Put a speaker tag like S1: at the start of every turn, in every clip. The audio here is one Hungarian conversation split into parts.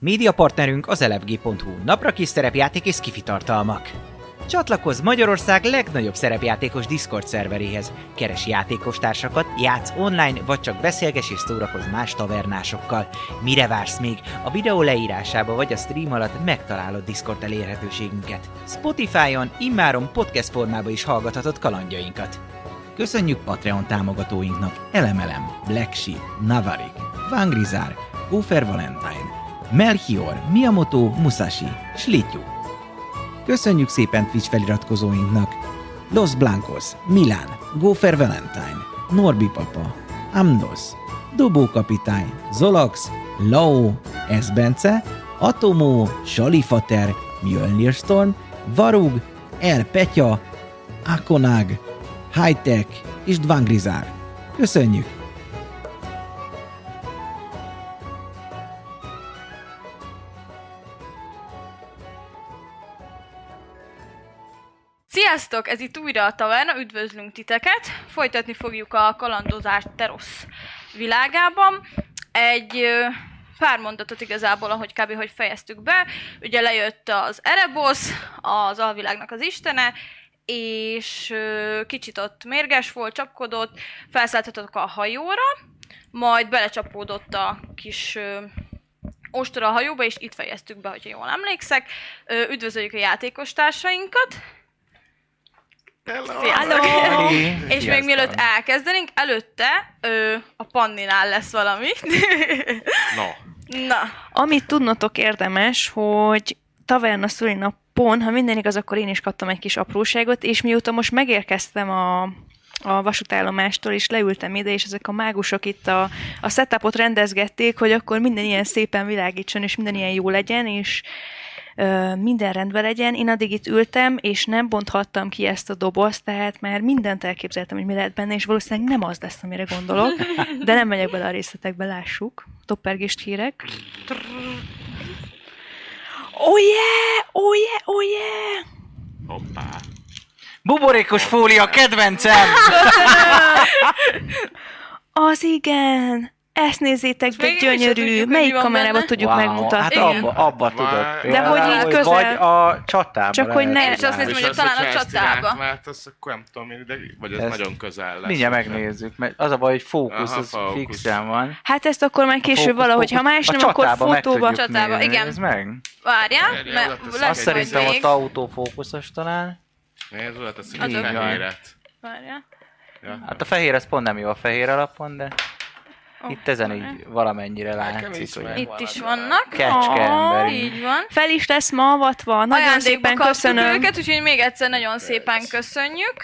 S1: Médiapartnerünk az elefg.hu, napra kis szerepjáték és skifi tartalmak. Csatlakozz Magyarország legnagyobb szerepjátékos Discord szerveréhez. Keres játékostársakat, játsz online, vagy csak beszélges és szórakozz más tavernásokkal. Mire vársz még? A videó leírásába vagy a stream alatt megtalálod Discord elérhetőségünket. Spotify-on immáron podcast formába is hallgathatod kalandjainkat. Köszönjük Patreon támogatóinknak Elemelem, Black Sheep, Navarik, Vangrizár, Gófer Valentine, Melchior, Miyamoto, Musashi, Slityu. Köszönjük szépen Twitch feliratkozóinknak! Los Blancos, Milán, Gófer Valentine, Norbi Papa, Amnos, Dobó Kapitány, Zolax, Lao, Esbence, Atomó, Salifater, Mjölnir Storm, Varug, El Petya, Akonag, Hightech és Dvangrizár. Köszönjük!
S2: Sziasztok! Ez itt újra a taverna, üdvözlünk titeket! Folytatni fogjuk a kalandozást Terosz világában. Egy ö, pár mondatot igazából, ahogy kb. hogy fejeztük be. Ugye lejött az Erebos, az alvilágnak az istene, és ö, kicsit ott mérges volt, csapkodott, felszálltatok a hajóra, majd belecsapódott a kis ö, ostora a hajóba, és itt fejeztük be, hogyha jól emlékszek. Ö, Üdvözöljük a játékostársainkat! Sziasztok! És még mielőtt elkezdenénk, előtte ö, a Panninál lesz valami.
S3: Na,
S2: Na,
S4: Amit tudnotok érdemes, hogy taverna szülinapon, ha minden igaz, akkor én is kaptam egy kis apróságot, és mióta most megérkeztem a, a vasútállomástól, és leültem ide, és ezek a mágusok itt a, a setupot rendezgették, hogy akkor minden ilyen szépen világítson, és minden ilyen jó legyen, és ö, minden rendben legyen. Én addig itt ültem, és nem bonthattam ki ezt a dobozt, tehát már mindent elképzeltem, hogy mi lehet benne, és valószínűleg nem az lesz, amire gondolok, de nem megyek bele a részletekbe, lássuk. Toppergést hírek. Oh yeah! Oh yeah! Oh yeah!
S3: hoppá.
S1: Buborékos fólia, kedvencem!
S4: Az igen! Ezt nézzétek,
S2: És
S4: de
S2: még mi se tudjuk,
S4: gyönyörű!
S2: hogy mi
S4: Melyik
S2: van
S4: kamerába
S2: benne?
S4: tudjuk
S5: Wow, Hát
S4: megmutatni?
S2: Igen.
S5: abba, abba tudod.
S3: De
S4: hogy így közel.
S5: Vagy a csatában.
S4: Csak hogy
S5: lehet
S4: ne-
S5: csinálni.
S2: És azt nézd,
S3: És
S2: mondjuk
S3: az,
S2: talán
S3: hogyha
S2: a
S3: ezt
S2: csatába.
S3: irányvált, azt akkor nem tudom én, de vagy ez
S5: Ezt
S3: nagyon közel lesz.
S5: Mindjárt megnézzük, mert az a baj, hogy fókusz,
S3: Aha,
S5: az
S3: fókusz.
S5: fixen van.
S4: Hát ezt akkor majd később valahogy, ha más nem, akkor fotóba.
S2: tudjuk. Csatába, igen.
S5: Ez meg.
S2: várjál,
S3: Várjál,
S2: mert
S3: oda teszek
S2: lesz
S5: Azt
S3: egy-
S2: majd
S5: szerintem
S2: még.
S5: ott autófókuszos talán.
S3: Nézd, oda teszik
S2: Az
S3: a
S2: a-
S3: fehéret.
S2: Várjál.
S3: Ja.
S5: Hát a fehér az pont nem jó a fehér alapon, de
S2: Ó,
S5: itt ezen így valamennyire
S3: Nekem
S5: látszik,
S3: is
S5: hogy
S3: meg.
S2: Itt is vannak.
S5: kecske ember.
S2: Így van.
S4: Fel is lesz ma avatva. Nagyon
S2: Ajándékba
S4: szépen
S2: kaptuk
S4: köszönöm.
S2: őket, úgyhogy még egyszer nagyon szépen köszönjük.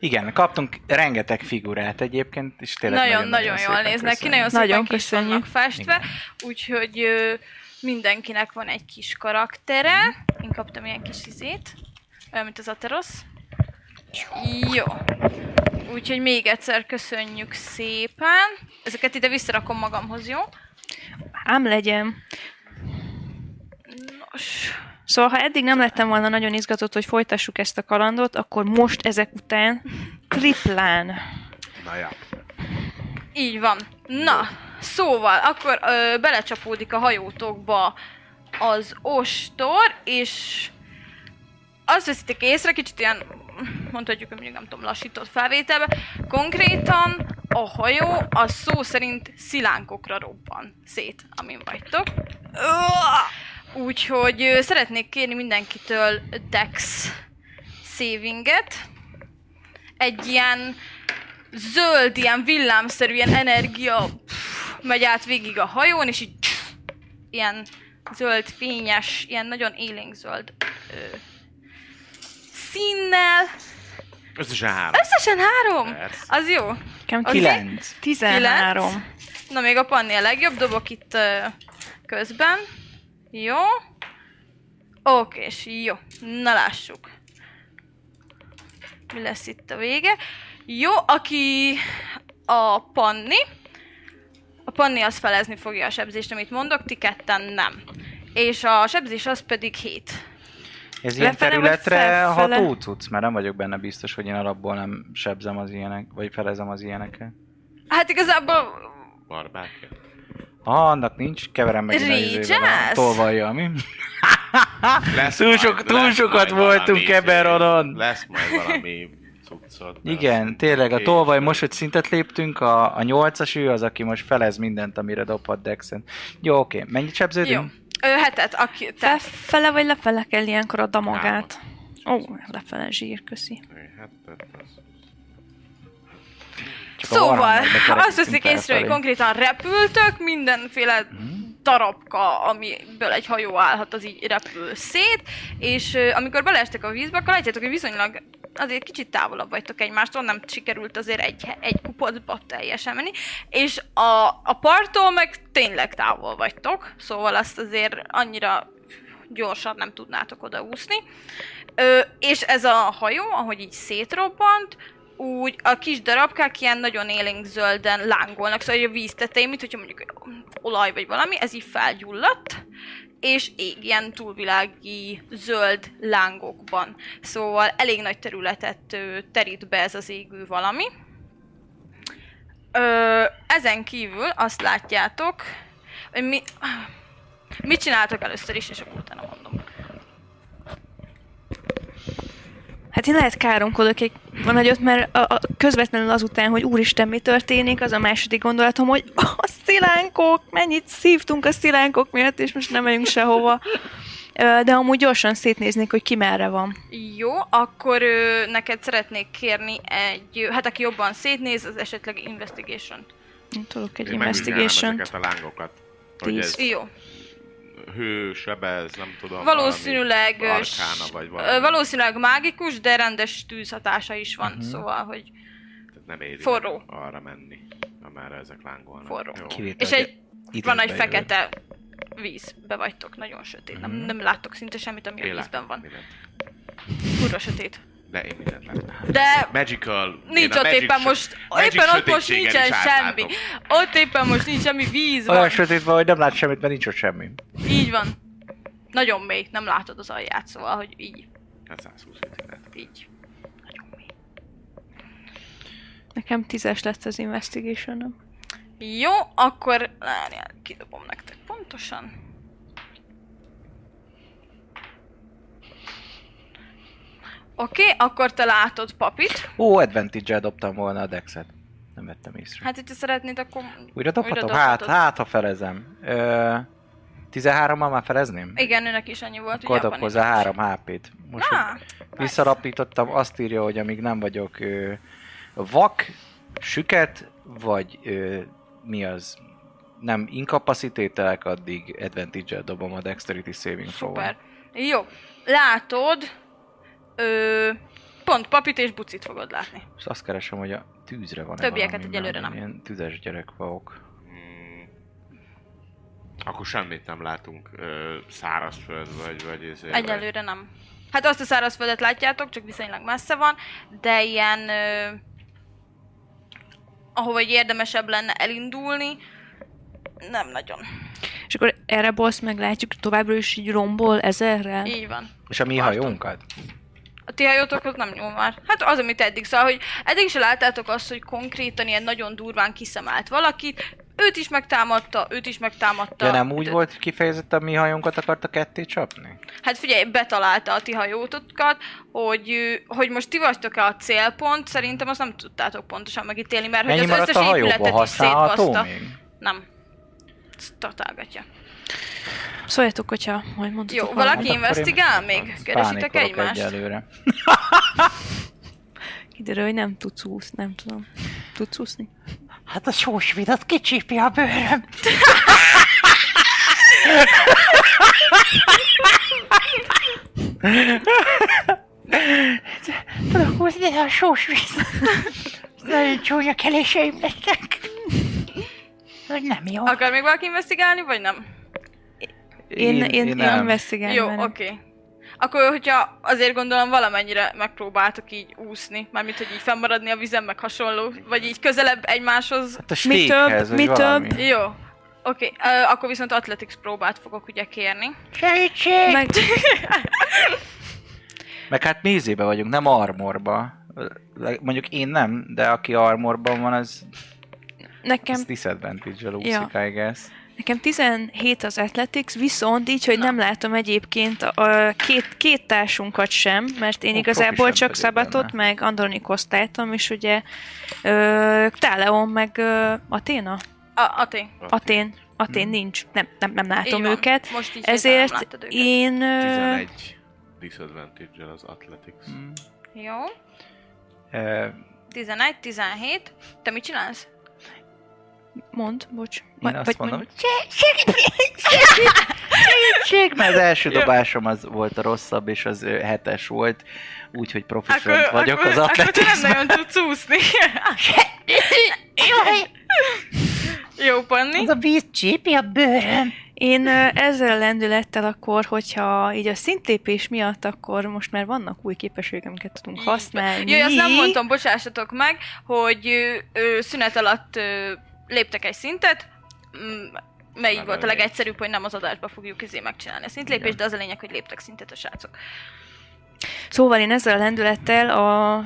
S5: Igen, kaptunk rengeteg figurát egyébként, és tényleg
S2: Nagyon-nagyon jól néznek ki, nagyon szépen
S4: Nagyon
S2: ki is
S4: köszönjük.
S2: vannak festve. Úgyhogy ö, mindenkinek van egy kis karaktere. Én kaptam ilyen kis izét, olyan, mint az Aterosz. Jó. Úgyhogy még egyszer köszönjük szépen. Ezeket ide visszarakom magamhoz, jó?
S4: Ám legyen.
S2: Nos,
S4: Szóval, ha eddig nem lettem volna nagyon izgatott, hogy folytassuk ezt a kalandot, akkor most ezek után triplán.
S3: Na ja.
S2: így van. Na, szóval, akkor ö, belecsapódik a hajótokba az ostor, és azt veszitek észre, kicsit ilyen, mondhatjuk, hogy mondjuk nem tudom, lassított felvételbe, konkrétan a hajó a szó szerint szilánkokra robban szét, amin vagytok. Úgyhogy ö, szeretnék kérni mindenkitől Dex savinget. Egy ilyen zöld, ilyen villámszerű, ilyen energia pff, megy át végig a hajón, és így pff, ilyen zöld, fényes, ilyen nagyon élénk zöld ö, színnel.
S3: Összesen három.
S2: Összesen három?
S3: Persze.
S2: Az jó.
S4: Nekem
S2: Az mi?
S5: Kilenc.
S4: 13.
S2: Na még a panni a legjobb, dobok itt ö, közben. Jó. Oké, és jó. Na lássuk. Mi lesz itt a vége? Jó, aki a panni, a panni az felezni fogja a sebzést, amit mondok, ti ketten nem. És a sebzés az pedig 7.
S5: Ez ilyen
S4: Lefele vagy
S5: területre
S4: felfele?
S5: ható cucc, mert nem vagyok benne biztos, hogy én alapból nem sebzem az ilyenek, vagy felezem az ilyeneket.
S2: Hát igazából
S3: Barbárja.
S5: Ah, annak nincs, keverem meg innen izével
S2: Ridges?
S5: a tolvajjal, mi?
S3: Lesz
S5: Túl sok- túl sokat
S3: majd valami
S5: voltunk
S3: izé,
S5: Eberonon.
S3: Lesz majd valami cuccod. lesz.
S5: Igen, tényleg a
S3: Oké.
S5: tolvaj, most, hogy szintet léptünk, a, a nyolcas ő az, aki most felez mindent, amire dobhat Dexen. Jó, oké, mennyit
S2: Jó.
S5: sebződünk?
S2: Ö, hetet, aki... Te.
S4: Felfele vagy lefele kell ilyenkor a damagát. Ó, lefele zsír, köszi.
S3: Hát, tehát az-
S5: Csak a
S2: Szóval,
S5: varangerbe kerekítünk
S2: azt veszik észre,
S5: felfelé.
S2: hogy konkrétan repültök, mindenféle
S5: Mhm.
S2: darabka, amiből egy hajó állhat, az így repül szét, és ö, amikor beleestek a vízbe, akkor látjátok, hogy viszonylag azért kicsit távolabb vagytok egymástól, nem sikerült azért egy, egy kupacba teljesen menni, és a, a parttól meg tényleg távol vagytok, szóval azt azért annyira gyorsan nem tudnátok odaúszni. Ö, és ez a hajó, ahogy így szétrobbant, úgy a kis darabkák ilyen nagyon élénk zölden lángolnak, szóval hogy a víz tetején, mint hogyha mondjuk olaj vagy valami, ez így felgyulladt, és ég ilyen túlvilági zöld lángokban. Szóval elég nagy területet ö, terít be ez az égő valami. Ö, ezen kívül azt látjátok, hogy mi, mit csináltok először is, és akkor utána mondom.
S4: Hát én lehet káromkodok egy van nagyot, mert a, a, közvetlenül azután, hogy úristen, mi történik, az a második gondolatom, hogy a szilánkok, mennyit szívtunk a szilánkok miatt, és most nem megyünk sehova. Ö, De amúgy gyorsan szétnéznék, hogy ki merre van.
S2: Jó, akkor ö, neked szeretnék kérni egy, hát aki jobban szétnéz, az esetleg investigation
S4: Én Tudok egy
S3: Én megvizsgálom
S4: investigation
S3: ezeket a lángokat. Hogy
S4: Tíz.
S3: ez
S2: Jó.
S3: hő, sebez, nem tudom.
S2: Valószínűleg,
S3: valami
S2: ö, s-
S3: Arkána vagy
S2: ö,
S3: valami. Mhm.
S2: valószínűleg mágikus, de rendes tűzhatása is van, uh-huh. szóval, hogy
S3: Tehát nem éri
S2: forró.
S3: meg arra menni, amerre ezek lángolnak.
S2: Forró.
S3: Jó.
S5: Kivétel,
S2: és
S5: hogy
S2: egy, van egy
S5: időbe jövő.
S2: fekete vízbe vagytok, nagyon sötét, uh-huh.
S3: Mhm.
S2: nem, nem láttok szinte semmit, ami
S3: Én
S2: a vízben
S3: látom
S2: van.
S3: mindent.
S2: Kurva sötét.
S3: De én mindent látom.
S2: De
S3: Magical.
S2: nincs
S3: én a
S2: ott
S3: magic
S2: éppen
S3: sö-
S2: most,
S3: magic
S2: éppen ott most
S3: sötétségen
S2: nincsen
S3: is
S2: semmi.
S3: átlátom.
S2: Ott éppen most nincs semmi víz
S5: Olyan
S2: van.
S5: sötét van, hogy nem lát semmit, mert nincs ott semmi.
S2: Így van. Nagyon mély, nem látod az alját, szóval, hogy így,
S3: Hát 120 ítélet.
S2: így. Nagyon mély.
S4: Nekem tízes lett az investigation
S2: Jó, akkor várjál, kidobom nektek pontosan. Oké, okay, akkor te látod papit.
S5: Ó, advantage dobtam volna a dexet. Nem vettem észre.
S2: Hát, hogyha szeretnéd, akkor...
S5: Újra dobhatom?
S2: újra
S5: Hát,
S2: dobhatod.
S5: hát, ha felezem. Ö, 13-mal már felezném?
S2: Igen, neki is annyi volt,
S5: Akkor
S2: abban
S5: dob hozzá
S2: is.
S5: 3 HP-t. Most
S2: Á,
S5: hogy visszalapítottam, azt írja, hogy amíg nem vagyok ö, vak, süket, vagy ö, mi az? Nem, inkapacitételek, addig advantage dobom a Dexterity Saving throw
S2: Szuper. Jó, látod... Ö, pont papit és bucit fogod látni.
S5: És azt keresem, hogy a tűzre van
S2: Többieket egyelőre nem.
S5: Ilyen tüzes gyerek vagyok.
S3: Mm. Akkor semmit nem látunk ö, szárazföld vagy, vagy ezért.
S2: Egyelőre nem. Hát azt a szárazföldet látjátok, csak viszonylag messze van, de ilyen, ö, ahova így érdemesebb lenne elindulni, nem nagyon.
S4: És akkor erre boss meglátjuk továbbra is így rombol ezerrel.
S2: Így van.
S5: És a mi
S2: Parton.
S5: hajónkat?
S2: A ti hajótokhoz nem nyúl már. Hát az, amit eddig szóval, hogy eddig se láttátok azt, hogy konkrétan ilyen nagyon durván kiszemelt valakit, őt is megtámadta, őt is megtámadta.
S5: De nem úgy
S2: Ö,
S5: volt hogy kifejezetten mi hajónkat akarta ketté csapni?
S2: Hát figyelj, betalálta a ti hajótokat, hogy, ö, hogy most ti vagytok-e a célpont, szerintem azt nem tudtátok pontosan megítélni, mert
S5: Mennyi
S2: hogy az
S5: maradt
S2: összes
S5: a hajóban?
S2: épületet is
S5: Használható
S2: szétbaszta.
S5: még?
S2: Nem. Ezt Tartálgatja.
S4: Szóljatok, hogyha majd mondtatok
S2: Jó,
S4: valamit.
S2: valaki
S5: Hát akkor én-
S2: investigál még? Keresitek
S5: Pánikolok
S2: egymást?
S5: Egyelőre.
S4: Kiderül, hogy nem tudsz úszni, nem tudom. Tudsz úszni?
S5: Hát a sós vidat kicsípi a bőröm. Tudok húzni a sós víz. Nagyon csúnya keléseim lettek. Hogy nem jó.
S2: Akar még valaki investigálni, vagy nem?
S4: Én, én, én, én, én investigálni
S2: Jó,
S4: merem.
S2: oké. Okay. Akkor, hogyha azért gondolom, valamennyire megpróbáltok így úszni, mármint, hogy így fennmaradni a vizen, meg hasonló, vagy így közelebb egymáshoz.
S5: Hát a
S4: Mi
S5: stékhez,
S4: több, mi
S5: vagy valami.
S4: több?
S2: Jó. Oké, okay. akkor viszont athletics próbát fogok ugye kérni.
S5: Segítség!
S4: Meg,
S5: Meg hát mi izébe vagyunk, nem armorba. Mondjuk én nem, de aki armorban van, az
S4: Nekem
S5: Ez disadvantage-el
S4: Ja.
S5: úszik, I guess.
S4: Nekem 17 az Athletics, viszont így, hogy nem látom egyébként a két, két társunkat sem, mert én
S5: Ó,
S4: igazából
S5: profi sem
S4: csak
S5: pedig
S4: Szabatot,
S5: benne.
S4: meg Andronikoszt láttam, és ugye ö, Táleon, meg ö, Aténa?
S2: A, a tény.
S4: Atén. Atén
S5: Hmm.
S4: nincs. Nem, nem, nem látom
S2: Így van.
S4: őket.
S2: Most így hirtelen nem
S4: Ezért
S2: láttad őket.
S4: én... ö,
S3: 11 disadvantage az Athletics.
S5: Mm.
S2: Jó.
S5: Uh,
S2: 11, 17. Te mit csinálsz?
S4: Mond, bocs.
S5: én
S4: Vagy-
S5: azt
S4: vagy
S5: mondom, hogy
S4: mondj.
S5: segítség, mert az első dobásom az volt a rosszabb, és az ö, hetes volt, úgyhogy proficient vagyok az
S2: akkor te nem
S5: atletizmusban.
S2: nagyon tudsz úszni. Jó, Panni.
S5: a víz csípi a bőröm.
S4: Én ö, ezzel a lendülettel akkor, hogyha így a szintlépés miatt, akkor most már vannak új képességek, amiket tudunk használni.
S2: Jaj, azt nem mondtam, bocsássatok meg, hogy ö, ö, szünet alatt ö, léptek egy szintet, m- melyik
S3: Nem
S2: volt a
S3: elég.
S2: legegyszerűbb, hogy nem az adásba fogjuk izé megcsinálni a szintlépést, de az a lényeg, hogy léptek szintet a srácok.
S4: Szóval én ezzel a lendülettel a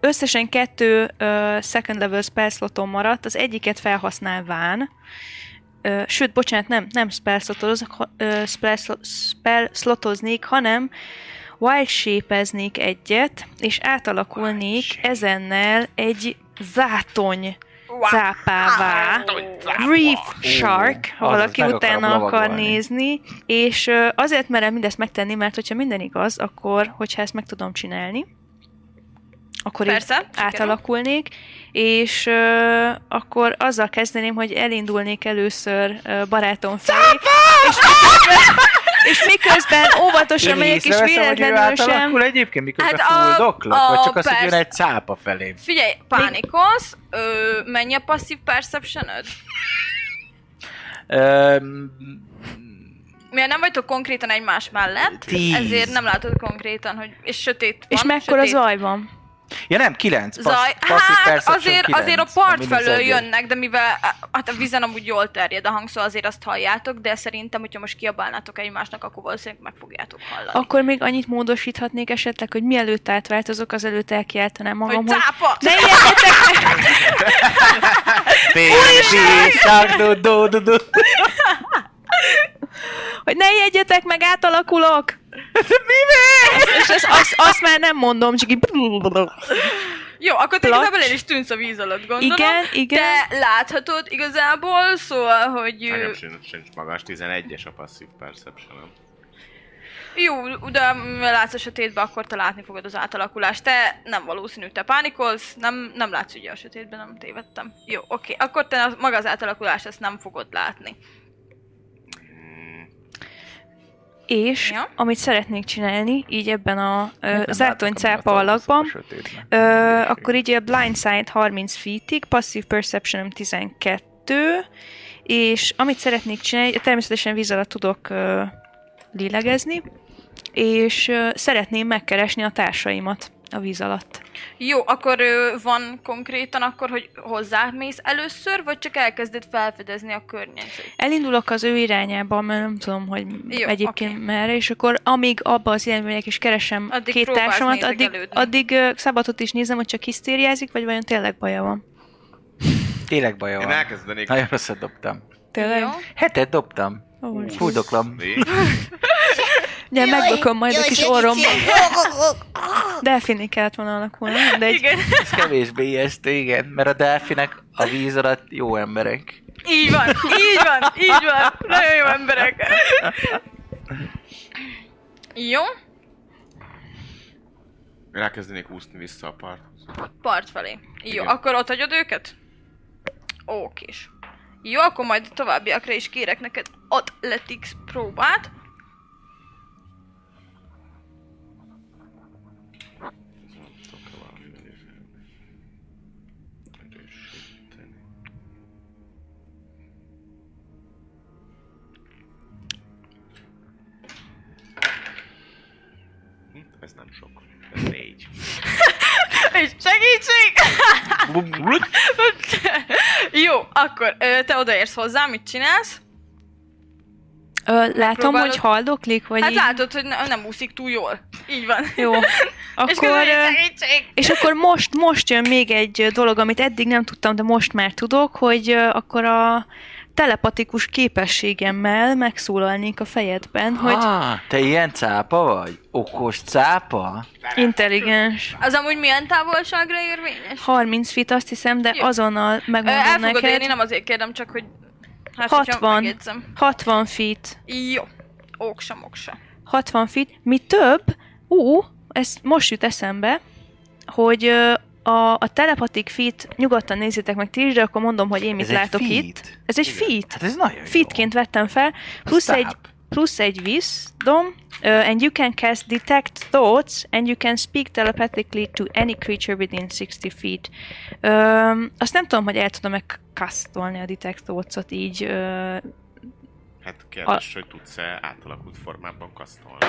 S4: összesen kettő uh, second level spell slotom maradt, az egyiket felhasználván, uh, sőt, bocsánat, nem, nem spell, slotozok, ha- ö, spell, slo- spell slotoznék, hanem wild shape-eznék egyet, és átalakulnék ezennel egy zátony cápává. Reef Shark, ha
S5: Azaz,
S4: valaki
S5: meg
S4: utána
S5: akarom
S4: akar
S5: lovagolni.
S4: nézni, és ö, azért merem mindezt megtenni, mert hogyha minden igaz, akkor, hogyha ezt meg tudom csinálni, akkor így
S2: Persze, sikerül.
S4: átalakulnék, és ö, akkor azzal kezdeném, hogy elindulnék először ö, barátom felé, és miközben, és miközben óvatosan megyek, és véletlenül sem...
S5: átalakul egyébként, miközben
S2: Hát a-
S5: hát fuldoklok,
S2: a-
S5: vagy csak az, hogy jön
S2: persze.
S5: egy cápa felém.
S2: Figyelj, pánikolsz, ö, mennyi a passzív perception -öd?
S5: Öm,
S2: Mivel nem vagytok konkrétan egymás mellett,
S5: Tíz.
S2: ezért nem látod konkrétan, hogy és sötét van.
S4: És mekkora
S2: sötét.
S4: zaj van?
S5: Ja nem, kilenc. Passz,
S2: Zaj,
S5: passive
S2: hát
S5: perception
S2: azért,
S5: kilenc,
S2: azért a part
S5: mínusz
S2: felől
S5: egyet.
S2: jönnek, de mivel hát a vízen amúgy jól terjed a hang, szóval azért azt halljátok, de szerintem, hogyha most kiabálnátok egymásnak, akkor valószínűleg meg fogjátok hallani.
S4: Akkor még annyit módosíthatnék esetleg, hogy mielőtt átváltozok, azelőtt elkiáltanám magam,
S2: hogy
S4: hogy
S2: cápa!
S4: ne ijedjetek meg!
S5: Baby shark, do, do, do, do.
S4: hogy ne jegyetek meg, átalakulok! Mivel? És ezt, azt, azt már nem mondom, csak így...
S2: Jó, akkor te
S4: Placs.
S2: igazából el is tűnsz a víz alatt, gondolom.
S4: Igen, igen.
S2: Te láthatod igazából, szóval, hogy... ö,
S3: Nekem sincs, sincs magas, 11-es a passzív perception
S2: Jó, de mivel látsz a sötétbe, akkor te látni fogod az átalakulást. Te nem valószínű, te pánikolsz, nem, nem látsz ugye a sötétben, nem tévedtem. Jó, oké, akkor te az- maga az átalakulást ezt nem fogod látni.
S3: Hmm.
S4: És
S2: Ja.
S4: amit szeretnék csinálni, így ebben a ö,
S5: Nem
S4: zátony
S5: látok, ami
S4: cápa
S5: a szóval tornaszok a
S4: alakban,
S5: sötétben.
S4: ö, akkor így a blindside 30 feetig, passive perceptionem 12, és amit szeretnék csinálni, természetesen víz alatt tudok ö, lélegezni, és ö, szeretném megkeresni a társaimat a víz alatt.
S2: Jó, akkor ö, van konkrétan akkor, hogy hozzámész először, vagy csak elkezded felfedezni a környezetet?
S4: Elindulok az ő irányába, mert nem tudom, hogy
S2: Jó,
S4: Jó, egyébként
S2: oké.
S4: okay. merre, és akkor amíg abba az irányba megyek és keresem
S2: Addig
S4: addig két
S2: próbálsz
S4: társamat, addig,
S2: nézegelődni.
S4: addig ö, szabatot is nézem, hogy csak hisztériázik, vagy vajon tényleg baja van.
S5: Tényleg baja
S3: Én
S5: van.
S3: elkezdenék
S5: Nagyon rosszat dobtam.
S4: Tényleg?
S2: Jó.
S5: Hetet dobtam.
S4: Ó, most-
S5: Fuldoklom.
S4: Ugye megbököm majd a kis orromba. Delfinik kellett volna alakulni, de egy...
S2: Igen,
S5: Ez kevésbé ijesztő, igen, mert a delfinek a víz alatt jó emberek.
S2: így van, így van, így van, nagyon jó emberek. Jó,
S3: Én elkezdenék úszni vissza a parthoz.
S2: part felé. Jó,
S3: Igen.
S2: akkor ott hagyod őket? Ó, kis. Jó, akkor majd a továbbiakra is kérek neked Athletics próbát.
S3: Tudok-e valamivel érni? Erősíteni. Hm, Ez nem sok. Ez négy.
S2: És segítség! Jó, akkor ö, te odaérsz hozzá, mit csinálsz?
S4: Ö, látom,
S2: Próbálod-
S4: hogy haldoklik, vagy
S2: Hát
S4: így-
S2: látod, hogy ne- nem úszik túl jól. Így van.
S4: Jó.
S2: És
S4: Akkor,
S2: közben
S4: ö,
S2: így segítség.
S4: és akkor most, most jön még egy ö, dolog, amit eddig nem tudtam, de most már tudok, hogy ö, akkor a telepatikus képességemmel megszólalnék a fejedben, hogy
S5: Ah, te ilyen cápa vagy? Okos cápa?
S4: intelligens.
S2: Az amúgy milyen távolságra érvényes?
S4: 30 feet azt hiszem, de
S2: Jó.
S4: azonnal
S2: Ö,
S4: megmondom
S2: El fogod
S4: neked.
S2: érni, nem azért kérdem, csak hogy... Hát, hogyha
S4: 60,
S2: megjegyzem.
S4: 60 feet.
S2: Jó. Oksa, moksa.
S4: 60 feet. Mi több, ú, ez most jut eszembe, hogy ö, a, a telepatik feet, nyugodtan nézzétek meg ti is, de akkor mondom, hogy én mit
S5: Ez egy
S4: látok
S5: feat?
S4: itt. Ez egy
S3: Igen.
S4: feat.
S5: Hát ez nagyon
S4: Fitként vettem fel,
S5: jó.
S4: plusz
S5: Stop.
S4: egy, plusz egy wisdom, uh, and you can cast detect thoughts, and you can speak telepathically to any creature within 60 feet. Um, azt nem tudom, hogy el tudom-e kasztolni a detect thoughts-ot így uh,
S3: Hát kérdés, hogy tudsz-e átalakult formában kasztolni.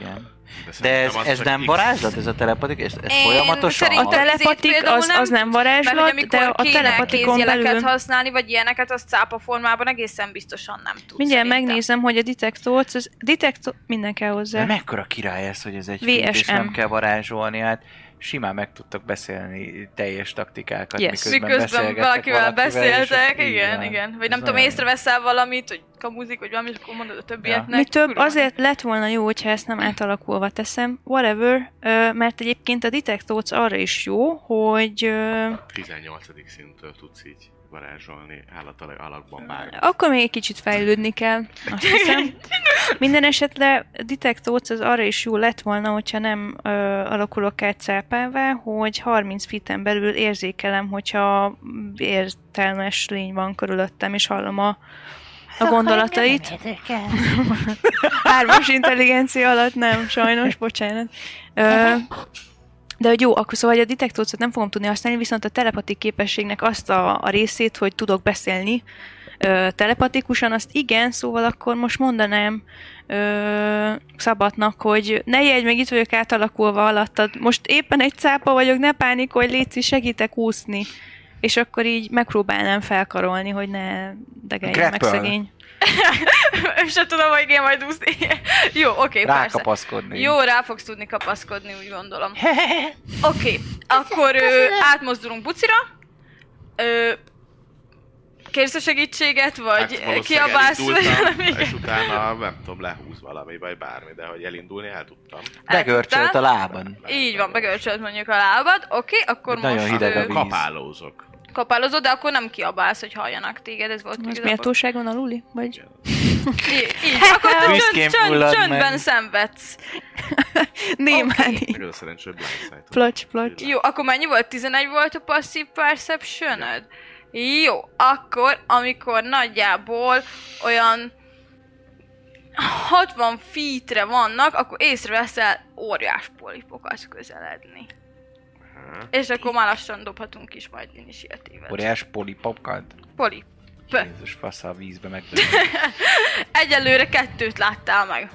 S5: Igen. De
S3: szerintem
S5: ez,
S3: az
S5: ez
S3: csak
S5: nem
S3: X.
S5: varázslat, ez a telepatik? Ez, ez
S2: Én
S5: folyamatosan?
S4: A
S2: szerintem-
S5: hat?
S2: Ezért
S4: telepatik
S2: például
S4: az, az
S2: nem-
S4: nem
S2: Mert hogy
S4: varázslat,
S2: amikor
S4: de a
S2: kéne
S4: telepatikon
S2: kézjeleket
S4: belül...
S2: használni, vagy ilyeneket, az cápa formában egészen biztosan nem tudsz.
S4: Mindjárt
S2: szerintem.
S4: megnézem, hogy a Detect Thoughts, az Detect... Minden kell
S5: De
S4: hozzá.
S5: mekkora király ez, hogy ez egy feat, és
S4: VSM.
S5: nem kell varázsolni, hát simán meg tudtok beszélni teljes taktikákat,
S4: Yes.
S5: miközben,
S2: Miközben
S5: beszélgettek
S2: valakivel
S5: valakivel, és
S2: beszéltek,
S5: így
S2: igen,
S5: van.
S2: igen. Vagy
S5: Ez
S2: nem tudom,
S5: nagyon-
S2: észreveszel valamit, hogy kamuzik, vagy valami, és akkor mondod a többieknek.
S4: Mi több,
S2: kurva
S4: azért lett volna jó, hogyha ezt nem átalakulva teszem, whatever, ö, mert egyébként a Detect Thoughts arra is jó, hogy ö,
S3: 18. szintől tudsz így varázsolni állatala alakban bármi.
S4: akkor még egy kicsit fejlődni kell, azt hiszem. Minden esetre a Detect Thoughts az arra is jó lett volna, hogyha nem ö, alakulok át cápává, hogy 30 feet-en belül érzékelem, hogyha értelmes lény van körülöttem, és hallom a, a gondolatait. Hármas intelligencia alatt nem, sajnos, bocsánat. Ö, de hogy jó, akkor szóval hogy a detektorcot nem fogom tudni használni, viszont a telepatik képességnek azt a, a részét, hogy tudok beszélni ö, telepatikusan, azt igen, szóval akkor most mondanám ö, Szabadnak, hogy ne jegy meg, itt vagyok átalakulva alattad, most éppen egy cápa vagyok, ne pánikolj, léci, segítek úszni. És akkor így megpróbálnám felkarolni, hogy ne degeljen meg
S5: Grapple.
S4: szegény.
S2: nagy. Sem tudom, hogy igen, majd úszni. Jó, oké, persze.
S5: Rákapaszkodni.
S2: Jó, rá fogsz tudni kapaszkodni, úgy gondolom. Oké, akkor ö, átmozdulunk bucira. Ö, kérsz a segítséget, vagy
S3: Hát valószínűleg
S2: kiabálsz, vagy
S3: elindultam,
S2: valami?
S3: És utána nem tudom, lehúz valami, vagy bármi, de hogy elindulni el tudtam.
S5: Begörcsölt a
S2: Eltudtál?
S5: lábon.
S2: Így van, begörcsölt mondjuk a lábad. Oké, akkor
S5: Nagyon
S2: most
S5: hideg a
S2: ö,
S5: víz.
S3: Kapálózok.
S2: kapálozod, de akkor nem kiabálsz, hogy halljanak téged, ez volt
S4: Most
S2: igazából.
S4: méltóságon aluli? Vagy?
S2: Így, így. akkor te
S5: Büszkén
S2: csönd, csönd,
S5: fullad
S2: csöndben
S5: meg.
S2: szenvedsz.
S4: Némán
S2: Oké.
S4: így.
S3: Meg az a szerencsé, hogy blindside.
S4: Placs, placs.
S2: Jó, akkor mennyi volt? 11 volt a passzív perception Jó, akkor amikor nagyjából olyan 60 feetre vannak, akkor észreveszel óriás polipokat közeledni.
S3: Aha.
S2: És akkor már lassan dobhatunk is majd initiatívet.
S5: Óriás polipopkant.
S2: Polip.
S5: Jézus, fasz a vízbe meg.
S2: Egyelőre kettőt láttál meg.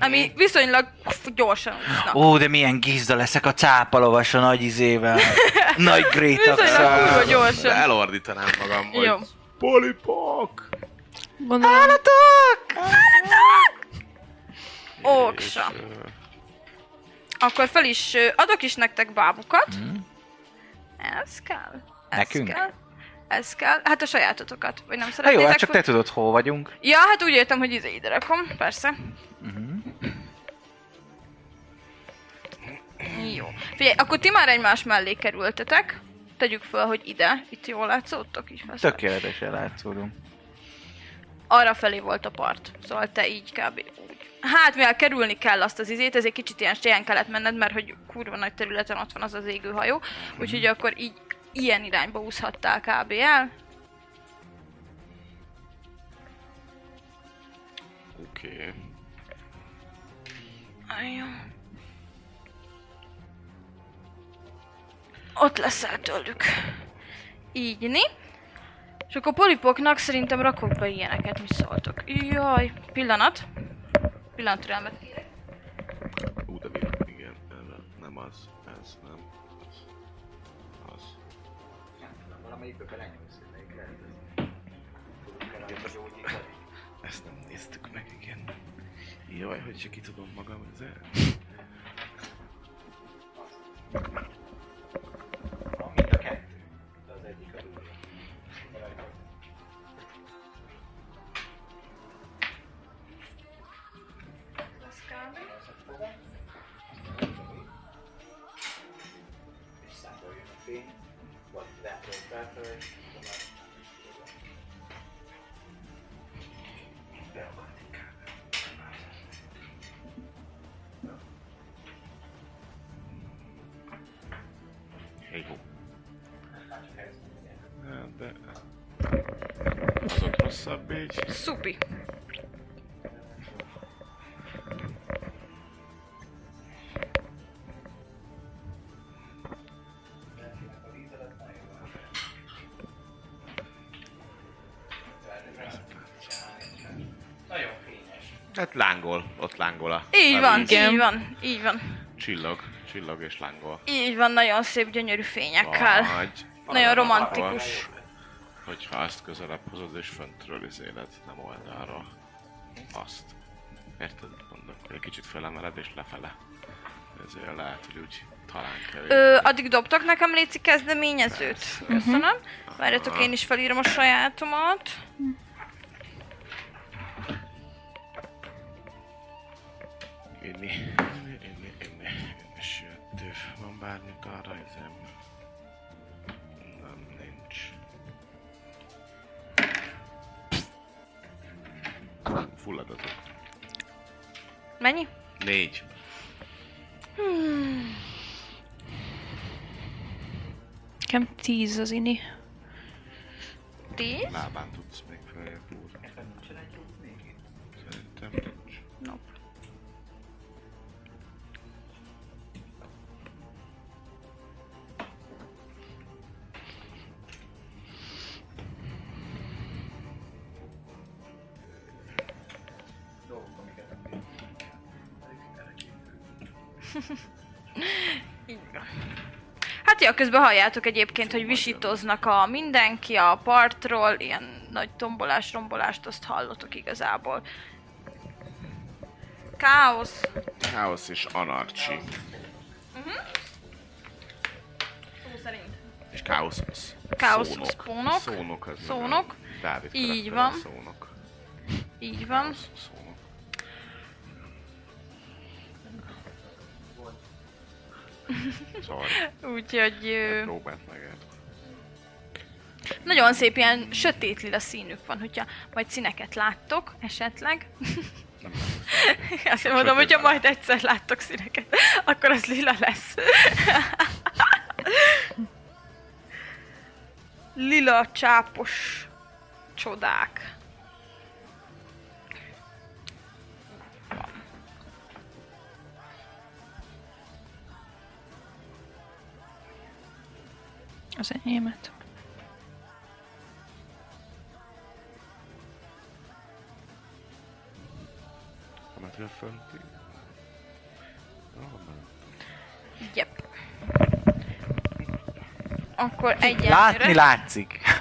S2: Ami viszonylag gyorsan úsznak.
S5: Ó, de milyen gizda leszek a cápalovas a nagy izével. Nagy Hát
S2: Viszonylag
S5: grétakszal.
S2: kurva gyorsan.
S3: De elordítanám magam, hogy
S2: Jó.
S3: Polipok!
S4: Gondolom,
S2: Oksa.
S3: És, ö,
S2: Akkor fel is ö, adok is nektek bábukat. Ez kell. Ez
S5: Mhm. Nekünk?
S2: Kell. Ez kell. Hát a sajátotokat, vagy nem
S5: Na jó,
S2: szeretnétek?
S5: hát csak
S2: fog-
S5: te Mhm. tudod, hol vagyunk.
S2: Ja, hát úgy értem, hogy ide ide rakom, persze. Jó. Figyelj, akkor ti már egymás mellé kerültetek. Tegyük föl, hogy ide. Itt jól látszódtok is. persze.
S5: Tökéletesen látszódunk.
S2: Arra felé volt a part. Szóval te így kb. úgy. Hát, mivel kerülni kell azt az izét, ezért kicsit ilyen séján kellett menned, mert hogy kurva nagy területen ott van az az égőhajó. Úgyhogy akkor így ilyen irányba úszhattál kb. el.
S3: Oké.
S2: Ajjó. Ott leszel tőlük. Így, ni? És akkor polipoknak szerintem rakok be ilyeneket, mi szóltok. Jaj, pillanat. Pillanat türelmet.
S3: Ú, de mi- igen, erre- nem az, ez nem, az, az. Ezt nem néztük meg, igen. Jaj, hogy se ki tudom magam ezzel. Hey ho. Hát, de... Hozott rosszabb így.
S2: Szupi.
S3: Hát lángol, ott lángol a...
S2: Így van,
S3: levél.
S4: Igen.
S2: így van, így van.
S3: Csillog, csillog és lángol.
S2: Így van, nagyon szép, gyönyörű fényekkel.
S3: Vagy
S2: Nagyon
S3: valahol,
S2: romantikus.
S3: Hogyha ezt közelebb hozod és föntről izélet, nem oldalra. Azt. Érted, mit mondok? Egy kicsit felemeled és lefele. Ezért lehet, hogy úgy talán kevés.
S2: Ö, addig dobtak nekem Léci kezdeményezőt. Köszönöm. Várjatok, én is felírom a sajátomat.
S3: Inni, inni, inni, inni. És jöttő. Van bármi arra izem? Nem, nincs. Fulladatok.
S2: Mennyi?
S3: Négy.
S4: Nekem tíz az ini.
S2: Tíz?
S3: Lábán tudsz még feljebb úrni. Szerintem nincs.
S2: No. Így van. Hát ja, közben halljátok egyébként, hogy visítoznak a mindenki a partról, ilyen nagy tombolás, rombolást, azt hallotok igazából. Káosz.
S3: Káosz és anarcsi.
S2: Mhm. Szó szerint.
S3: És káosz. sz-
S2: Káosz,
S3: szónok.
S2: spónok.
S3: Szónok az
S2: Szónok.
S3: meg a Dávid
S2: Így
S3: karaktere,
S2: van.
S3: Szónok.
S2: Így van.
S3: Káosz, szónok. Sorry,
S2: Úgyhogy ö,
S3: próbált megért.
S2: nagyon szép ilyen sötét lila színük van, hogyha majd színeket láttok esetleg. Azt mondom, hogyha majd egyszer láttok színeket, akkor az lila lesz. Lila csápos csodák.
S4: Az enyémet.
S3: Amit a fönti. Ah, nem.
S2: Jep. Akkor egyenlőre.
S5: Látni látszik.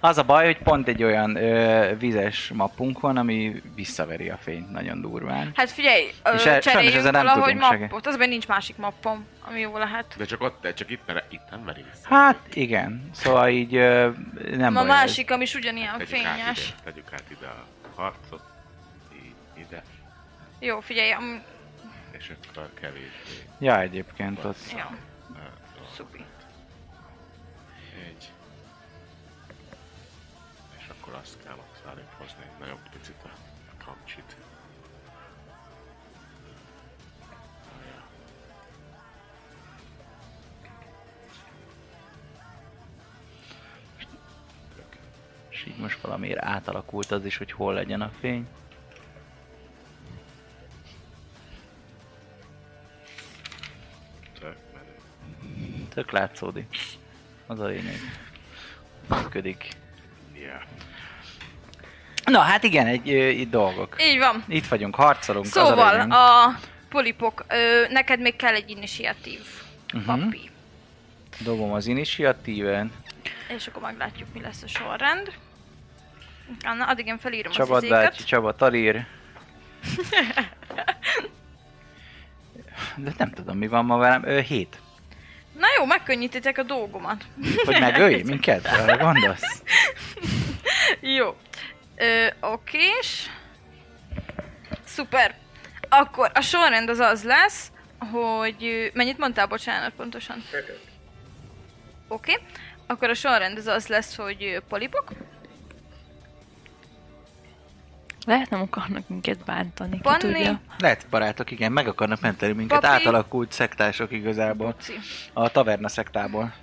S5: Az a baj, hogy pont egy olyan ö, vizes mappunk van, ami visszaveri a fényt nagyon durván.
S2: Hát figyelj, ö,
S5: És el- sajnos
S2: cseréljünk
S5: ezzel nem
S2: valahogy
S5: tudunk segíteni.
S2: mappot. Azben nincs másik mappom, ami jó lehet.
S3: De csak ott, de csak itt, mert itt nem veri vissza.
S5: Hát igen, szóval így ö, nem
S2: Ma
S5: baj ez.
S2: másik, ami is ugyanilyen
S3: Tegyük át
S2: fényes.
S3: ide, tegyük át ide a harcot. Így, ide.
S2: Jó, figyelj, am...
S3: És akkor kevésbé.
S5: Ja, egyébként ott.
S2: jó,
S3: Ö,
S2: szupi.
S3: Egy. És akkor azt kell arrébb hozni egy nagyobb picit a kamcsit.
S5: És így most valamiért átalakult az is, hogy hol legyen a fény.
S3: Tök menő.
S5: Tök látszódik. Az a lényeg. Működik.
S3: Yeah.
S5: Na hát igen, egy, ö, itt dolgok.
S2: Így van.
S5: Itt vagyunk, harcolunk. az
S2: Szóval
S5: lényeg.
S2: a polipok, ö, neked még kell egy initiatív
S5: Mhm.
S2: papi.
S5: Dobom az initiatíven.
S2: És akkor meglátjuk, mi lesz a sorrend. Anna, addig én felírom Csaba
S5: Csaba
S2: az izéket.
S5: Dácsi, Csaba Tarír. De nem tudom, mi van ma velem. Ö, hét.
S2: Na jó, megkönnyítitek a dolgomat.
S5: Hogy megölj minket? Arra gondolsz?
S2: Jó. Ö, okés. Szuper. Akkor a sorrend az az lesz, hogy... ö, Mennyit mondtál, bocsánat, pontosan? Oké. Okay. Akkor a sorrend az az lesz, hogy ö, polipok,
S4: Lehet nem akarnak minket bántani, ki
S2: Panni,
S4: tudja.
S5: Lehet barátok, igen, meg akarnak menteni minket.
S2: Papi.
S5: Átalakult szektások igazából.
S2: Puci.
S5: A taverna szektából.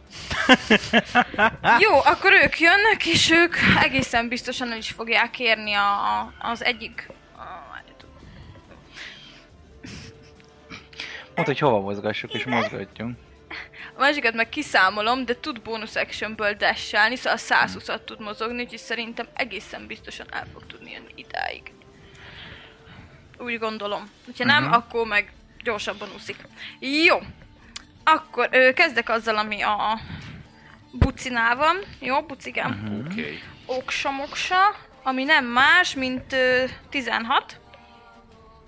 S2: Jó, akkor ők jönnek, és ők egészen biztosan el is fogják kérni a, a, az egyik... A,
S5: Mondd, hogy hova mozgassuk, és mozgatjunk.
S2: a másikat meg kiszámolom, de tud bónusz actionből dashelni, szóval 120 at tud mozogni, úgyhogy szerintem egészen biztosan el fog tudni jönni idáig. Úgy gondolom. Ha nem, uh-huh. akkor meg gyorsabban úszik. Jó. Akkor ö, kezdek azzal, ami a bucinál van. Jó, bucigám. Uh-huh.
S3: Oké. Okay.
S2: Oksa-moksa, ami nem más, mint ö, 16.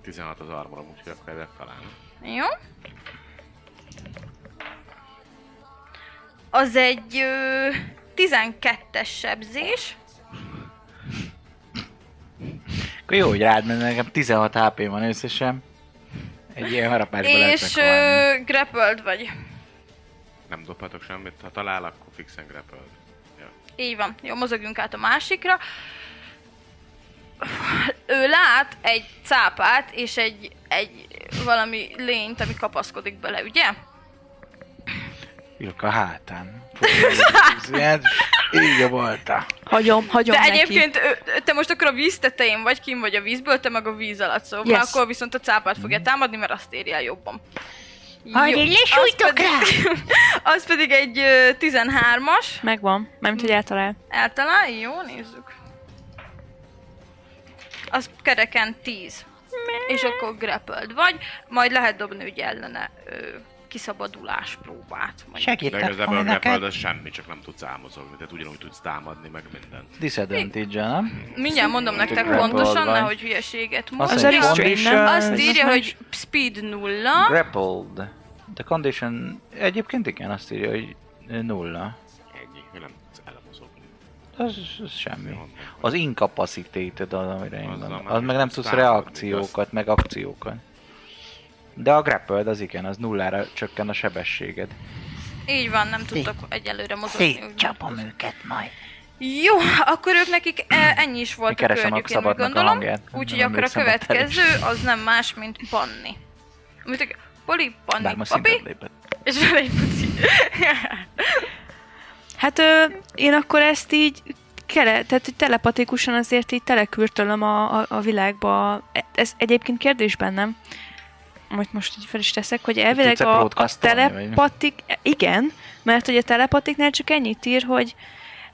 S3: 16 az armorom, úgyhogy akkor ezzel talán.
S2: Jó. Az egy ö, 12-es sebzés.
S5: Akkor jó, hogy rád menne, nekem 16 hp van összesen. Egy ilyen harapásba
S2: és
S5: lehet meghalni.
S2: ö, grappled vagy.
S3: Nem dobhatok semmit, ha talál, akkor fixen grapple. Ja.
S2: Így van. Jó, mozogjunk át a másikra. Ő lát egy cápát és egy, egy valami lényt, ami kapaszkodik bele, ugye?
S5: Ülök a hátán. Fú, ilyen- Így a volta.
S4: Hagyom, hagyom
S2: De
S4: neki.
S2: egyébként ö, te most akkor a víz tetején vagy, kim vagy a vízből, te meg a víz alatt, szóval
S4: Yes. Mm.
S2: akkor viszont a cápát fogja támadni, mert azt éri el jobban.
S6: Hadd
S2: Jó,
S6: én
S2: az
S6: lesújtok
S2: pedig- Az pedig egy ö, 13-as,
S4: Megvan, mármint, hogy eltalál.
S2: eltalál, jó, nézzük. Az kereken 10. És akkor grappled vagy, majd lehet dobni ugye ellene ö, kiszabadulás próbát. Vagy.
S3: De
S5: Segítek
S3: igazából a
S5: volna
S3: grapple
S5: neked?
S3: az semmi, csak nem tudsz álmozogni, tehát ugyanúgy tudsz támadni, meg mindent.
S5: Disadvantage, nem?
S2: Mindjárt mondom nektek
S5: Grappled
S2: pontosan,
S5: vagy.
S2: nehogy hülyeséget
S5: Azt
S4: Az
S5: mondja,
S4: a
S2: mondjak.
S4: restrain, nem?
S5: condition-
S2: Azt írja,
S4: Az
S2: hogy speed nulla.
S5: Grappled. The condition... Egyébként igen, azt írja, hogy nulla.
S3: Ennyi, hogy nem tudsz elmozogni.
S5: Az, az semmi. Az incapacitated az, amire én
S3: Azzal
S5: gondolom.
S3: már
S5: Az meg nem
S3: nem
S5: tudsz
S3: tudsz támadni,
S5: reakciókat, meg akciókat. De a grappled az igen, az nullára csökken a sebességed.
S2: Így van, nem tudtok egyelőre mozogni. úgy van.
S6: Szétcsapom őket majd.
S2: Jó, akkor ők nekik e, ennyi is volt
S5: Én keresem
S2: a környük,
S5: a
S2: én úgy
S5: szabadnak a
S2: gondolom.
S5: hangját.
S2: Úgyhogy
S5: Nem
S2: akkor a
S5: emlékszem a
S2: következő az nem más, mint Panni. Amit ők- Poli,
S5: Bár
S2: Panni,
S5: most szinten
S2: Papi,
S5: lépett.
S2: és vele egy puci.
S4: Hát ö, én akkor ezt így kele, tehát hogy telepatikusan azért így telekürtölöm a, a, a világba. E- Ez egyébként kérdésben nem? Majd most így fel is teszek, hogy elvileg
S5: tudsz-e
S4: a, a
S5: broadcastolni, vagy?
S4: telepatik... Igen, mert hogy a telepatiknál csak ennyit ír, hogy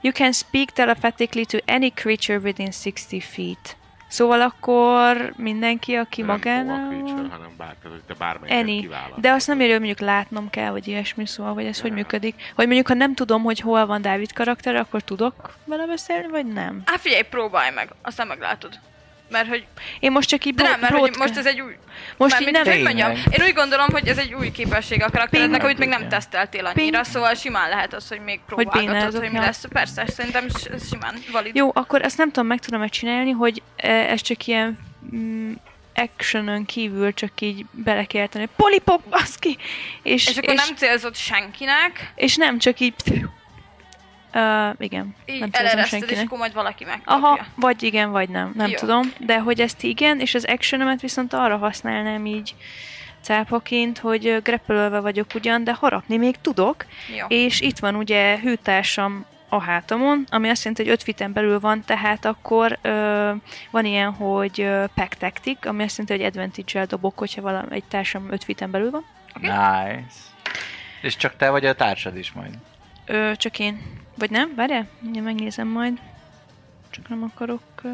S4: You can speak telepathically to any creature within 60 feet. Szóval akkor mindenki, aki
S3: Nem magánál...
S4: magánál...
S3: creature, hanem bár, tehát, hogy te bármelyiket
S4: Eni.
S3: kiválasztod.
S4: De azt nem érő, hogy mondjuk látnom kell, vagy ilyesmi, szóval, hogy ez hogy működik. Hogy mondjuk, ha nem tudom, hogy hol van Dávid karakter, akkor tudok vele beszélni, vagy nem?
S2: Á, Hát figyelj, próbálj meg, aztán meglátod. Mert hogy...
S4: Én most csak így
S2: De nem, mert hogy
S4: broad-
S2: most ez egy új...
S4: most így
S2: Mármint,
S4: nem...
S2: hogy mondjam,
S5: Tényleg.
S2: én úgy gondolom, hogy ez egy új képesség a karakterednek, amit még nem
S5: Ping.
S2: teszteltél annyira, szóval simán lehet az, hogy még próbálgatod, hogy,
S4: bénázok,
S2: hogy mi
S4: ja.
S2: lesz. Persze, szerintem s- ez simán valid.
S4: Jó, akkor ezt nem tudom, meg tudom-e csinálni, hogy eh, ez csak ilyen mm, actionön kívül csak így bele kell tenni. Polipok, baszki! És,
S2: És akkor nem célzott senkinek,
S4: és nem csak így... Uh, igen.
S2: így
S4: nem célzom
S2: elereszted, és
S4: senkinek.
S2: akkor majd valaki megkapja.
S4: Aha, vagy igen, vagy nem, nem
S2: Jó.
S4: Jó. tudom. De hogy ezt igen, és az actionömet viszont arra használnám így cápaként, hogy ö, grappelölve vagyok ugyan, de harapni még tudok.
S2: Jó.
S4: És itt van ugye hűtársam a hátamon, ami azt jelenti, hogy 5 fiten belül van, tehát akkor ö, van ilyen, hogy ö, pack tactic, ami azt jelenti, hogy advantage-el dobok, hogyha valami, egy társam 5 fiten belül van.
S5: Nice. És csak te vagy a társad is majd.
S4: Ö, csak én. Vagy nem? Várjál? Mindjárt megnézem majd. Csak nem akarok ö,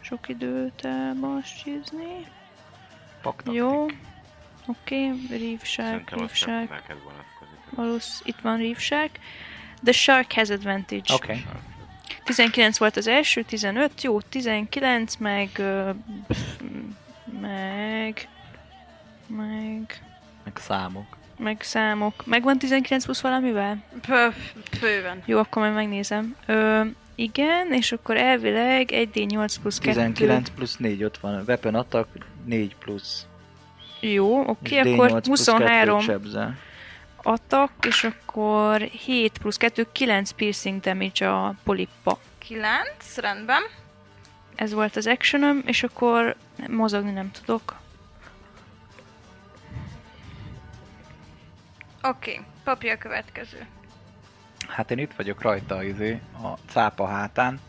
S4: sok időt elmasízni.
S5: Paktak.
S4: Jó. Oké, okay. Reef Shark,
S3: Szerintem
S4: Reef
S3: az csak
S4: Shark.
S3: neked vonatkozik.
S4: Valósz, itt van Reef Shark. The Shark has advantage.
S5: Oké. Okay.
S4: 19 volt az első, 15, jó, 19, meg... ö, pff, meg... meg...
S7: Meg számok.
S4: meg számok. Megvan 19 plusz valamivel?
S2: Pö, bőven.
S4: Jó, akkor majd megnézem. Ö, igen, és akkor elvileg 1d8 plusz 2.
S7: 19 plusz 4, ott van. Weapon attack 4 plusz.
S4: Jó,
S7: és
S4: oké,
S7: D8
S4: akkor
S7: plusz
S4: 23
S7: kettőt sebzel.
S4: atak, és akkor 7 plusz 2, 9 piercing damage a polippa.
S2: 9, rendben.
S4: Ez volt az actionöm, és akkor mozogni nem tudok.
S2: Oké, okay. papír a következő.
S5: Hát én itt vagyok rajta izé, a cápa hátán.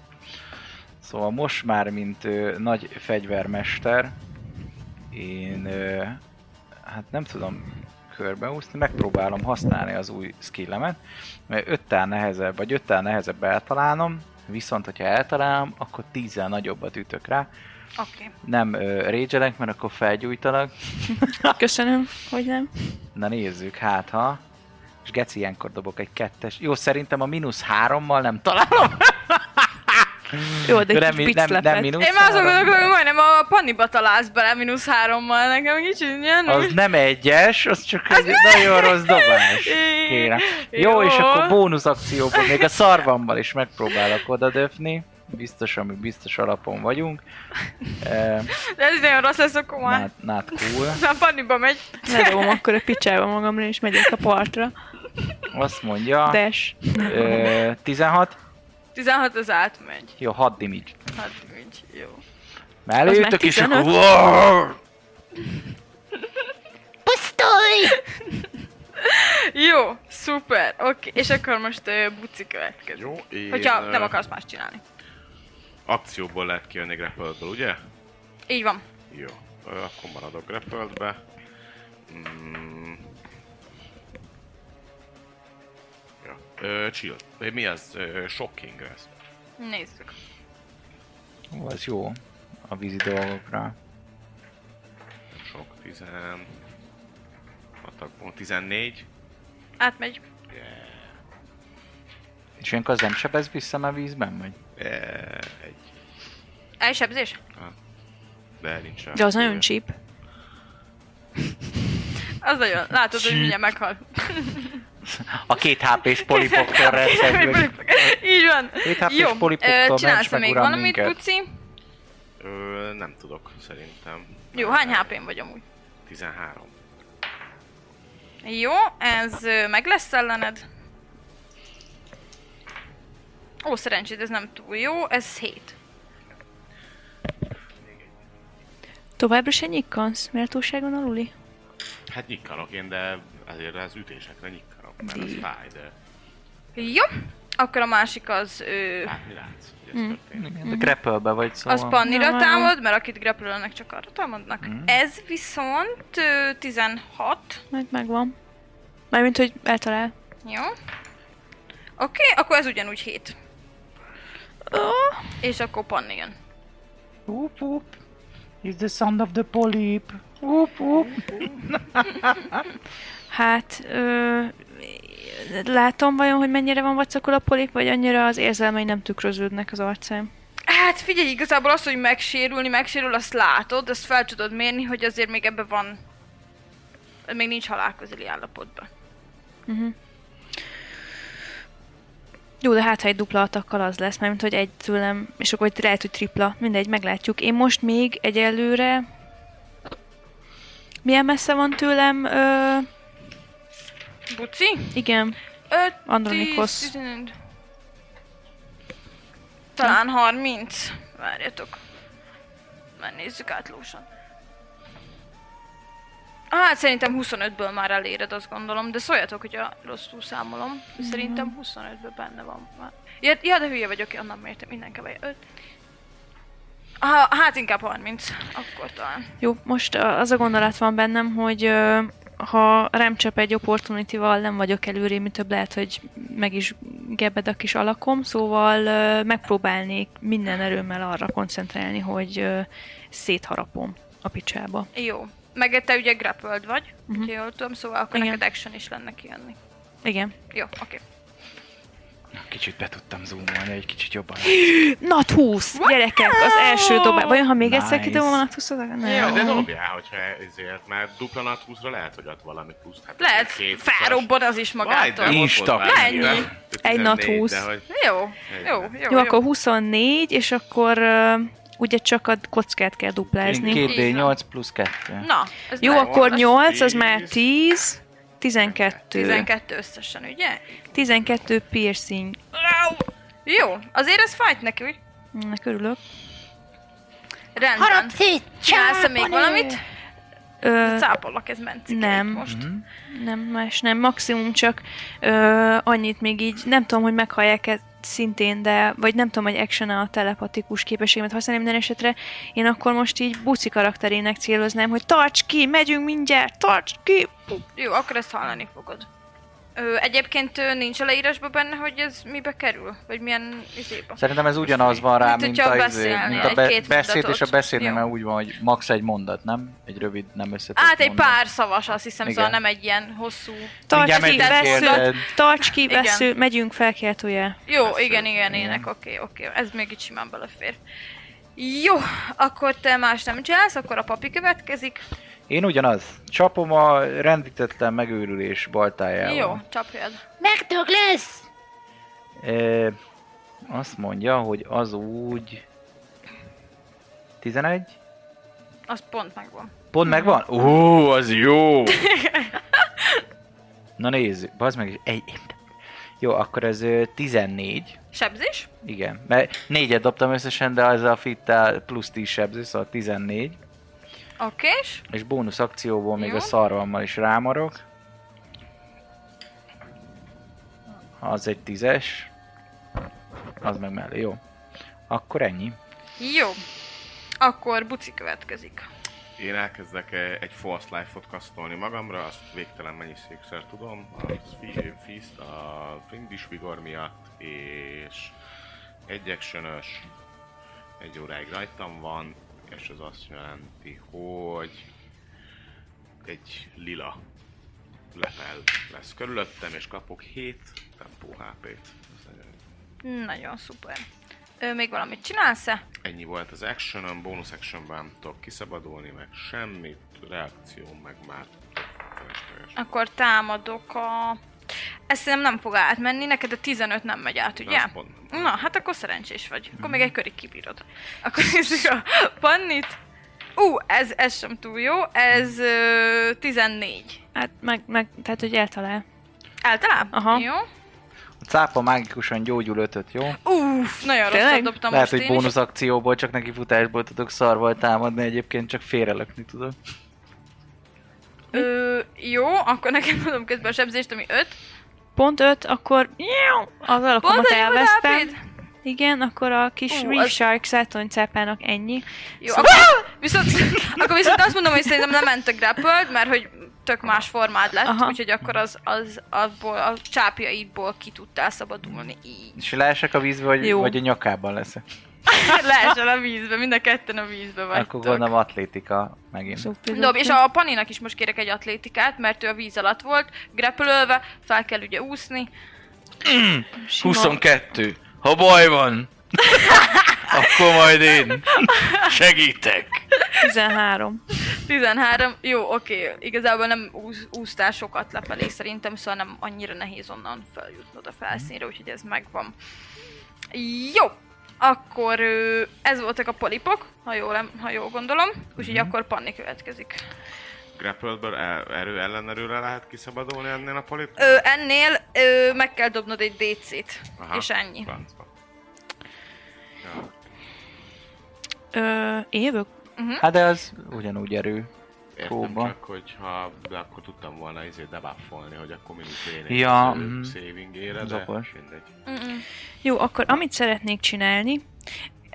S5: Szóval most már, mint ö, nagy fegyvermester, én ö, hát nem tudom körbeúszni, megpróbálom használni az új skillemet, mert öttel nehezebb, vagy öttel nehezebb eltalálnom, viszont hogyha eltalálom, akkor tízzel nagyobbat ütök rá.
S2: Oké. Okay.
S5: Nem ö, rage mert akkor felgyújtanak.
S4: Köszönöm, hogy nem.
S5: Na nézzük, hát ha. És Geci ilyenkor dobok egy kettes. Jó, szerintem a mínusz hárommal nem találom.
S4: Jó, de egy
S5: nem,
S4: kis
S5: nem, nem
S4: piclepet.
S5: mínusz
S2: Én már azon
S5: három,
S2: gondolkodom, hogy
S5: de-
S2: majdnem a paniba találsz bele mínusz hárommal, nekem kicsit ilyen.
S5: Az nem egyes, az csak egy nagyon rossz dobás. Kérem. Jó,
S2: Jó.
S5: és akkor bónusz akcióban még a szarvammal is megpróbálok odadöfni. Biztos, ami biztos alapon vagyunk. E,
S2: De ez nagyon rossz lesz a komán.
S5: not, not cool.
S2: Na, paniba megy.
S4: Ledobom akkor a picsába magamra, és megyek a partra.
S5: Azt mondja, De.
S4: Des.
S5: 16,
S2: 16 az átmegy.
S5: jó, 6 damage.
S2: Hát úgy, jó.
S5: Mellőjüttök, és akkor...
S4: 15?
S2: Jó, szuper, oké. Okay. És akkor most uh, buci következik.
S3: Jó, én...
S2: Hogyha
S3: ö,
S2: nem akarsz más csinálni.
S3: Akcióból lehet kijönni grapple ugye?
S2: Így van.
S3: Jó, ö, akkor maradok grappled-be. Mm. Ja. Ö, chill. Ö, Mi az? Ö, shocking ez.
S2: Nézzük.
S5: Ó, az jó a vízi dolgokra.
S3: Nem Sok, 10... Atakból 14.
S2: Átmegy.
S5: És ilyenkor az nem sebez vissza már vízben, vagy?
S3: Ö, Egy.
S2: Elsebzés?
S3: De nincs rá.
S4: De az
S3: Ö,
S4: nagyon csíp.
S2: Az nagyon. Látod, hogy mindjárt meghal.
S5: A két HP-s polipoktor rendszerből.
S2: Így van.
S5: Két HP-s
S2: Jó,
S5: polipoktól
S2: ö,
S5: hát ments
S2: csinálsz
S5: meg,
S2: még
S5: uram,
S2: valamit,
S5: minket.
S2: Buci?
S3: Ö, nem tudok, szerintem.
S2: Jó, hány HP-n vagy amúgy?
S3: 13.
S2: Jó, ez ö, meg lesz ellened. Ó, szerencsét, ez nem túl jó, ez 7.
S4: Továbbra se nyikkansz, méltóságon aluli?
S3: Hát nyikkanok én, de azért az ütésekre nyikkanok, mert az fáj, de
S2: Jó, akkor a másik az ö,
S3: látni hát látsz, hogy
S4: Mm.
S3: ez történik.
S5: De grapple vagy, szóval...
S2: az pannira
S4: Na.
S2: támad, mert akit grapplölnek, csak arra támadnak. Ez viszont ö, 16.
S4: Majd megvan. Mármint, hogy eltalál.
S2: Jó. Oké, okay, akkor ez ugyanúgy 7. És akkor panni jön.
S5: Whoop, whoop. It's the sound of the polyp. Whoop, whoop.
S4: Hát, ö, látom vajon, hogy mennyire van vacakul a polip, vagy annyira az érzelmei nem tükröződnek az arcán.
S2: Hát figyelj, igazából az, hogy megsérülni, megsérül, azt látod, azt fel tudod mérni, hogy azért még ebbe van... Még nincs halálközeli állapotban.
S4: Jó, de hát ha egy dupla atakkal az lesz, mert hogy egy tőlem, és akkor egy lehet, hogy tripla, mindegy, meglátjuk. Én most még egyelőre... Milyen messze van tőlem? Ö,
S2: Buci?
S4: igen,
S2: 5,
S4: Andronikos.
S2: 10, talán 30. Várjatok. Már nézzük át lósan. Hát szerintem 25-ből már eléred, azt gondolom, de szóljatok, hogy a rosszul számolom. Szerintem 25-ből benne van már. Ja, ja de hülye vagyok, annak mértem, minden keveje 5. Ah, hát inkább 30, akkor talán.
S4: Jó, most ö, az a gondolat van bennem, hogy ö, ha rám csap egy opportunity-val, nem vagyok előrébb, mint több lehet, hogy meg is gebed a kis alakom, szóval ö, megpróbálnék minden erőmmel arra koncentrálni, hogy ö, szétharapom a picsába.
S2: Jó. Meg te ugye grappled vagy, uh-huh. jól tudom, szóval akkor
S4: Igen.
S2: neked action is lenne kijönni.
S4: Igen.
S2: Jó, oké.
S5: Kicsit be tudtam zoomolni, egy kicsit jobban.
S4: Nat 20! Gyerekek, az első dobás. Vajon ha még egyszer
S5: Nice.
S4: kidobom a Nat 20 Nem.
S3: Jó, de dobjál, hogyha ezért, mert dupla nat 20 lehet, hogy ad valami pluszt. Hát
S2: Lehet,
S3: két
S2: felrobban az is magától.
S5: Majdnem. Insta.
S2: Mennyi?
S4: Egy nat 20.
S2: Jó, jó, jó.
S4: Jó, akkor 24, és akkor ö, ugye csak a kockát kell duplázni.
S5: Két
S2: Így van.
S5: D8 plusz 2.
S2: Na, ez
S4: Jó,
S2: nem
S4: akkor
S2: rossz.
S4: 8, az már
S3: 10.
S4: 10, 12.
S2: 12 összesen, ugye?
S4: 12 piercing.
S2: Jó, azért ez fájt neki, úgy.
S4: Na, Mm, Körülök.
S2: Rendben. Harap Csinálsz még valamit?
S4: Ö,
S2: Cápollak, ez mencik.
S4: nem.
S2: Most.
S4: nem, más nem. Maximum csak ö, annyit még így, nem tudom, hogy meghallják-e szintén, de, vagy nem tudom, hogy action a telepatikus képességemet használni minden esetre, én akkor most így buci karakterének céloznám, hogy tarts ki, megyünk mindjárt, tarts ki!
S2: Jó, akkor ezt hallani fogod. Ö, egyébként ö, nincs a leírásban benne, hogy ez mibe kerül? Vagy milyen izébe?
S5: Szerintem ez ugyanaz van rá,
S2: Mint
S5: mint,
S2: hogyha
S5: a, izé,
S2: beszélne
S5: mint a
S2: egy
S5: be,
S2: két
S5: beszéd, és
S2: mondatot.
S5: a beszédnél
S2: Jó.
S5: már úgy van, hogy max egy mondat, nem? Egy rövid, nem összetett
S2: Hát egy
S5: mondat.
S2: pár szavas, azt hiszem,
S5: Igen.
S2: szóval nem egy ilyen hosszú...
S4: Tarts
S5: Mindjárt
S4: ki,
S2: megyünk,
S4: vesző,
S5: érted?
S4: tarts ki,
S2: Igen.
S4: vesző, megyünk felkeltője.
S2: Jó,
S3: Persze,
S2: igen, igen, ének, oké, oké, ez még itt simán belefér. Jó, akkor te más nem csinálsz, akkor a papi következik.
S5: Én ugyanaz. Csapom a rendítetlen megőrülés baltájával.
S2: Jó, csapjad.
S6: Megdög lesz!
S5: E, azt mondja, hogy az úgy... 11?
S2: Az pont megvan.
S5: Pont megvan? Ó, az jó! Na nézzük, bazd meg, egy... Jó, akkor ez ö, 14.
S2: Sebzés?
S5: Igen, mert négyet dobtam összesen, de az a fittel plusz 10 sebző, szóval 14.
S2: Oké, és
S5: És bónusz akcióból még
S2: Jó.
S5: a szarvammal is rámarok. Az egy tízes. Az meg mellé, jó. Akkor ennyi.
S2: jó. Akkor buci következik.
S3: Én elkezdek eh, egy false life-ot kasztolni magamra, azt végtelen mennyiségszer tudom, a Sphere Fist, a Frindish Vigor miatt, és egy actionös, egy óráig rajtam van, és az azt jelenti, hogy egy lila lepel lesz körülöttem, és kapok 7 tempó HP-t. Ez nagyon
S2: Nagyon szuper. Ö, még valamit csinálsz-e?
S3: Ennyi volt az actionom, bonus actionben nem tudok kiszabadulni, meg semmit, reakció, meg már felesleges.
S2: Akkor támadok a... Ez szerintem nem fog átmenni, neked a 15 nem megy át, ugye?
S3: De az pont nem.
S2: Na, hát akkor szerencsés vagy. Akkor
S4: Mhm.
S2: még egy körig kibírod. Akkor nézzük a pannit. Ú, ez, ez sem túl jó. Ez ö, 14.
S4: Hát meg, meg, tehát hogy eltalál.
S2: Általában?
S4: Aha.
S2: Jó.
S5: A cápa mágikusan gyógyul ötöt, jó?
S2: Uff, nagyon rosszat
S4: Tényleg?
S2: dobtam
S5: Lehet,
S2: most
S5: hogy
S2: én
S5: bónusz akcióból, csak neki futásból tudok szarval támadni, egyébként csak félrelökni tudok.
S2: is. Ö, jó, akkor nekem adom közben a sebzést, ami 5.
S4: Pont 5, akkor az alakomat elvesztem. Igen, akkor a kis
S2: Ú,
S4: Reef
S2: az-
S4: Shark szátonycápának ennyi.
S2: Jó, akkor viszont, akkor viszont azt mondom, hogy szerintem nem ment a grappled, mert hogy tök más formád lett,
S4: Aha.
S2: úgyhogy akkor az, az, abból, a csápjaidból ki tudtál szabadulni így.
S5: És leesek a vízbe, vagy,
S4: Jó.
S5: vagy a nyakában leszek.
S2: Hát Leesel a vízbe, mind a ketten a vízbe vagytok.
S5: Akkor gondolom atlétika megint.
S4: Szóval
S2: Dob, és a Paninak is most kérek egy atlétikát, mert ő a víz alatt volt, grepülölve, fel kell ugye úszni.
S4: sima.
S5: 22. Ha baj van, akkor majd én segítek.
S4: 13.
S2: 13, jó, oké, igazából nem úsz, úsztál sokat lefelé szerintem, szóval nem annyira nehéz onnan feljutnod a felszínre, úgyhogy ez megvan. Jó, akkor ö, ez voltak a polipok, ha jól, em- ha jól gondolom, úgyhogy
S4: Mhm.
S2: akkor Panni következik.
S3: Grappled-ből el- erő ellenerőre lehet kiszabadulni ennél a polip?
S2: Ö, ennél ö, meg kell dobnod egy DC-t,
S3: Aha,
S2: és ennyi.
S3: francba. Ja,
S4: Ö, én jövök?
S5: Hát de az ugyanúgy erő.
S3: értem
S5: Próba.
S3: csak, hogy ha, de akkor tudtam volna izé debuffolni, hogy akkor mindig lényeg
S5: Ja,
S3: az ő
S5: mhm.
S3: savingére, de
S5: Zakos.
S3: mindegy.
S2: Mm-mm.
S4: Jó, akkor amit szeretnék csinálni,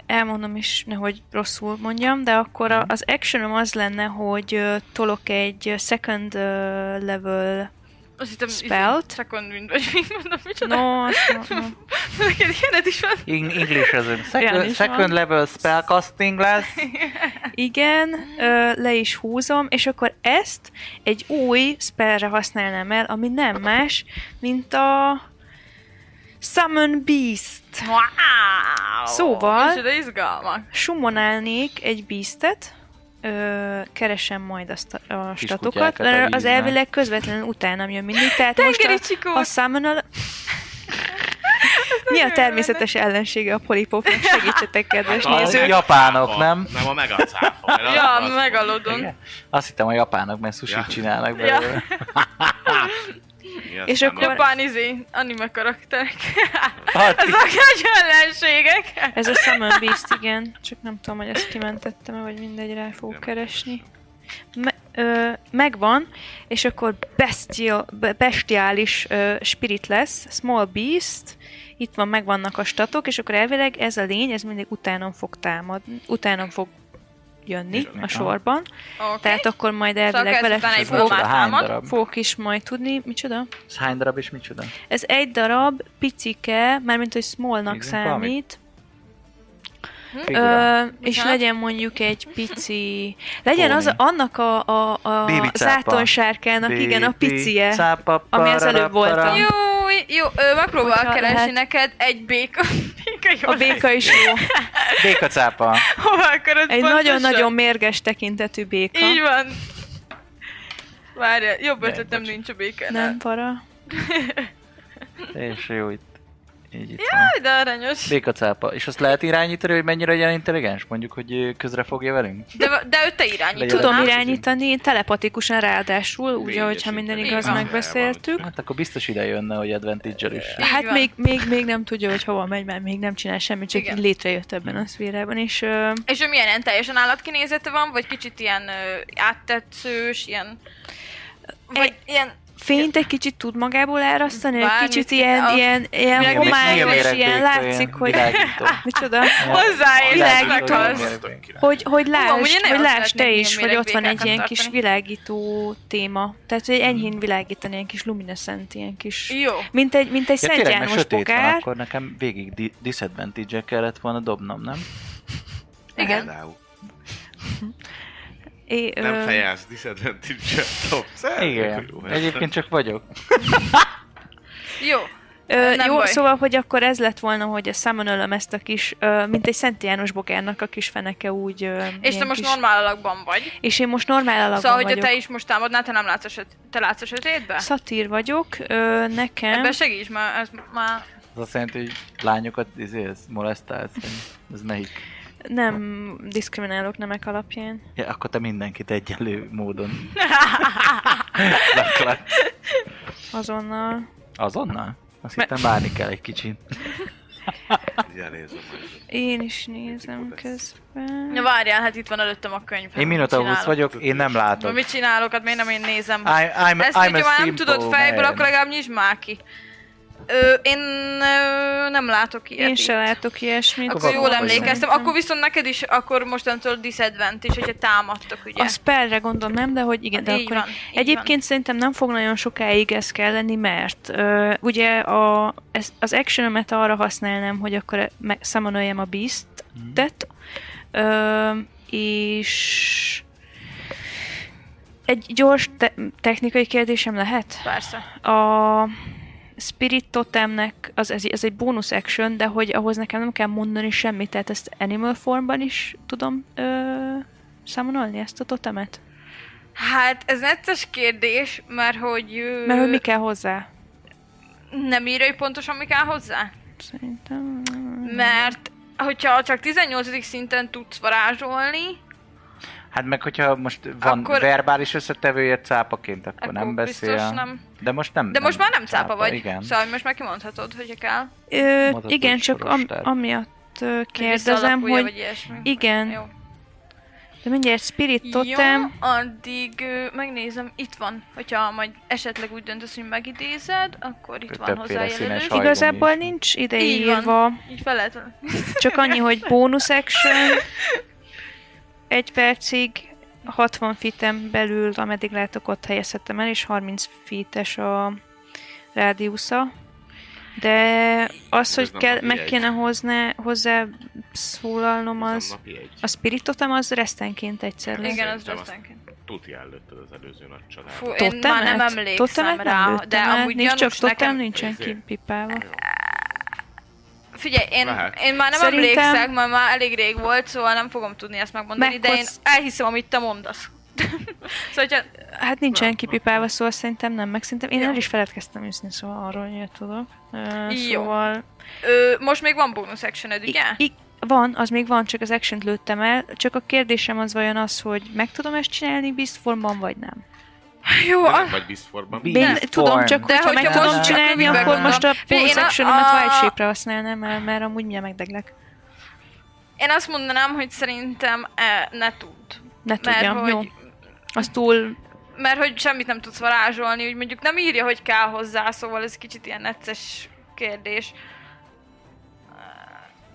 S4: elmondom is, nehogy rosszul mondjam, de akkor a, az actionom az lenne, hogy ö, tolok egy second ö, level...
S2: Azt hittem, izé,
S4: Spelt?
S2: Second wind, vagy mit mondom, micsoda?
S4: No, no, no.
S2: Neked ilyened is van?
S5: In- English az a
S4: Olyan
S5: second,
S4: is
S5: second
S4: van.
S5: level spellcasting lesz.
S4: Igen, ö, le is húzom, és akkor ezt egy új spellre használnám el, ami nem más, mint a Summon Beast.
S2: Wow!
S4: Szóval-
S2: Micsoda izgalmak.
S4: Summonálnék egy beastet, ö, keresem majd azt a, a
S5: Kis
S4: statokat,
S5: kutyákat
S4: mert
S5: a
S4: az
S5: vízben.
S4: elvileg közvetlenül utánam jön mindig, tehát most
S2: Tengeri
S4: a,
S2: csikó!
S4: a summon al- Mi a
S2: nagyon
S4: természetes ellensége a polipóknak? Segítsetek, kedves
S3: Hát,
S5: A
S4: nézők!
S5: japánok, nem?
S3: Nem a megacáfa.
S2: Ja, megalodon.
S5: Igen? Azt hittem a japánok, mert sushit
S3: Ja.
S5: csinálnak
S2: Ja.
S5: belőle.
S3: Igen,
S4: És
S3: aztán
S4: akkor-
S3: a-
S2: Japán izé, anime karakterek.
S5: Hát,
S2: Ezek nagy ellenségek.
S4: Ez a Summon Beast, igen. Csak nem tudom, hogy ezt kimentettem vagy mindegy, rá fogok
S3: Nem,
S4: keresni. Me- ö, megvan, és akkor bestial, be- bestiális ö, spirit lesz, small beast, itt van, megvannak a statok, és akkor elvileg ez a lény, ez mindig utánom fog támadni, utánom fog jönni
S3: Igen.
S4: a sorban,
S2: Okay.
S4: tehát akkor majd
S2: Szóval
S4: elvileg
S2: kezd
S4: vele
S2: utána egy
S5: fogok.
S2: bombát
S5: Hány
S2: támad.
S5: darab?
S4: fogok is majd tudni, micsoda?
S7: Ez hány darab és micsoda?
S4: Ez egy darab, picike, mármint hogy smallnak
S5: Nézzünk valamit.
S4: számít,
S5: figura.
S4: Hm? Ö, és
S2: Bocsánat.
S4: legyen mondjuk egy pici... Legyen az
S5: Póni.
S4: annak a, a, a
S5: Baby cápa.
S4: zátonsárkának, igen, a picie.
S5: cápa,
S4: ami az előbb volt.
S5: parapara.
S2: Jó, jó, ö, megpróbál
S4: Hogyha
S2: keresni
S4: lehet.
S2: neked egy béka. béka jó
S4: A béka is jó.
S5: Béka cápa.
S2: lesz. Hova akarod
S4: Egy
S2: Hát pontosan?
S4: nagyon-nagyon mérges tekintetű béka.
S2: Így van. Várja, jobb
S5: Nem,
S2: ötletem
S5: bocs.
S2: nincs a békánál.
S4: Nem para.
S5: És jó, itt. Így itt van.
S2: Jaj, de aranyos.
S5: Béka cápa. És azt lehet irányítani, hogy mennyire olyan intelligens? Mondjuk, hogy ö, közre fogja velünk?
S2: De, de ő te irányítod,
S5: Legyen
S4: Tudom
S2: nem?
S4: irányítani, én telepatikusan ráadásul, úgy,
S3: Lényeges
S4: ahogy ha minden
S3: internet.
S4: igaz,
S2: hát- Így van.
S4: megbeszéltük.
S5: Hát akkor biztos ide jönne, hogy advantage is.
S2: Így
S4: Hát
S2: van.
S4: még, még, még nem tudja, hogy hova megy, mert még nem csinál semmit, csak
S2: Igen.
S4: így létrejött ebben a szférában, és ö,
S2: És ő milyen ilyen teljesen állatkinézete van, vagy kicsit ilyen ö, áttetszős, ilyen... Vagy
S4: Egy-
S2: ilyen...
S4: fényt egy kicsit tud magából elrasztani, egy
S2: Bármit,
S4: kicsit ilyen,
S2: a-
S4: ilyen, ilyen
S2: Milyen- milyen
S4: homályos,
S5: méretbéka,
S4: ilyen látszik, hogy...
S5: Világító.
S4: Micsoda?
S2: Hozzáértek
S4: világító.
S2: az.
S4: Hogy,
S2: amúgy
S4: hogy
S2: én
S4: lásd,
S2: nagyon
S4: hogy
S2: szeretnék
S4: lásd te
S2: ilyen
S4: is, hogy ott van egy
S2: méregbékákat
S4: ilyen kis
S2: tartani.
S4: világító téma. Tehát,
S5: Hmm.
S4: hogy enyhén világítani, ilyen kis lumineszent, ilyen kis...
S2: Jó.
S4: Mint egy, mint egy
S5: Ja,
S4: Szent
S5: tényleg, mert
S4: János
S5: sötét van,
S4: bogár.
S5: akkor nekem végig di- disadvantage kellett volna dobnom, nem?
S2: Igen.
S3: Például.
S4: É,
S3: Nem
S4: ö,
S3: fejelsz, disadvantage dobsz. Ez Hát, jó,
S5: Igen.
S3: ez-
S5: Egyébként csak vagyok.
S2: Jó.
S4: Ö,
S2: Nem
S4: jó,
S2: baj.
S4: szóval, hogy akkor ez lett volna, hogy a számon ezt a kis, ö, mint egy Szent János bogárnak a kis feneke úgy... Ö,
S2: És te
S4: ilyen
S2: most
S4: kis...
S2: normál alakban vagy.
S4: És én most normál alakban
S2: szóval, hogyha
S4: vagyok.
S2: te is most támadnál, te nem látsz a, söt... te látsz a sötétbe?
S4: Szatír vagyok, ö, nekem...
S2: Ebben segíts, mert ez már...
S5: Az azt jelenti, hogy lányokat izé, ez molesztálsz. Ez melyik?
S4: Nem diszkriminálok nemek alapján.
S5: Ja, akkor te mindenkit egyenlő módon laklat.
S4: Azonnal.
S5: Azonnal? Azt hittem várni kell egy kicsit.
S3: Ugye elézem, hogy-
S4: Én is nézem
S3: Mitikus.
S4: közben.
S2: Na várjál, hát itt van előttem a könyv.
S5: Én Minotaurus vagyok, én nem
S2: Na,
S5: látok.
S2: mit csinálok, hát miért nem én nézem?
S5: I'm,
S2: Ezt
S5: I'm, I'm
S2: így, ha már
S5: a
S2: nem
S5: simple
S2: tudod fejből,
S5: man.
S2: akkor legalább nyisd már ki. Ö, én ö, nem látok ilyet.
S4: Én se
S2: itt.
S4: látok ilyesmit.
S2: Akkor
S5: Akkor
S2: jól
S5: vagy.
S2: emlékeztem,
S4: Szerintem.
S2: akkor viszont neked is, akkor mostantól disadvantage, hogyha támadtok, ugye?
S4: A spellre gondolom nem, de hogy igen, de
S2: Hát így
S4: akkor...
S2: van, így
S4: Egyébként szerintem nem fog nagyon sokáig ez kelleni, mert ö, ugye a, ez, az actionomet arra használnám, hogy akkor me- summonoljem a beast-et, ö, és egy gyors te- technikai kérdésem lehet?
S2: van. Persze.
S4: a Spirit Totemnek, az, ez, ez egy bónusz action, de hogy ahhoz nekem nem kell mondani semmit, tehát ezt Animal Formban is tudom ö, számolni ezt a totemet?
S2: Hát ez necces kérdés, mert hogy... ö,
S4: Mert hogy mi kell hozzá?
S2: Nem írja, hogy pontosan mi kell hozzá?
S4: Szerintem...
S2: Mert hogyha csak 18. szinten tudsz varázsolni,
S5: Hát meg hogyha most van
S2: Akkor-
S5: akkor... verbális összetevője cápaként, akkor,
S2: akkor
S5: nem beszél.
S2: biztos nem.
S5: De most nem.
S2: De most már nem cápa vagy.
S5: Igen.
S2: Szóval most már kimondhatod, hogyha kell. hogy
S4: Ö,
S5: Mondhatod,
S4: igen,
S5: hogy
S4: csak
S5: soros
S4: am,
S5: terv.
S4: amiatt ö, kérdezem,
S2: visszaalakulja,
S4: hogy...
S2: Vagy ilyesmi.
S4: Igen.
S2: Jó.
S4: De mindjárt Spirit
S2: Jó,
S4: Totem...
S2: addig ö, megnézem, itt van. Hogyha majd esetleg úgy döntesz, hogy megidézed, akkor itt van
S5: Többféle
S2: hozzájelölés.
S5: színes haj.
S4: Igazából
S5: Hajgumi.
S4: nincs ide
S2: Így van.
S4: írva.
S2: Így fel lehet.
S4: Csak annyi, hogy bónusz action, egy percig, 60 feet-en belül, ameddig látok, ott helyezhetem el, és 30 feet-es a rádiusza. De az,
S3: Ez
S4: hogy
S3: nem
S4: kell,
S3: napi
S4: meg
S3: egy.
S4: kéne hozná, hozzá szólalnom,
S3: Ez
S4: az...
S3: a napi egy.
S4: A spiritotem az resztenként egyszer lesz.
S2: Igen, az
S3: Szerintem azt-
S2: rossz
S3: Tuti előtted az előző nagy család.
S2: Fú, én
S4: Totemet?
S2: már nem emlékszem
S4: Totemet
S2: rá,
S4: nem lőttem
S2: de
S4: el.
S2: amúgy
S4: Nincs csak
S2: gyanús
S4: totem,
S2: nekem.
S4: nincsen
S3: Izé.
S4: kipipálva.
S2: Figyelj, én,
S3: Lehet.
S2: én már nem
S4: Szerintem-
S2: Szerintem... emlékszek, mert már elég rég volt, szóval nem fogom tudni ezt megmondani, de én
S4: Megkocz-
S2: elhiszem, amit te mondasz. szóval, hogyha
S4: Hát nincsen kipipálva, szóval szerintem nem, meg szerintem én
S2: Jó.
S4: el is feledkeztem őszintén, szóval arról nyílt tudok. Ö,
S2: Jó.
S4: Szóval
S2: ö, most még van bonus actioned, ugye?
S4: I- I- van, az még van, csak az action lőttem el. Csak a kérdésem az vajon az, hogy meg tudom ezt csinálni biztformban, vagy nem?
S2: Jó,
S3: De
S2: a-
S3: nem vagy bizforban.
S5: Bi-
S4: Nem,
S5: Beast
S4: tudom,
S5: form.
S4: csak
S2: De
S4: hogyha meg
S2: hogyha most
S4: tudom
S2: csak
S4: csinálni,
S2: amiben
S4: akkor most a
S2: Figyelj,
S4: bonus
S2: én a-
S4: actionomat
S2: a-
S4: Wild Shape-re használnám, mert, mert amúgy mindjárt megdeglek.
S2: én azt mondanám, hogy szerintem e, ne tud.
S4: Ne
S2: Mert
S4: tudjam,
S2: hogy
S4: jó. Az túl
S2: mert hogy semmit nem tudsz varázsolni, úgy mondjuk nem írja, hogy kell hozzá, szóval ez kicsit ilyen necces kérdés.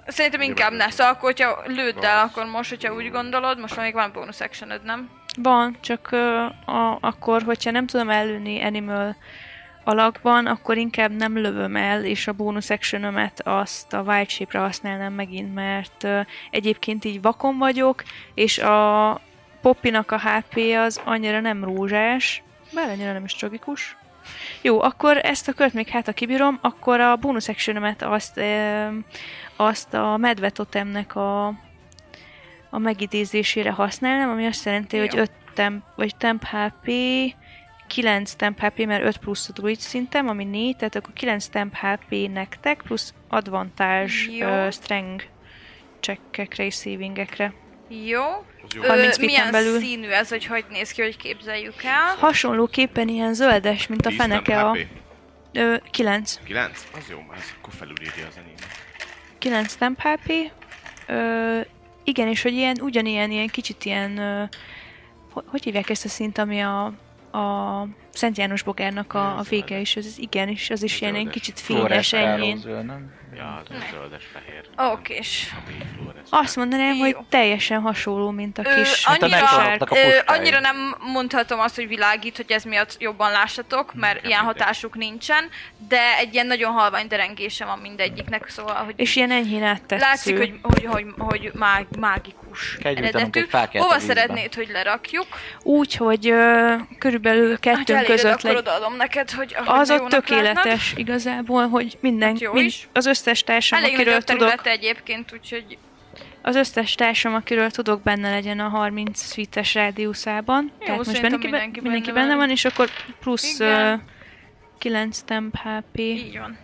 S2: Szerintem inkább ne, szóval akkor, hogyha lőd el, akkor most, hogyha úgy gondolod, most még van bonus actioned, nem?
S4: Van, csak ö, a, akkor, hogyha nem tudom előni animal alakban, akkor inkább nem lövöm el, és a bónusz actionömet azt a wild shape-re használnám megint, mert ö, egyébként így vakon vagyok, és a Poppinak a HP az annyira nem rózsás, bár annyira nem is tragikus. Jó, akkor ezt a kört még hát, ha kibírom, akkor a bónusz actionömet azt, ö, azt a medvetotemnek a a megidézésére használnám, ami azt jelenti,
S2: Jó.
S4: hogy 5 temp, vagy temp HP, 9 temp HP, mert 5 plusz a druid szintem, ami 4, tehát akkor 9 temp HP nektek, plusz advantage
S2: Jó.
S4: uh, strength csekkekre és savingekre.
S2: Jó.
S3: Az jó.
S2: Ö,
S4: 30 feet-en
S2: milyen
S4: belül.
S2: színű ez, hogy hogy néz ki, hogy képzeljük el?
S4: Hasonlóképpen ilyen zöldes, mint a
S3: Tíz, nem
S4: feneke a...
S3: HP?
S4: 9.
S3: Kilenc? Az jó, mert ez akkor felülírja az enyémet.
S4: 9 temp HP. Ö, igen, és hogy ilyen, ugyanilyen, ilyen kicsit ilyen, ö, ho- hogy hívják ezt a szint, ami a, a Szent János Bogárnak a, a vége is, ez, ez igen, és az is ilyen, ilyen kicsit fényes enyhén.
S7: Fluoreszkálózöld, nem?
S3: Ja, az a zöldes fehér.
S2: Oké, és
S3: Ami fluoresz.
S4: Azt mondanám,
S2: Jó.
S4: hogy teljesen hasonló, mint a
S2: Ö,
S4: kis Hát,
S2: annyira-
S4: a
S5: megsoroltak
S4: sárga.
S2: Ö,
S5: a puskái.
S2: annyira nem mondhatom azt, hogy világít, hogy ez miatt jobban lássatok, mert
S3: Nekem
S2: ilyen
S3: mindegy.
S2: hatásuk nincsen, de egy ilyen nagyon halvány derengése van mindegyiknek, szóval, hogy
S4: És ilyen enyhén áttetsző.
S2: Látszik, hogy, hogy, hogy, hogy mág, mágikus
S5: Kell gyújtanunk
S2: eredetű.
S5: egy fákját a
S2: Hova
S5: vízbe.
S2: szeretnéd, hogy lerakjuk?
S4: Úgy, hogy ö, körülbelül
S2: ha
S4: kettőnk
S2: eléred,
S4: között
S2: akkor
S4: legy,
S2: odaadom neked, hogy ahogy
S4: az ott
S2: jónak látnád.
S4: tökéletes igazából, hogy minden,
S2: Hát jó
S4: mind,
S2: is.
S4: az összes társam,
S2: Elég nagy
S4: akiről
S2: a
S4: tudok,
S2: terület egyébként, úgyhogy
S4: az összes társam, akiről tudok benne legyen a 30 feet-es rádiuszában.
S2: Jó,
S4: Tehát most
S2: szerintem mindenki
S4: mindenki, mindenki, mindenki
S2: benne
S4: benne
S2: van.
S4: van, és akkor plusz
S2: Igen.
S4: uh, 9 temp HP.
S2: így van.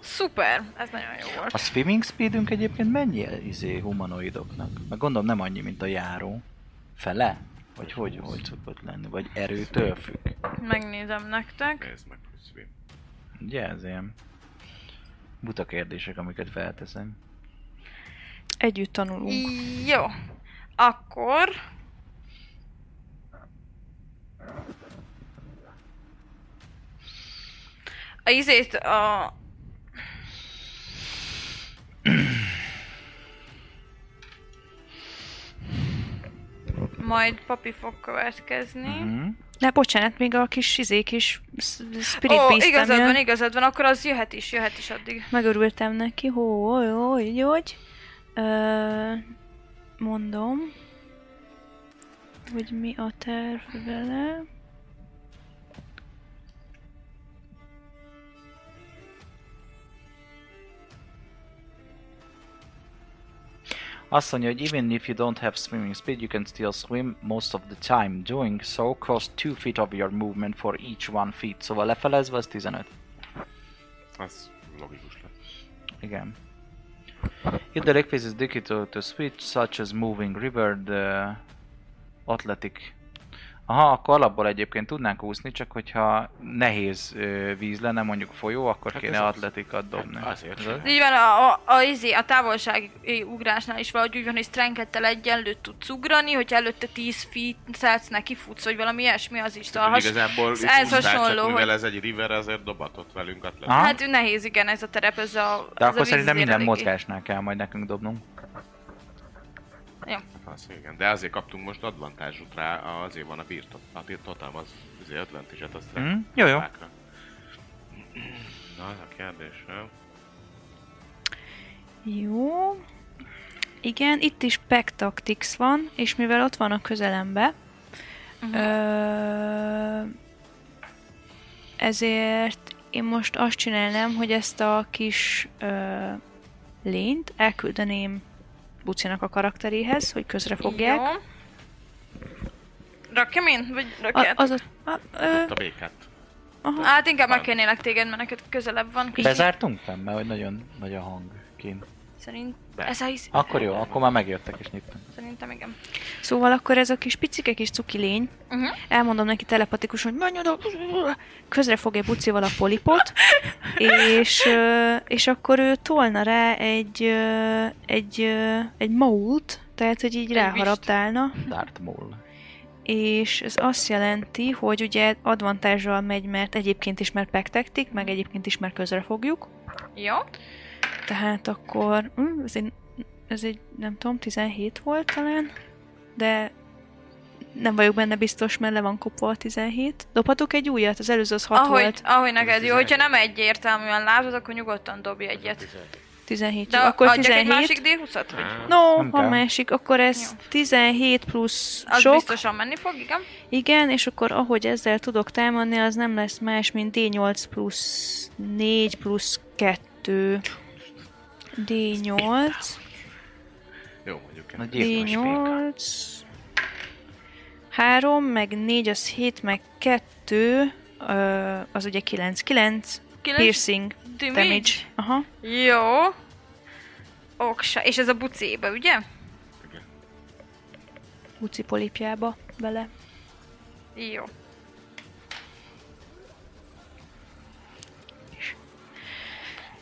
S2: Szuper, ez nagyon jó volt.
S7: A swimming speedünk egyébként mennyi izé humanoidoknak? Meg gondolom nem annyi, mint a járó. Fele? Vagy hogy, hogy szokott lenni? Vagy erőtől függ?
S2: Megnézem nektek.
S3: Nézd meg, hogy szép.
S7: Ugye ez ilyen buta kérdések, amiket felteszem.
S4: Együtt tanulunk.
S2: Jó. Akkor... A izét a... Majd papi fog következni.
S7: Mm-hmm.
S4: De bocsánat, még a kis izék is s- spirit
S2: Ó,
S4: oh,
S2: igazad van,
S4: jön.
S2: igazad van, akkor az jöhet is, jöhet is addig.
S4: Megörültem neki, hó, jó, így, hogy. Ö, mondom, hogy mi a terv vele.
S7: Azt mondja, hogy even if you don't have swimming speed, you can still swim most of the time. Doing so costs 2 feet of your movement for each 1 feet. Szóval lefelezve az 15.
S3: Az logikus lett.
S7: Igen. If the leg phase is digital to switch, such as moving river, the athletic. Aha, akkor alapból egyébként tudnánk úszni, csak hogyha nehéz ö, víz lenne, mondjuk folyó, akkor
S3: Hát
S7: kéne
S3: ez az. Hát
S7: atletikat dobni.
S3: Azért
S7: Tudod?
S2: Így van, a, a, a, izé, a távolsági ugrásnál is valahogy úgy van, hogy strength-ettel egyenlőtt tudsz ugrani, hogyha előtte 10 feet neki futsz, vagy valami ilyesmi, az is
S3: Tehát, hogy
S2: találhatsz.
S3: igazából
S2: Szóval ez
S3: itt úsztál, csak
S2: hasonló, hogy-
S3: Mivel ez egy river, ezért dobatott velünk atleta.
S7: Aha.
S2: Hát nehéz, igen, ez a terep, ez a...
S7: De
S2: ez a
S7: akkor
S2: víz
S7: szerintem
S2: azért
S7: minden
S2: eléggé-
S7: mozgásnál kell majd nekünk dobnunk.
S3: Az, igen. De azért kaptunk most advantage rá, azért van a birtot. A birtotam az azért advantage-et azt
S7: Mm, jó, jó.
S3: rákra. Na, ez a kérdés, nem?
S4: Jó. Igen, itt is pack tactics van, és mivel ott van a közelembe,
S2: Mhm.
S4: ö, ezért én most azt csinálnám, hogy ezt a kis ö, lényt elküldeném Bucinak a karakteréhez, hogy közre fogják.
S2: Jó. Rakjam én? Vagy
S4: A,
S2: rakjad?
S4: az a, a, ö,
S3: A békát.
S2: Hát inkább megkérnélek téged, mert neked közelebb van. Kicsit.
S5: Bezártunk nem, mert hogy nagyon nagy a hang kint.
S2: Szerint... Ez a hisz...
S5: Akkor jó, akkor már megjöttek és nyitottak.
S2: Szerintem igen.
S4: Szóval akkor ez a kis picike kis cuki lény,
S2: Mhm.
S4: elmondom neki telepatikusan, hogy menj oda, közre fogja bucival a polipot, és, ö, és akkor ő tolna rá egy, ö, egy, ö, egy mault, tehát hogy így ráharaptálna,
S5: Darth Maul.
S4: és ez azt jelenti, hogy ugye advantázsal megy, mert egyébként is már pektektik, meg egyébként is már közre fogjuk,
S2: Jó.
S4: tehát akkor mm, ez egy, ez egy, nem tudom, 17 volt talán, de nem vagyok benne biztos, mert le van kopva a 17. Dobhatok egy újat, az előző az 6
S2: ahogy,
S4: volt.
S2: ahogy neked jó, hogyha nem egyértelműen látod, akkor nyugodtan dobj egyet.
S4: 17.
S2: De
S4: jó, akkor
S2: akkor adjak
S4: 17.
S2: egy másik D20-at? Vagy?
S4: No,
S5: Nem
S4: ha
S5: kell.
S4: másik, akkor ez
S2: Jó.
S4: 17 plusz
S2: Az
S4: sok.
S2: biztosan menni fog, igen.
S4: Igen, és akkor ahogy ezzel tudok támadni, az nem lesz más, mint D8 plusz 4 plusz 2. D8,
S3: Jó, mondjuk.
S5: Nagy gyilkos béka.
S4: D8, 3, meg 4, az 7, meg 2, az ugye 9. 9
S2: Kilenc
S4: piercing damage.
S2: damage.
S4: Aha.
S2: Jó. Oksa. És ez a bucébe, ugye?
S4: Uci polipjába bele.
S2: Jó.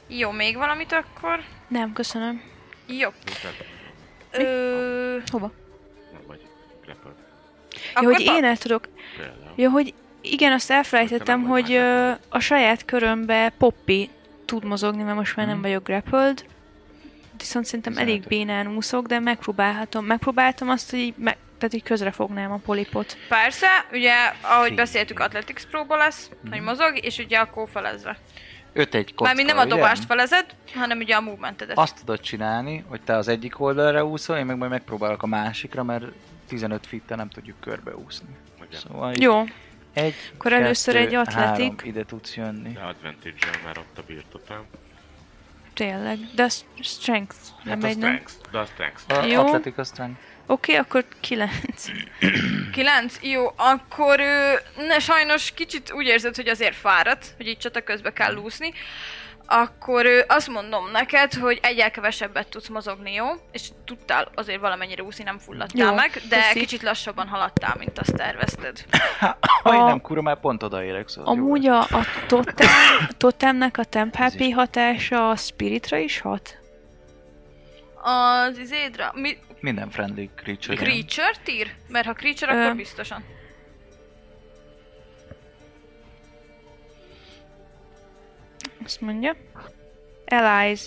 S2: Jó, még valamit akkor?
S4: Nem, köszönöm.
S2: Jó.
S3: Mutat,
S2: Ö,
S4: Hova?
S3: nem vagy grappled.
S4: Ja,
S2: akkor
S4: hogy én el tudok
S3: Például.
S4: Ja, hogy igen, azt elfelejtettem,
S3: Akkor nem vagy
S4: hogy ö, a saját körömbe Poppy tud mozogni, mert most már nem vagyok grappled. Mhm. Viszont szerintem elég bénán úszok, de megpróbálhatom. Megpróbáltam azt, hogy így meg, tehát így közre fognám a polipot.
S2: Persze, ugye, ahogy beszéltük, Athletics próba lesz, hogy mozog, és ugye akkor felezve.
S5: 5 egy kocka,
S2: Mármint nem a
S5: ugye?
S2: dobást felezed, hanem ugye a movementedet.
S5: Azt tudod csinálni, hogy te az egyik oldalra úszol, én meg majd megpróbálok a másikra, mert 15 fittel nem tudjuk körbeúszni.
S3: Ugye?
S5: Szóval így
S4: Jó,
S5: Egy,
S4: Akkor először
S5: kettő,
S4: egy atletik.
S5: három, ide tudsz jönni.
S3: De advantage már ott a birtotám.
S4: tényleg. De az strength. Nem
S3: Hát az
S4: megy, nem?
S3: strength. De az strength.
S5: A
S4: Jó.
S5: atletik aztán
S4: Oké, okay, akkor kilenc.
S2: Kilenc? Jó, akkor ö, ne, sajnos kicsit úgy érzed, hogy azért fáradt, hogy itt csata közben kell úszni. Akkor ö, azt mondom neked, hogy egyel kevesebbet tudsz mozogni, jó? És tudtál azért valamennyire úszni, nem fulladtál
S4: Jó,
S2: meg, de
S4: köszi.
S2: kicsit lassabban haladtál, mint azt tervezted.
S5: Aj,
S4: A-
S5: nem, kura, már pont odaérek, szóval jó
S4: Amúgy
S5: lesz.
S4: a, a totem, totemnek a temp HP hatása a spiritra is hat?
S2: Az izédra... Mi,
S5: Minden friendly creature.
S2: creature-t ír? Mert ha creature,
S4: Ö.
S2: akkor biztosan.
S4: Azt mondja. Allies.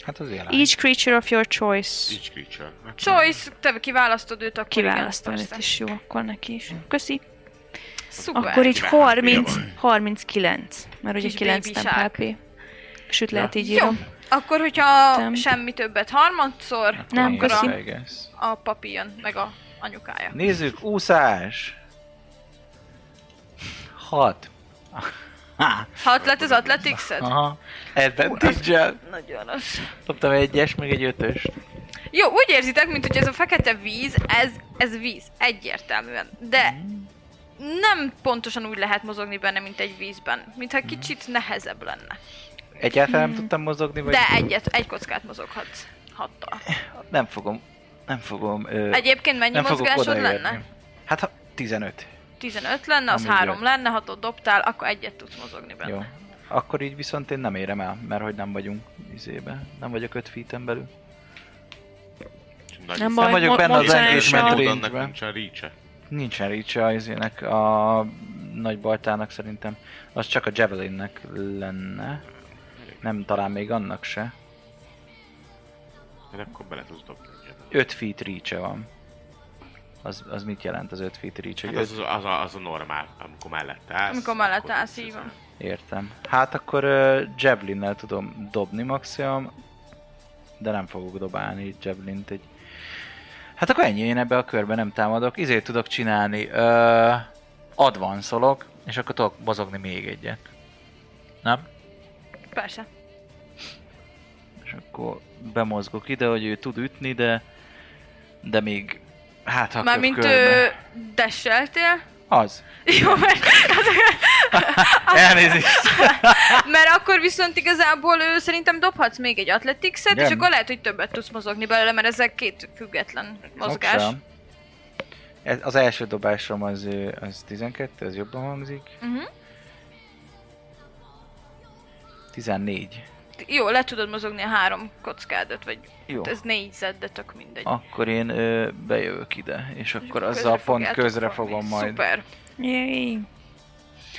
S5: Hát az élet.
S4: Each creature of your choice.
S3: Each creature. Hát
S2: Choice, te kiválasztod őt, akkor
S4: Kiválasztom
S2: igen,
S4: itt
S2: persze.
S4: is, jó, akkor neki is. Köszi.
S2: Szuper.
S4: Akkor így
S3: Kivel-
S4: 30,
S3: Kivel-
S4: 39, mert ugye
S2: Kis
S4: 9
S2: baby
S4: nem
S2: shark.
S4: HP. Sőt, lehet így
S2: Jó,
S4: írom.
S2: akkor hogyha
S4: Tem.
S2: semmi többet harmadszor,
S4: Nem,
S2: akkor a,
S4: köszi.
S2: a papi jön, meg a anyukája.
S5: Nézzük, úszás! 6.
S2: Hat lett az athletics
S5: Aha. Advantage-el.
S2: Nagyon rossz.
S5: Dobtam egy egyes, meg egy ötös.
S2: Jó, úgy érzitek, mint hogy ez a fekete víz, ez, ez víz, egyértelműen. De nem pontosan úgy lehet mozogni benne, mint egy vízben. Mintha
S5: Mhm.
S2: kicsit nehezebb lenne.
S5: Egyáltalán nem tudtam mozogni, vagy
S2: De egyet, egy kockát mozoghatsz. Hattal.
S5: nem fogom. Nem fogom. Ö,
S2: Egyébként mennyi
S5: nem fogok
S2: mozgásod
S5: odaérni.
S2: lenne?
S5: Hát ha 15.
S2: 15 lenne, az
S5: Amúgy
S2: 3
S5: jó.
S2: lenne, 6 dobtál, akkor egyet tudsz mozogni benne.
S5: Jó. Akkor így viszont én nem érem el, mert hogy nem vagyunk izébe. Nem vagyok 5 feet belül.
S3: Nagy
S4: Nem
S3: visz-
S4: baj,
S5: vagyok
S4: mo-
S5: benne az
S4: mocsános
S3: És
S5: engagement
S4: a-
S5: ring.
S3: annak nincsen
S5: range-ben.
S3: reach
S5: Nincsen reach a izének, a nagy baltának szerintem. Az csak a javelinnek lenne. Nem talán még annak se.
S3: Hát akkor bele tudsz dobni egyet. Hát
S5: 5 feet reach van. Az, az mit jelent az 5 feet reach?
S3: Hát
S5: Hogy
S3: az,
S5: öt...
S3: az, az, a, az a normál, amikor mellett állsz.
S2: Amikor mellett
S3: akkor
S2: állsz,
S3: tudsz
S2: így van.
S3: ezen.
S5: Értem. Hát akkor uh, javelin tudom dobni maximum, de nem fogok dobálni javelint egy... Hát akkor ennyi, én ebbe a körbe nem támadok. Izét tudok csinálni. Uh, advanszolok, és akkor tudok mozogni még egyet. Nem?
S2: Persze.
S5: És És akkor bemozgok ide, hogy ő tud ütni, de, de még hát ha
S2: Mármint
S5: köpkölne.
S2: ö, desseltél.
S5: Az.
S2: Jó, mert, Hát
S5: Elnézést.
S2: mert akkor viszont igazából ő, szerintem dobhatsz még egy atletixet, és
S5: Igen.
S2: akkor lehet, hogy többet tudsz mozogni belőle, mert ezek két független mozgás.
S5: Sem. Ez, az első dobásom az, ö, az 12, ez jobban hangzik.
S2: Mhm.
S5: 14.
S2: Jó, le tudod mozogni a három kockádat, vagy hát
S5: Jó.
S2: ez négyzet, de tök mindegy.
S5: Akkor én ö, bejövök ide, és akkor
S2: Közre
S5: azzal pont
S2: fogjátok
S5: közre
S2: fogni.
S5: fogom majd.
S2: Szuper,
S4: Jéj.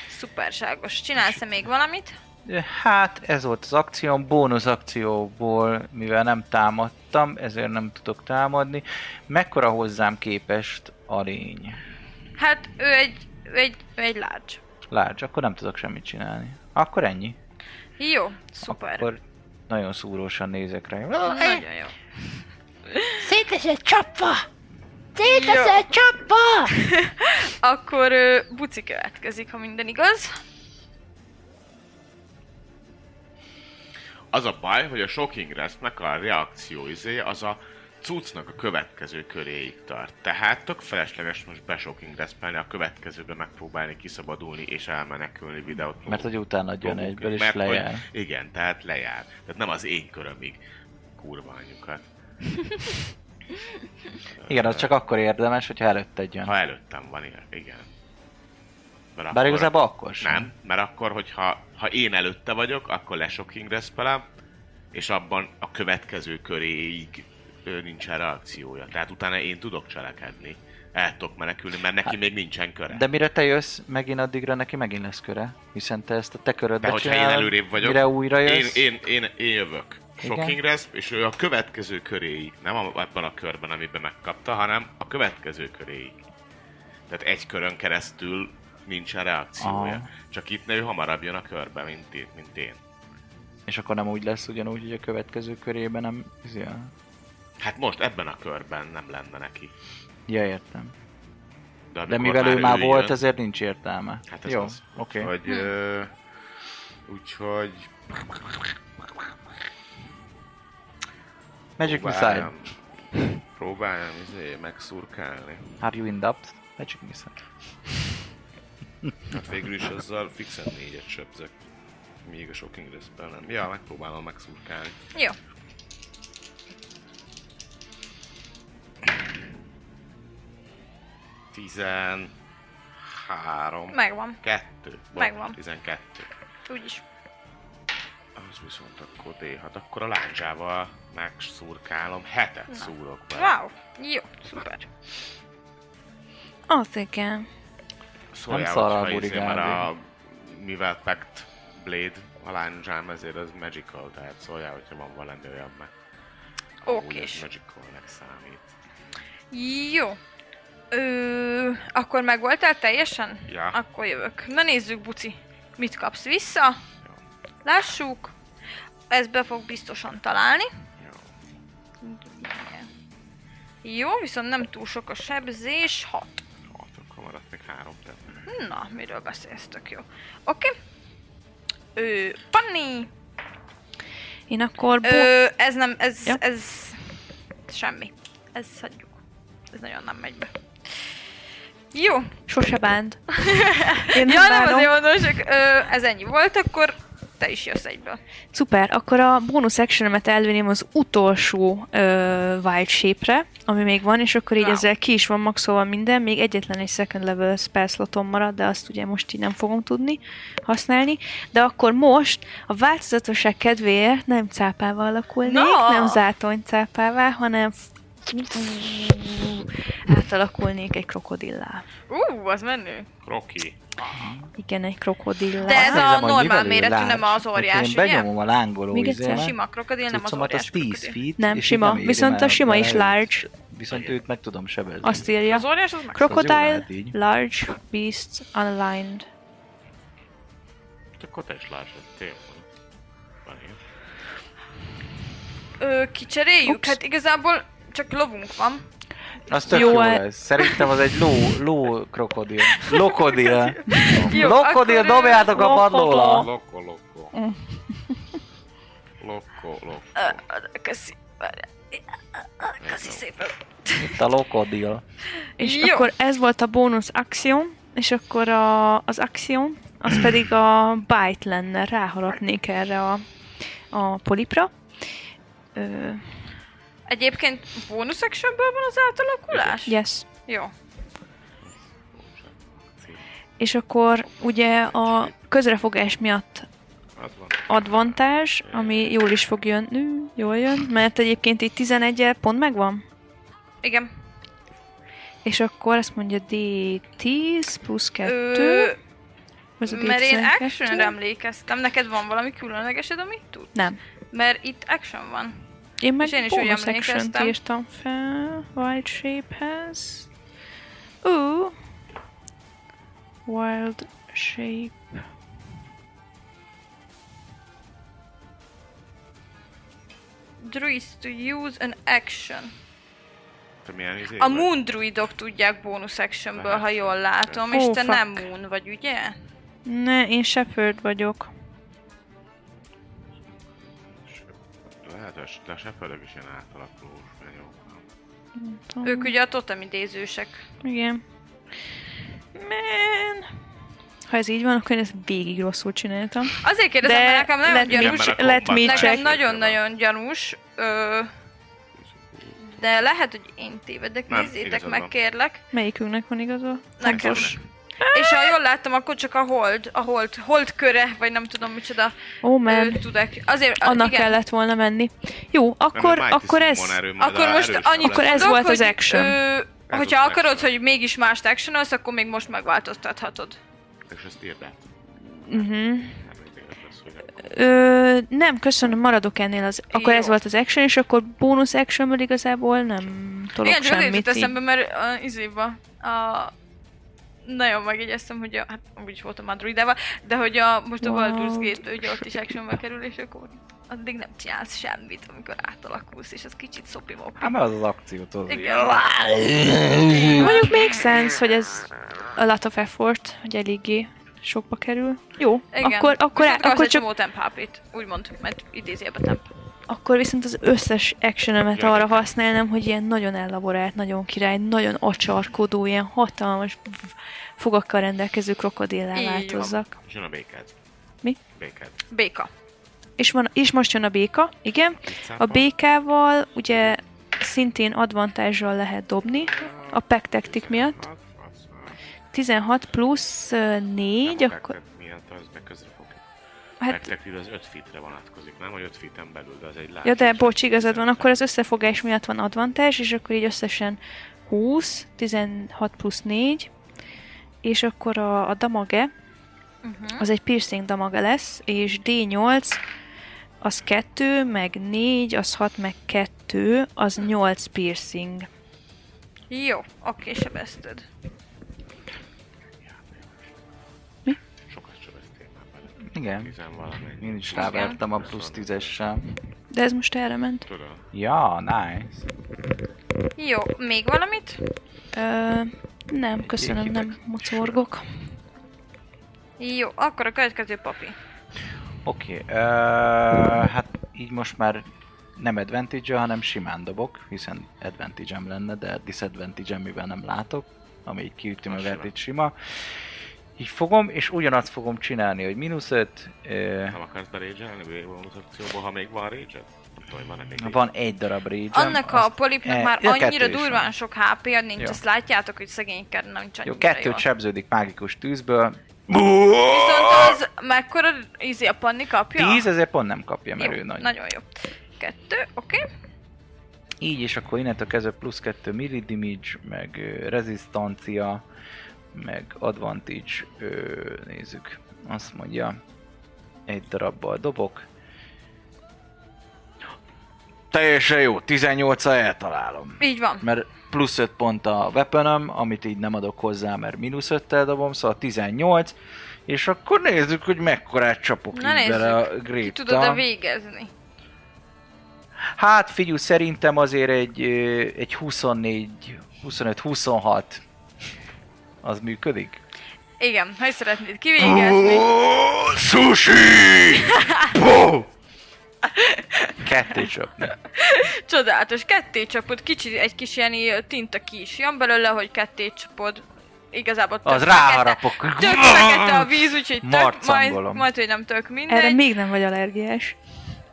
S2: szuperságos. Csinálsz -e még valamit?
S5: Ö, Hát ez volt az akcióm, bónusz akcióból, mivel nem támadtam, ezért nem tudok támadni. Mekkora hozzám képest a lény?
S2: Hát ő egy, ő egy, ő egy large.
S5: Lárcs, akkor nem tudok semmit csinálni. Akkor ennyi.
S2: Jó, szuper.
S5: Akkor nagyon szúrósan nézek rá.
S2: Nagyon jó.
S6: Szétesett csapva! Szétesett csapva!
S2: Akkor ö, buci következik, ha minden igaz.
S3: Az a baj, hogy a Shocking Rest-nek a reakció izé az a cuccnak a következő köréig tart. Tehát tök felesleges most be Shocking rest a következőbe megpróbálni kiszabadulni és elmenekülni videót.
S5: Mert hogy utána jön egyből, és
S3: Mert hogy-
S5: lejár.
S3: Igen, tehát lejár. Tehát nem az én körömig. Kurva anyukat.
S5: Igen, az csak akkor érdemes, hogyha előtte egy jön.
S3: Ha előttem van, igen. igen. Mert
S5: Bár
S3: akkor-
S5: igazából akkor sem.
S3: Nem, mert akkor, hogyha ha én előtte vagyok, akkor lesokking respelem, és abban a következő köréig ö, nincsen reakciója. Tehát utána én tudok cselekedni. El tudok menekülni, mert neki még nincsen köre.
S5: Hát, De mire te jössz, megint addigra neki megint lesz köre. Hiszen te ezt a te
S3: De
S5: körödbe
S3: hogyha én
S5: csinálod,
S3: előrébb vagyok,
S5: mire újra
S3: én,
S5: jössz.
S3: én, én, én jövök.
S5: Igen.
S3: Shocking resp, és ő a következő köréig, nem a- abban a körben, amiben megkapta, hanem a következő köréig. Tehát egy körön keresztül nincsen reakciója.
S5: Aha.
S3: Csak itt ő hamarabb jön a körbe, mint, én- mint én.
S5: És akkor nem úgy lesz ugyanúgy, hogy a következő körében nem... Ja,
S3: Hát most ebben a körben nem lenne neki.
S5: ja értem. De
S3: amikor
S5: mivel ő már volt,
S3: jön-
S5: ezért nincs értelme.
S3: Hát ez
S5: Jó,
S3: az.
S5: oké.
S2: Hm.
S5: Okay.
S3: Úgyhogy, ö, úgyhogy...
S5: Magic Missile.
S3: próbáljam- Próbáljam izé, megszurkálni.
S5: Are you in doubt? Magic Missile.
S3: Hát végül is azzal fixen négyet sebzek. Még a sok ingressből nem. Ja, megpróbálom megszurkálni.
S2: Jó.
S3: Tizen... Három.
S2: Megvan.
S3: Kettő. Bocs,
S2: Megvan.
S3: Tizenkettő.
S2: Úgyis.
S3: Az viszont akkor D6. Akkor a láncsával megszurkálom. Hetet szúrok be.
S2: Wow. Jó, szuper.
S4: Az igen.
S3: Szóljál,
S5: Nem szarral
S3: hogyha izé,
S5: burigálni.
S3: mert a, mivel Pact Blade a láncsám, ezért az magical, tehát szóljál, hogyha van valami olyan meg. amúgy
S2: Okés.
S3: ez Magicalnek számít.
S2: Jó. Ö, akkor megvoltál teljesen?
S3: Ja.
S2: Akkor jövök. Na nézzük, Buci. Mit kapsz vissza? Lássuk. Ez be fog biztosan találni.
S3: Jó.
S2: Jó, viszont nem túl sok a sebzés. Hat.
S3: Hat, hát akkor maradt még három terület.
S2: Na, miről beszélsz, tök jó. Oké. Ö, Panni.
S4: Én akkor... Bo-
S2: Ö, ez nem, ez,
S4: Ja.
S2: ez semmi. Ez hagyjuk. Ez nagyon nem megy be. Jó.
S4: Sose bánt. Én nem
S2: ja, nem
S4: bánom.
S2: azért mondom, csak ö, ez ennyi volt, akkor te is jössz egyből.
S4: Szuper, akkor a bónusz actionemet elvinném az utolsó ö, wild shape-re, ami még van, és akkor így
S2: Wow.
S4: ezzel ki is van maxolva minden, még egyetlen egy second level spell slotom marad, de azt ugye most így nem fogom tudni használni, de akkor most a változatosság kedvéért nem cápával alakulnék,
S2: Na!
S4: nem zátony cápává, hanem átalakulnék egy krokodillá.
S2: Ú, az menő.
S3: Rocky.
S4: Igen, egy krokodillá.
S2: De ez
S5: Azt
S2: a
S5: nézem, hogy
S2: normál
S5: mivel ő
S2: méretű,
S5: lát.
S2: nem az
S5: Hogyha
S2: óriás,
S5: Én
S2: ugye?
S5: benyomom a lángoló
S4: Még egyszer.
S5: izémet,
S2: Sima krokodil, nem az
S5: cuccomat, az
S2: óriás
S5: 10
S2: krokodil.
S5: feet.
S4: Nem,
S5: és így
S4: sima.
S5: éri
S4: Viszont a
S5: már
S4: sima is
S5: bele.
S4: large.
S5: Viszont őt meg tudom sebezni.
S4: Azt írja.
S2: Az óriás az meg.
S5: Az jó
S4: Crocodile,
S5: lehet így.
S4: large beasts, unaligned.
S3: hát Akkor te is lássad, tényleg. Van ilyen.
S2: Ö, kicseréljük?
S4: Ups.
S2: Hát igazából csak lovunk van.
S5: Az tök jó,
S4: Jó, hát-
S5: lesz. Szerintem az egy ló, ló krokodil. Lokodil.
S2: Jó,
S5: Lokodil,
S2: akkor, ö,
S5: dobjátok a
S4: lokodó.
S5: padlóra.
S3: Loko, loko. Lokko, lokko.
S2: Mm. Ö, ö, Köszi. Várjál. Köszi szépen.
S5: Itt a lokodil.
S4: És
S2: Jó.
S4: akkor ez volt a bónusz akció, és akkor a, az akció, az pedig a bite lenne, ráharapnék erre a, a polipra. Ö,
S2: Egyébként bónusz actionből van az átalakulás?
S4: yes.
S2: Jó.
S4: És akkor ugye a közrefogás miatt
S3: Hát van.
S4: advantage, ami jól is fog jönni, jól jön, mert egyébként itt 11 -el pont megvan.
S2: Igen.
S4: És akkor azt mondja D10 plusz 2.
S2: Ö,
S4: az a
S2: mert én
S4: D12.
S2: actionre emlékeztem. Neked van valami különlegesed, amit tud?
S4: Nem.
S2: Mert itt action van.
S4: Én meg
S2: És én is úgy
S4: bonus action-t
S2: emlékeztem.
S4: írtam fel. Wild Shapehez. Ú. Wild Shape.
S2: Druids to use an action.
S3: Te milyen izé
S2: A
S3: vagy?
S2: moon druidok tudják bónusz actionből,
S3: Lehet.
S2: ha jól látom,
S4: Ó,
S2: és te
S4: fuck.
S2: nem moon vagy, ugye?
S4: Ne, én Shepherd vagyok.
S3: Lehet, hogy de a sepelők is ilyen átalakulós jó.
S4: Nem tudom.
S2: Ők ugye a totem idézősek.
S4: Igen. Man. Ha ez így van, akkor én ezt végig rosszul csináltam.
S2: Azért kérdezem, mert nekem nagyon
S4: let me,
S2: gyanús.
S3: Igen,
S4: ch-
S3: mert a
S4: let me
S3: kombat-
S4: check.
S2: Nekem
S3: check.
S2: nagyon-nagyon gyanús. Ö, de lehet, hogy én tévedek,
S3: Nem,
S2: nézzétek
S3: igazad
S2: meg,
S3: van.
S2: kérlek.
S4: Melyikünknek van igaza?
S2: Nekem.
S3: Neked?
S2: És ha jól láttam, akkor csak a hold, a hold, hold köre, vagy nem tudom micsoda,
S4: Ó, oh, man.
S2: ő tudek. Azért,
S4: Annak
S2: igen.
S4: kellett volna menni. Jó, akkor,
S3: Mighty
S4: akkor ez...
S3: Summon erő majd
S2: Akkor
S3: a
S2: most
S3: erősebb
S2: annyit
S3: lesz.
S4: Akkor ez
S2: tudok,
S4: volt az
S2: hogy,
S4: action.
S2: Ö, hogyha
S3: Ez volt az
S2: akarod,
S3: action.
S2: hogy mégis más action akkor még most megváltoztathatod.
S3: És ezt írd át.
S4: Uh-huh.
S3: Nem mindig az lesz, hogy akkor
S4: Ö, nem, köszönöm, maradok ennél. Az, akkor ez
S2: Jó.
S4: volt az action, és akkor bónusz actionből igazából nem tolok
S2: Igen, csak azért
S4: semmit.
S2: jutott
S4: így.
S2: eszembe, mert a, izéba, a, nagyon megjegyeztem, hogy a, hát úgyis voltam már druidával, de hogy a, most a
S4: Wow.
S2: Baldur's Gate, ugye ott is actionbe kerül, és akkor addig nem csinálsz semmit, amikor átalakulsz, és az kicsit szopi
S5: Hát mert az az akciót az
S2: Igen.
S4: Mondjuk még sense, hogy ez a lot of effort, hogy eléggé sokba kerül. Jó,
S2: Igen.
S4: akkor, akkor,
S2: Viszont
S4: akkor,
S2: akkor
S4: csak,
S2: csak... temp HP-t, úgymond, mert idézélbe temp.
S4: akkor viszont az összes actionemet
S3: Ja,
S4: arra
S3: igen.
S4: használnám, hogy ilyen nagyon elaborált, nagyon király, nagyon acsarkodó, ilyen hatalmas v- fogakkal rendelkező krokodillá
S2: Így van.
S4: változzak.
S3: És jön a békád.
S4: Mi?
S3: Békád.
S2: Béka.
S4: És, van, és most jön a béka, igen. A békával ugye szintén advantage lehet dobni, a pektektik miatt. 16 plusz 4, akkor...
S3: Miatt az meg közre fog.
S4: Hát,
S3: Hát... az 5 fitre vonatkozik, nem? Hogy 5 fiten belül, de az egy látás.
S4: ja de bocs, igazad van, akkor az összefogás miatt van advantage, és akkor így összesen 20, 16 plusz 4, és akkor a, a damage,
S2: Uh-huh.
S4: az egy piercing damage lesz, és D8, az 2, meg 4, az 6, meg 2, az 8 piercing.
S2: Jó, oké, sebezted.
S3: Sokat csöveztél már bele.
S5: Igen.
S3: Tizen valamennyi.
S5: Én is rávertem a plusz tízessel.
S4: De ez most erre ment.
S3: Tudom.
S5: Ja, nice.
S2: Jó, még valamit?
S4: Ö, nem, köszönöm, nem mocorgok.
S2: Jó, akkor a következő papi.
S5: Oké, okay, hát így most már nem advantage hanem simán dobok, hiszen advantage lenne, de disadvantage mivel nem látok, ami így kiüti
S3: Az
S5: meg
S3: sima.
S5: advantage sima. Így fogom, és ugyanazt fogom csinálni, hogy mínusz 5,
S3: Nem akarsz berédzselni? Végül akcióból, ha még van rédzsed? Nem tudom, hogy van-e még
S5: van egy darab rage
S2: Annak a polipnak
S5: eh,
S2: már
S5: ja, kettő
S2: annyira
S5: is
S2: durván
S5: van.
S2: sok HP-ja nincs,
S5: Jó.
S2: azt látjátok, hogy szegényked nem csak
S5: Jó, kettőt
S2: Viszont
S5: sebződik mágikus tűzből.
S2: az mekkora ízi a panni kapja?
S5: Tíz, ezért pont nem kapja, mert
S2: jó,
S5: ő nagy.
S2: Nagyon jó. Kettő, oké. Okay.
S5: Így, és akkor innentől kezdve plusz 2 milli damage, meg ö, rezisztancia, meg advantage, ö, nézzük. Azt mondja, egy darabbal dobok. Teljesen jó, 18 al eltalálom.
S2: Így van.
S5: Mert plusz 5 pont a weaponöm, amit így nem adok hozzá, mert mínusz 5-tel dobom, szóval 18. És akkor nézzük, hogy mekkorát csapok
S2: Na
S5: így bele a
S2: nézzük, ki tudod-e
S5: gréptal.
S2: végezni?
S5: Hát figyelj, szerintem azért egy, ö, egy 24, 25-26 az működik.
S2: Igen, hogy szeretnéd kivégezni?
S3: Sushi!
S5: Ketté csapni.
S2: Csodálatos, ketté csapod, kicsi, egy kis ilyen ilyen tinta ki is jön belőle, hogy ketté csapod. Igazából tök
S5: Az
S2: fekete-
S5: ráharapok.
S2: Tök fekete a víz, úgyhogy tök, majd,
S5: Marcangolom.
S2: majd, hogy nem tök mindegy.
S4: Erre még nem vagy allergiás.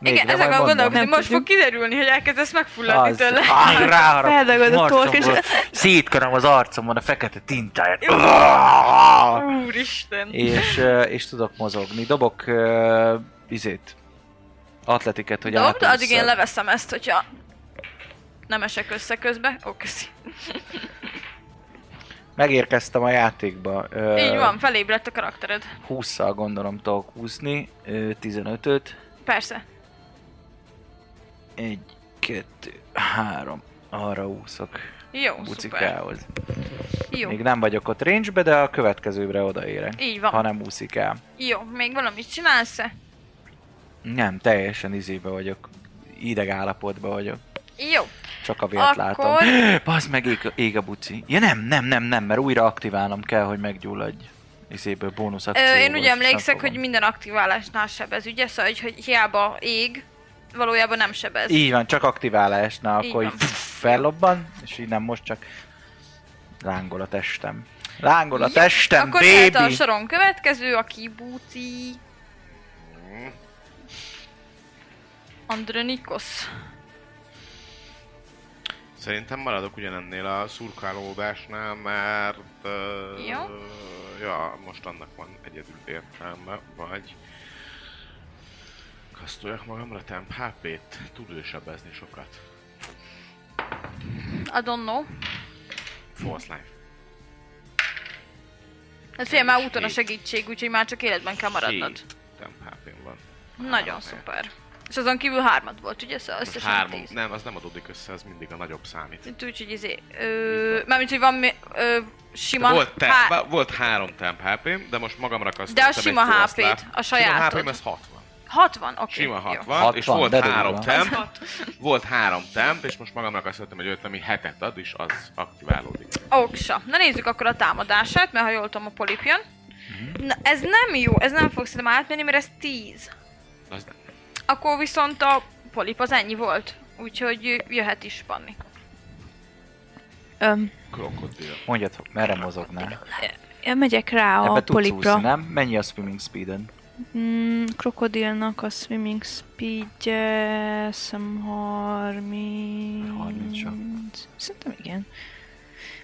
S2: Igen,
S5: Mégre
S2: ezek
S5: majd
S2: a
S5: mondom.
S2: gondolok, hogy
S4: Nem
S2: most fog
S4: tudjuk.
S2: kiderülni, hogy elkezdesz megfulladni
S5: Az,
S2: tőle.
S5: Ah, ráharap,
S4: Feldagad a tork, és-
S5: marcomból. Szétkörom az arcomon a fekete tintáját.
S2: Úristen.
S5: és, ö, és tudok mozogni. Dobok ö, izét. Atletiket, hogy
S2: Dobd,
S5: átússzak.
S2: addig én leveszem ezt, hogyha nem esek össze közbe. Ó, köszi.
S5: Megérkeztem a játékba. Ö,
S2: Így van, felébredt a karaktered.
S5: 20-szal gondolom tudok húzni. Ö, 15-öt.
S2: Persze.
S5: 1, 2, 3. Arra úszok.
S2: Jó, szuper.
S5: Bucikához.
S2: Jó,
S5: Még nem vagyok ott range de a következőbre odaérek.
S2: így van.
S5: Ha nem úszik el.
S2: Jó, még valamit csinálsz-e?
S5: Nem, teljesen izébe vagyok. Ideg állapotban vagyok.
S2: Jó.
S5: Csak a vért
S2: Akkor-
S5: látom. Bazd meg, ég, ég a buci. Ja nem, nem, nem, nem, mert újra aktiválnom kell, hogy meggyulladj. Izéből bónusz
S2: Ö,
S5: akcióval.
S2: én ugye
S5: és Hát nem
S2: emlékszek,
S5: fogom.
S2: hogy minden aktiválásnál sebez, ugye? Szóval, hogy, hogy hiába ég, valójában nem sebez.
S5: Így van, csak aktiválásnál,
S2: Így
S5: akkor így
S2: van.
S5: fellobban, és így nem most csak lángol a testem. Lángol a
S2: Jó,
S5: testem,
S2: Akkor jöhet a
S5: baby!
S2: soron következő, a kibúci... Andronikos.
S3: Szerintem maradok ugyanennél a szurkálódásnál, mert... Uh,
S2: Jó.
S3: Ja, most annak van egyedül értelme, vagy... Kasztoljak magamra temp HP-t, tud ő sebezni sokat.
S2: I don't know. Hm.
S3: False life.
S2: Hát figyelj, már úton a
S3: Hét.
S2: segítség, úgyhogy már csak életben kell maradnod.
S3: Hét temp HP-n van.
S2: Nagyon
S3: Három.
S2: szuper. És azon kívül hármat volt, ugye? Szóval
S3: Most
S2: összesen
S3: Három.
S2: tíz.
S3: Nem, az nem adódik össze, ez mindig a nagyobb számít.
S2: Itt Úgyhogy izé... Ö, mármint, hogy van mi- ö, sima...
S3: volt, te,
S2: há-
S3: bá- volt három temp hp de most magamra kasztoltam
S2: De a
S3: egy
S2: sima
S3: false life.
S2: HP-t, a
S3: Sima
S2: sajátod.
S3: HP-m ez 60.
S2: 60, oké.
S3: Sima
S2: jó.
S3: 60,
S5: 60,
S3: és volt
S5: de
S3: három
S5: durva.
S3: temp, volt három temp, és most magamnak azt hittem, hogy öt, ami hetet ad, és az aktiválódik.
S2: Oksa. Na nézzük akkor a támadását, mert ha jól tudom, a polip jön.
S3: Mhm.
S2: Na, ez nem jó, ez nem fog szerintem átmenni, mert ez 10.
S3: Az nem.
S2: Akkor viszont a polip az ennyi volt. Úgyhogy jöhet is Panni.
S4: Öm,
S3: Krokodil.
S5: Mondjad, merre mozognál?
S4: én megyek rá a
S5: Ebbe tudsz
S4: polipra.
S5: úszni, nem? Mennyi a swimming speeden?
S4: Mm, krokodilnak a swimming speed szem 30...
S5: 30 sok.
S4: Szerintem igen.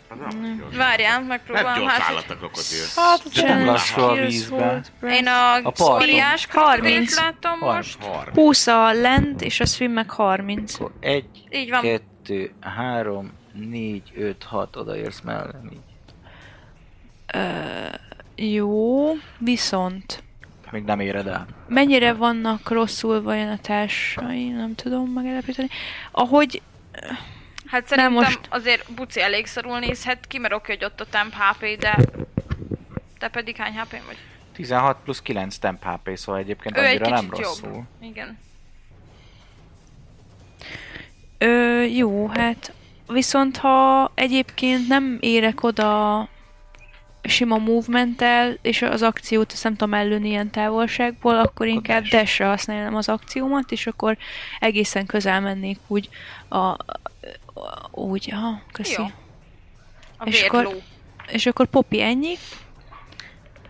S3: Az nem gyors.
S2: Várjál,
S3: Nem
S2: megpróbálom
S3: gyors
S2: hát,
S3: állat
S2: hogy...
S3: a krokodil.
S4: Hát,
S5: de nem lassú a vízben.
S2: Én a,
S5: parton.
S2: a óriás krokodilt
S4: 30.
S2: láttam most.
S3: 30.
S4: 20 a lent, és a swim meg 30.
S5: Akkor egy,
S2: Így van.
S5: kettő, három, négy, öt, hat, odaérsz mellem így.
S4: Jó, viszont
S5: Még nem éred el.
S4: mennyire vannak rosszul vajon a társai, nem tudom megállapítani. Ahogy
S2: Hát szerintem most...
S4: most.
S2: azért Buci elég szarul nézhet ki, mert oké, hogy ott a temp HP, de... Te pedig hány hp vagy?
S5: 16 plusz 9 temp HP, szóval egyébként
S2: Ő egy
S5: annyira
S2: kicsit
S5: nem rosszul.
S2: jobb. Igen.
S4: Ö, jó, hát viszont ha egyébként nem érek oda sima movementtel, és az akciót azt nem tudom ellőni ilyen távolságból, akkor, inkább
S5: dash.
S4: dash-re használnám az akciómat, és akkor egészen közel mennék úgy a... a a- úgy, aha, köszi.
S2: Jó. A
S4: És
S2: vérló.
S4: akkor- És akkor Popi ennyi.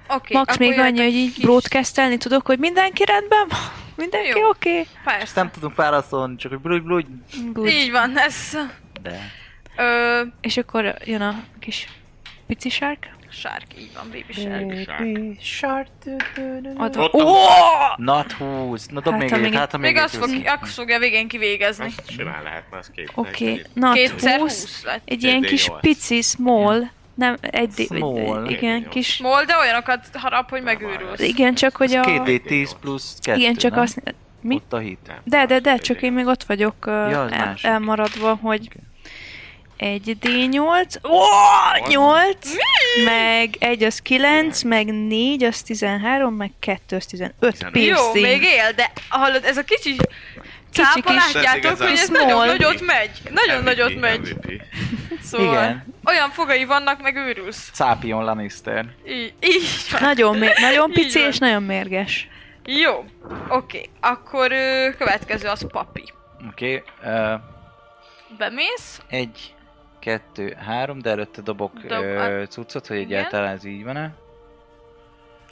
S2: Oké,
S4: Max
S2: akkor
S4: még
S2: jöhet
S4: annyi,
S2: a
S4: hogy így
S2: kis-
S4: broadcastelni tudok, hogy mindenki rendben van? Mindenki
S2: Jó.
S4: oké?
S5: Ezt
S2: Persze.
S5: nem tudunk válaszolni, csak hogy blúgy, blúgy.
S4: Good.
S2: Így van, ez...
S5: De.
S2: Ö,
S4: És akkor jön a kis pici sárk.
S2: sárk, így van, baby shark.
S4: Adom.
S3: Ott
S4: Ó,
S5: Not 20. Na dob
S4: Hát,
S5: még
S4: ha
S5: egyet,
S4: még-
S5: hát ha még
S2: Még azt
S5: egyet
S2: fog,
S5: húz.
S2: azt fogja végén kivégezni.
S3: Azt simán lehetne, az két.
S4: Oké, okay.
S3: egy-
S4: na
S2: Kétszer
S4: 20.
S2: húsz lett.
S4: Egy ilyen kis
S3: D8.
S4: pici, small, nem, egy, d-
S5: Small.
S4: egy- igen,
S3: D8.
S4: kis,
S2: Mol, de olyanokat harap, hogy megőrülsz.
S4: igen, csak hogy a,
S5: 2D10 plusz 2,
S4: igen, csak
S5: nem?
S4: azt, mi?
S5: Ott a hit.
S3: Nem,
S4: De, de, de,
S3: az
S4: csak
S3: egy-
S4: én még ott vagyok ö,
S5: Ja, az
S4: el,
S5: másik.
S4: elmaradva, hogy egy D8, ó, 8, meg egy az 9, meg 4 az 13, meg 2 az 15
S3: Tizenöt.
S2: Jó,
S4: piercing.
S2: még él, de hallod, ez a kicsi cápa,
S4: kis-
S2: látjátok,
S3: Ez
S2: hogy ez
S4: igazán-
S2: nagyon
S4: Small.
S2: nagyot megy. Nagyon
S3: MVP,
S2: nagyot megy.
S3: MVP.
S2: Szóval
S5: Igen.
S2: olyan fogai vannak, meg őrülsz.
S5: Szápion Lannister.
S2: Így, így van.
S4: Hát- Nagyon, mér, nagyon
S2: Így
S4: pici
S2: van.
S4: és nagyon mérges.
S2: Jó, oké. Akkor ö, következő az papi.
S5: Oké, okay.
S2: Bemész,
S5: egy, kettő, három, de előtte dobok
S2: Dob-
S5: ö, cuccot, hogy
S2: Igen.
S5: egyáltalán ez így van-e.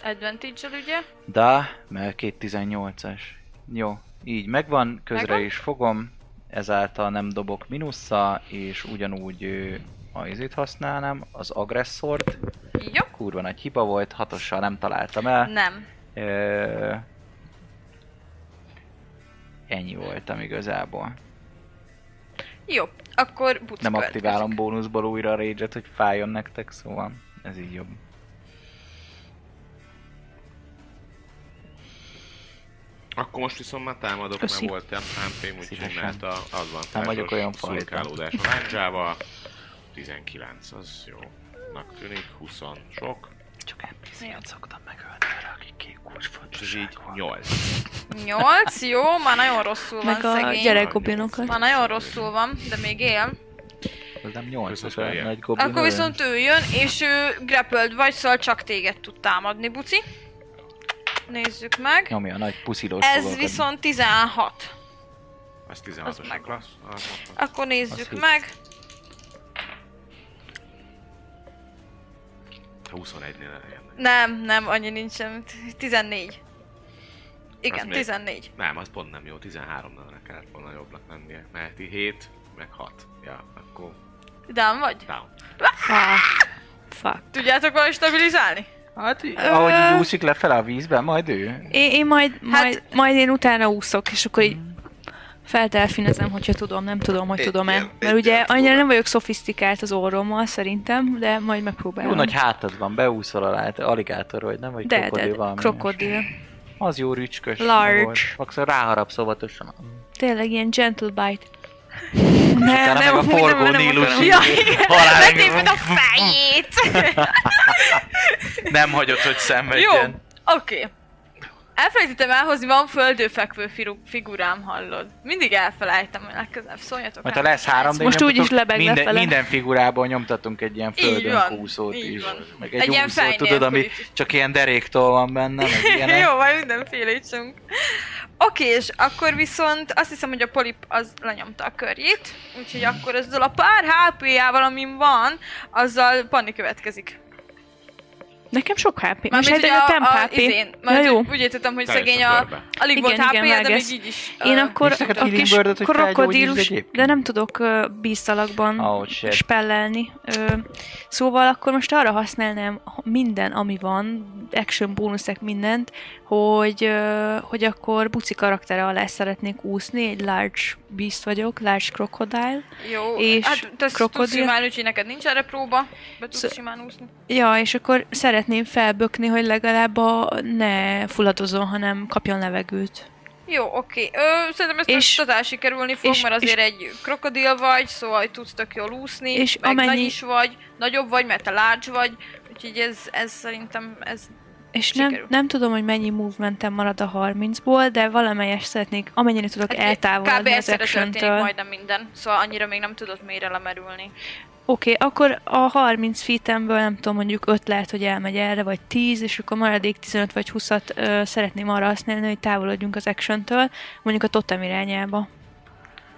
S2: advantage ugye?
S5: Da, mert két 18-as. Jó, így megvan, közre
S2: Megvan?
S5: is fogom, ezáltal nem dobok minussza, és ugyanúgy ö, a izét használnám, az agresszort.
S2: Jó?
S5: Kurva nagy hiba volt, hatossal nem találtam el.
S2: Nem.
S5: Ö, ennyi voltam igazából.
S2: Jó, akkor buc
S5: Nem
S2: következik.
S5: aktiválom bónuszból újra a rage hogy fájjon nektek, szóval ez így jobb.
S3: Akkor most viszont már támadok,
S4: Köszi.
S3: mert voltam hp úgyhogy
S5: Szívesen.
S3: mehet a
S5: Nem
S3: advantásos
S5: vagyok olyan fajta.
S3: szurkálódás a lándzsával. 19, az jó. Nak tűnik, 20 sok,
S5: Csak NPC-et szoktam megölni, arra, akik kék
S3: és ez így
S5: kulcsfontosság van.
S3: 8.
S2: Nyolc, jó, már nagyon rosszul
S4: Meg
S2: van
S4: a
S2: szegény.
S4: gyerekgobinokat.
S2: Már nagyon rosszul van, de még él.
S5: Ez nem 8, ez
S3: Közös
S5: a
S3: helyen.
S5: nagy goblin.
S2: Akkor
S5: öl.
S2: viszont ő jön, és ő grappled vagy, szóval csak téged tud támadni, buci. Nézzük meg.
S5: Nyomja a nagy puszilós
S2: Ez
S5: fogakat.
S2: viszont 16.
S3: Ez 16-os a
S2: meg-
S3: klassz. Az- az-
S2: Akkor
S5: Az
S2: nézzük
S5: hit.
S2: meg.
S3: Hát 21-nél eljönnek.
S2: Nem, nem, annyi nincsen. 14. Igen,
S3: még.
S2: 14.
S3: Nem, az pont nem jó, 13-nál kellett volna jobbnak lennie. Mert 7, meg 6. Ja, akkor
S2: Down vagy?
S3: down.
S4: Fuck. Fuck.
S2: Tudjátok valahogy stabilizálni?
S5: Hát, így, ahogy így úszik lefele a vízbe, majd ő.
S4: Én, én majd,
S2: Hát-
S4: majd, majd én utána úszok, és akkor így feltelfinezem, hogyha tudom, nem tudom, hogy
S3: Egy
S4: tudom-e.
S3: ilyen- egy
S4: Mert ugye
S3: ilyen
S4: annyira
S3: próbál.
S4: nem vagyok szofisztikált az orrommal szerintem, de majd
S5: Jó
S4: megpróbálom.
S5: nagy hátad van, beúszol alá, hát aligátor vagy, nem? Vagy
S4: de, de,
S5: krokodil
S4: de,
S5: valami.
S4: krokodil.
S5: Az jó rücskös.
S4: Large.
S5: Akkor szóval ráharapsz óvatosan.
S4: Tényleg ilyen gentle bite. Nem,
S5: meg a
S4: úgy
S5: forgó Nílus így
S4: Ja,
S5: halál-
S2: Betéped a fejét!
S5: Nem hagyod, hogy
S2: Jó,
S5: szenvedjen.
S2: oké. Okay. Elfelejtettem elhozni, van földőfekvő firu- figurám, hallod? Mindig elfelejtem, hogy legközelebb szóljatok.
S5: Majd ha
S2: rám.
S5: lesz 3
S4: Most úgy is lebeg
S5: minden,
S4: lefele.
S5: minden figurából nyomtatunk egy ilyen
S2: Így
S5: földön
S2: van,
S5: kúszót
S2: így
S5: is.
S2: van.
S5: Meg
S2: Egy
S5: egy,
S2: ilyen
S5: úszót,
S2: fejnél
S5: tudod, ami
S2: fújt.
S5: csak ilyen deréktól van benne, meg ilyenek.
S2: Jó, majd mindenféle icsunk. Oké, és akkor viszont azt hiszem, hogy a polip az lenyomta a körjét, úgyhogy akkor ezzel a pár HP-jával, amin van, azzal Panni következik.
S4: Nekem sok HP. Most
S2: Mármint,
S4: hát
S2: hogy
S4: a temp HP.
S2: izén,
S4: Ja,
S2: mert
S4: jó.
S2: úgy értettem, hogy
S3: Teljesen
S2: szegény a...
S3: körbe.
S2: Alig volt
S4: Igen, igen,
S2: HP-je, de még
S4: vágesz.
S2: így is.
S4: Én
S2: ö,
S4: akkor
S5: Nincs neked
S4: a
S5: healing
S4: kis
S5: wordöd, hogy felgyógyítsd
S4: krokodilus,
S5: egyébként?
S4: de nem tudok ö, bízszalagban
S5: Oh, shit.
S4: spellelni. Ö, Szóval akkor most arra használnám minden, ami van, action bónuszek, mindent, hogy, ö, hogy akkor buci karaktere alá szeretnék úszni, egy large beast vagyok, large crocodile.
S2: Jó,
S4: és
S2: hát te tudsz
S4: krokodil.
S2: simán, úgyhogy neked nincs erre próba. Be tudsz
S4: Szö-
S2: simán úszni.
S4: Ja, és akkor szeretném felbökni, hogy legalább a ne fulladozon, hanem kapjon levegőt.
S2: Jó, oké. Ö, Szerintem ezt és,
S4: És-
S2: totál sikerülni fog, és,
S4: és-
S2: mert azért
S4: és-
S2: egy krokodil vagy, szóval hogy tudsz tök jól úszni, és
S4: És
S2: meg amennyi,
S4: amennyi-
S2: nagy is vagy, nagyobb vagy, mert te large vagy, úgyhogy ez, ez szerintem ez...
S4: És nem,
S2: Sikerül.
S4: nem tudom, hogy mennyi movementem marad a 30-ból, de valamelyest szeretnék, amennyire tudok
S2: Hát kb.
S4: eltávolodni az
S2: egyszerre történik
S4: action-től.
S2: majdnem minden, szóval annyira még nem tudod mélyre lemerülni.
S4: Oké, okay, akkor a 30 feetemből nem tudom, mondjuk 5 lehet, hogy elmegy erre, vagy 10, és akkor maradék 15 vagy 20-at ö, szeretném arra használni, hogy távolodjunk az action-től, mondjuk a totem irányába.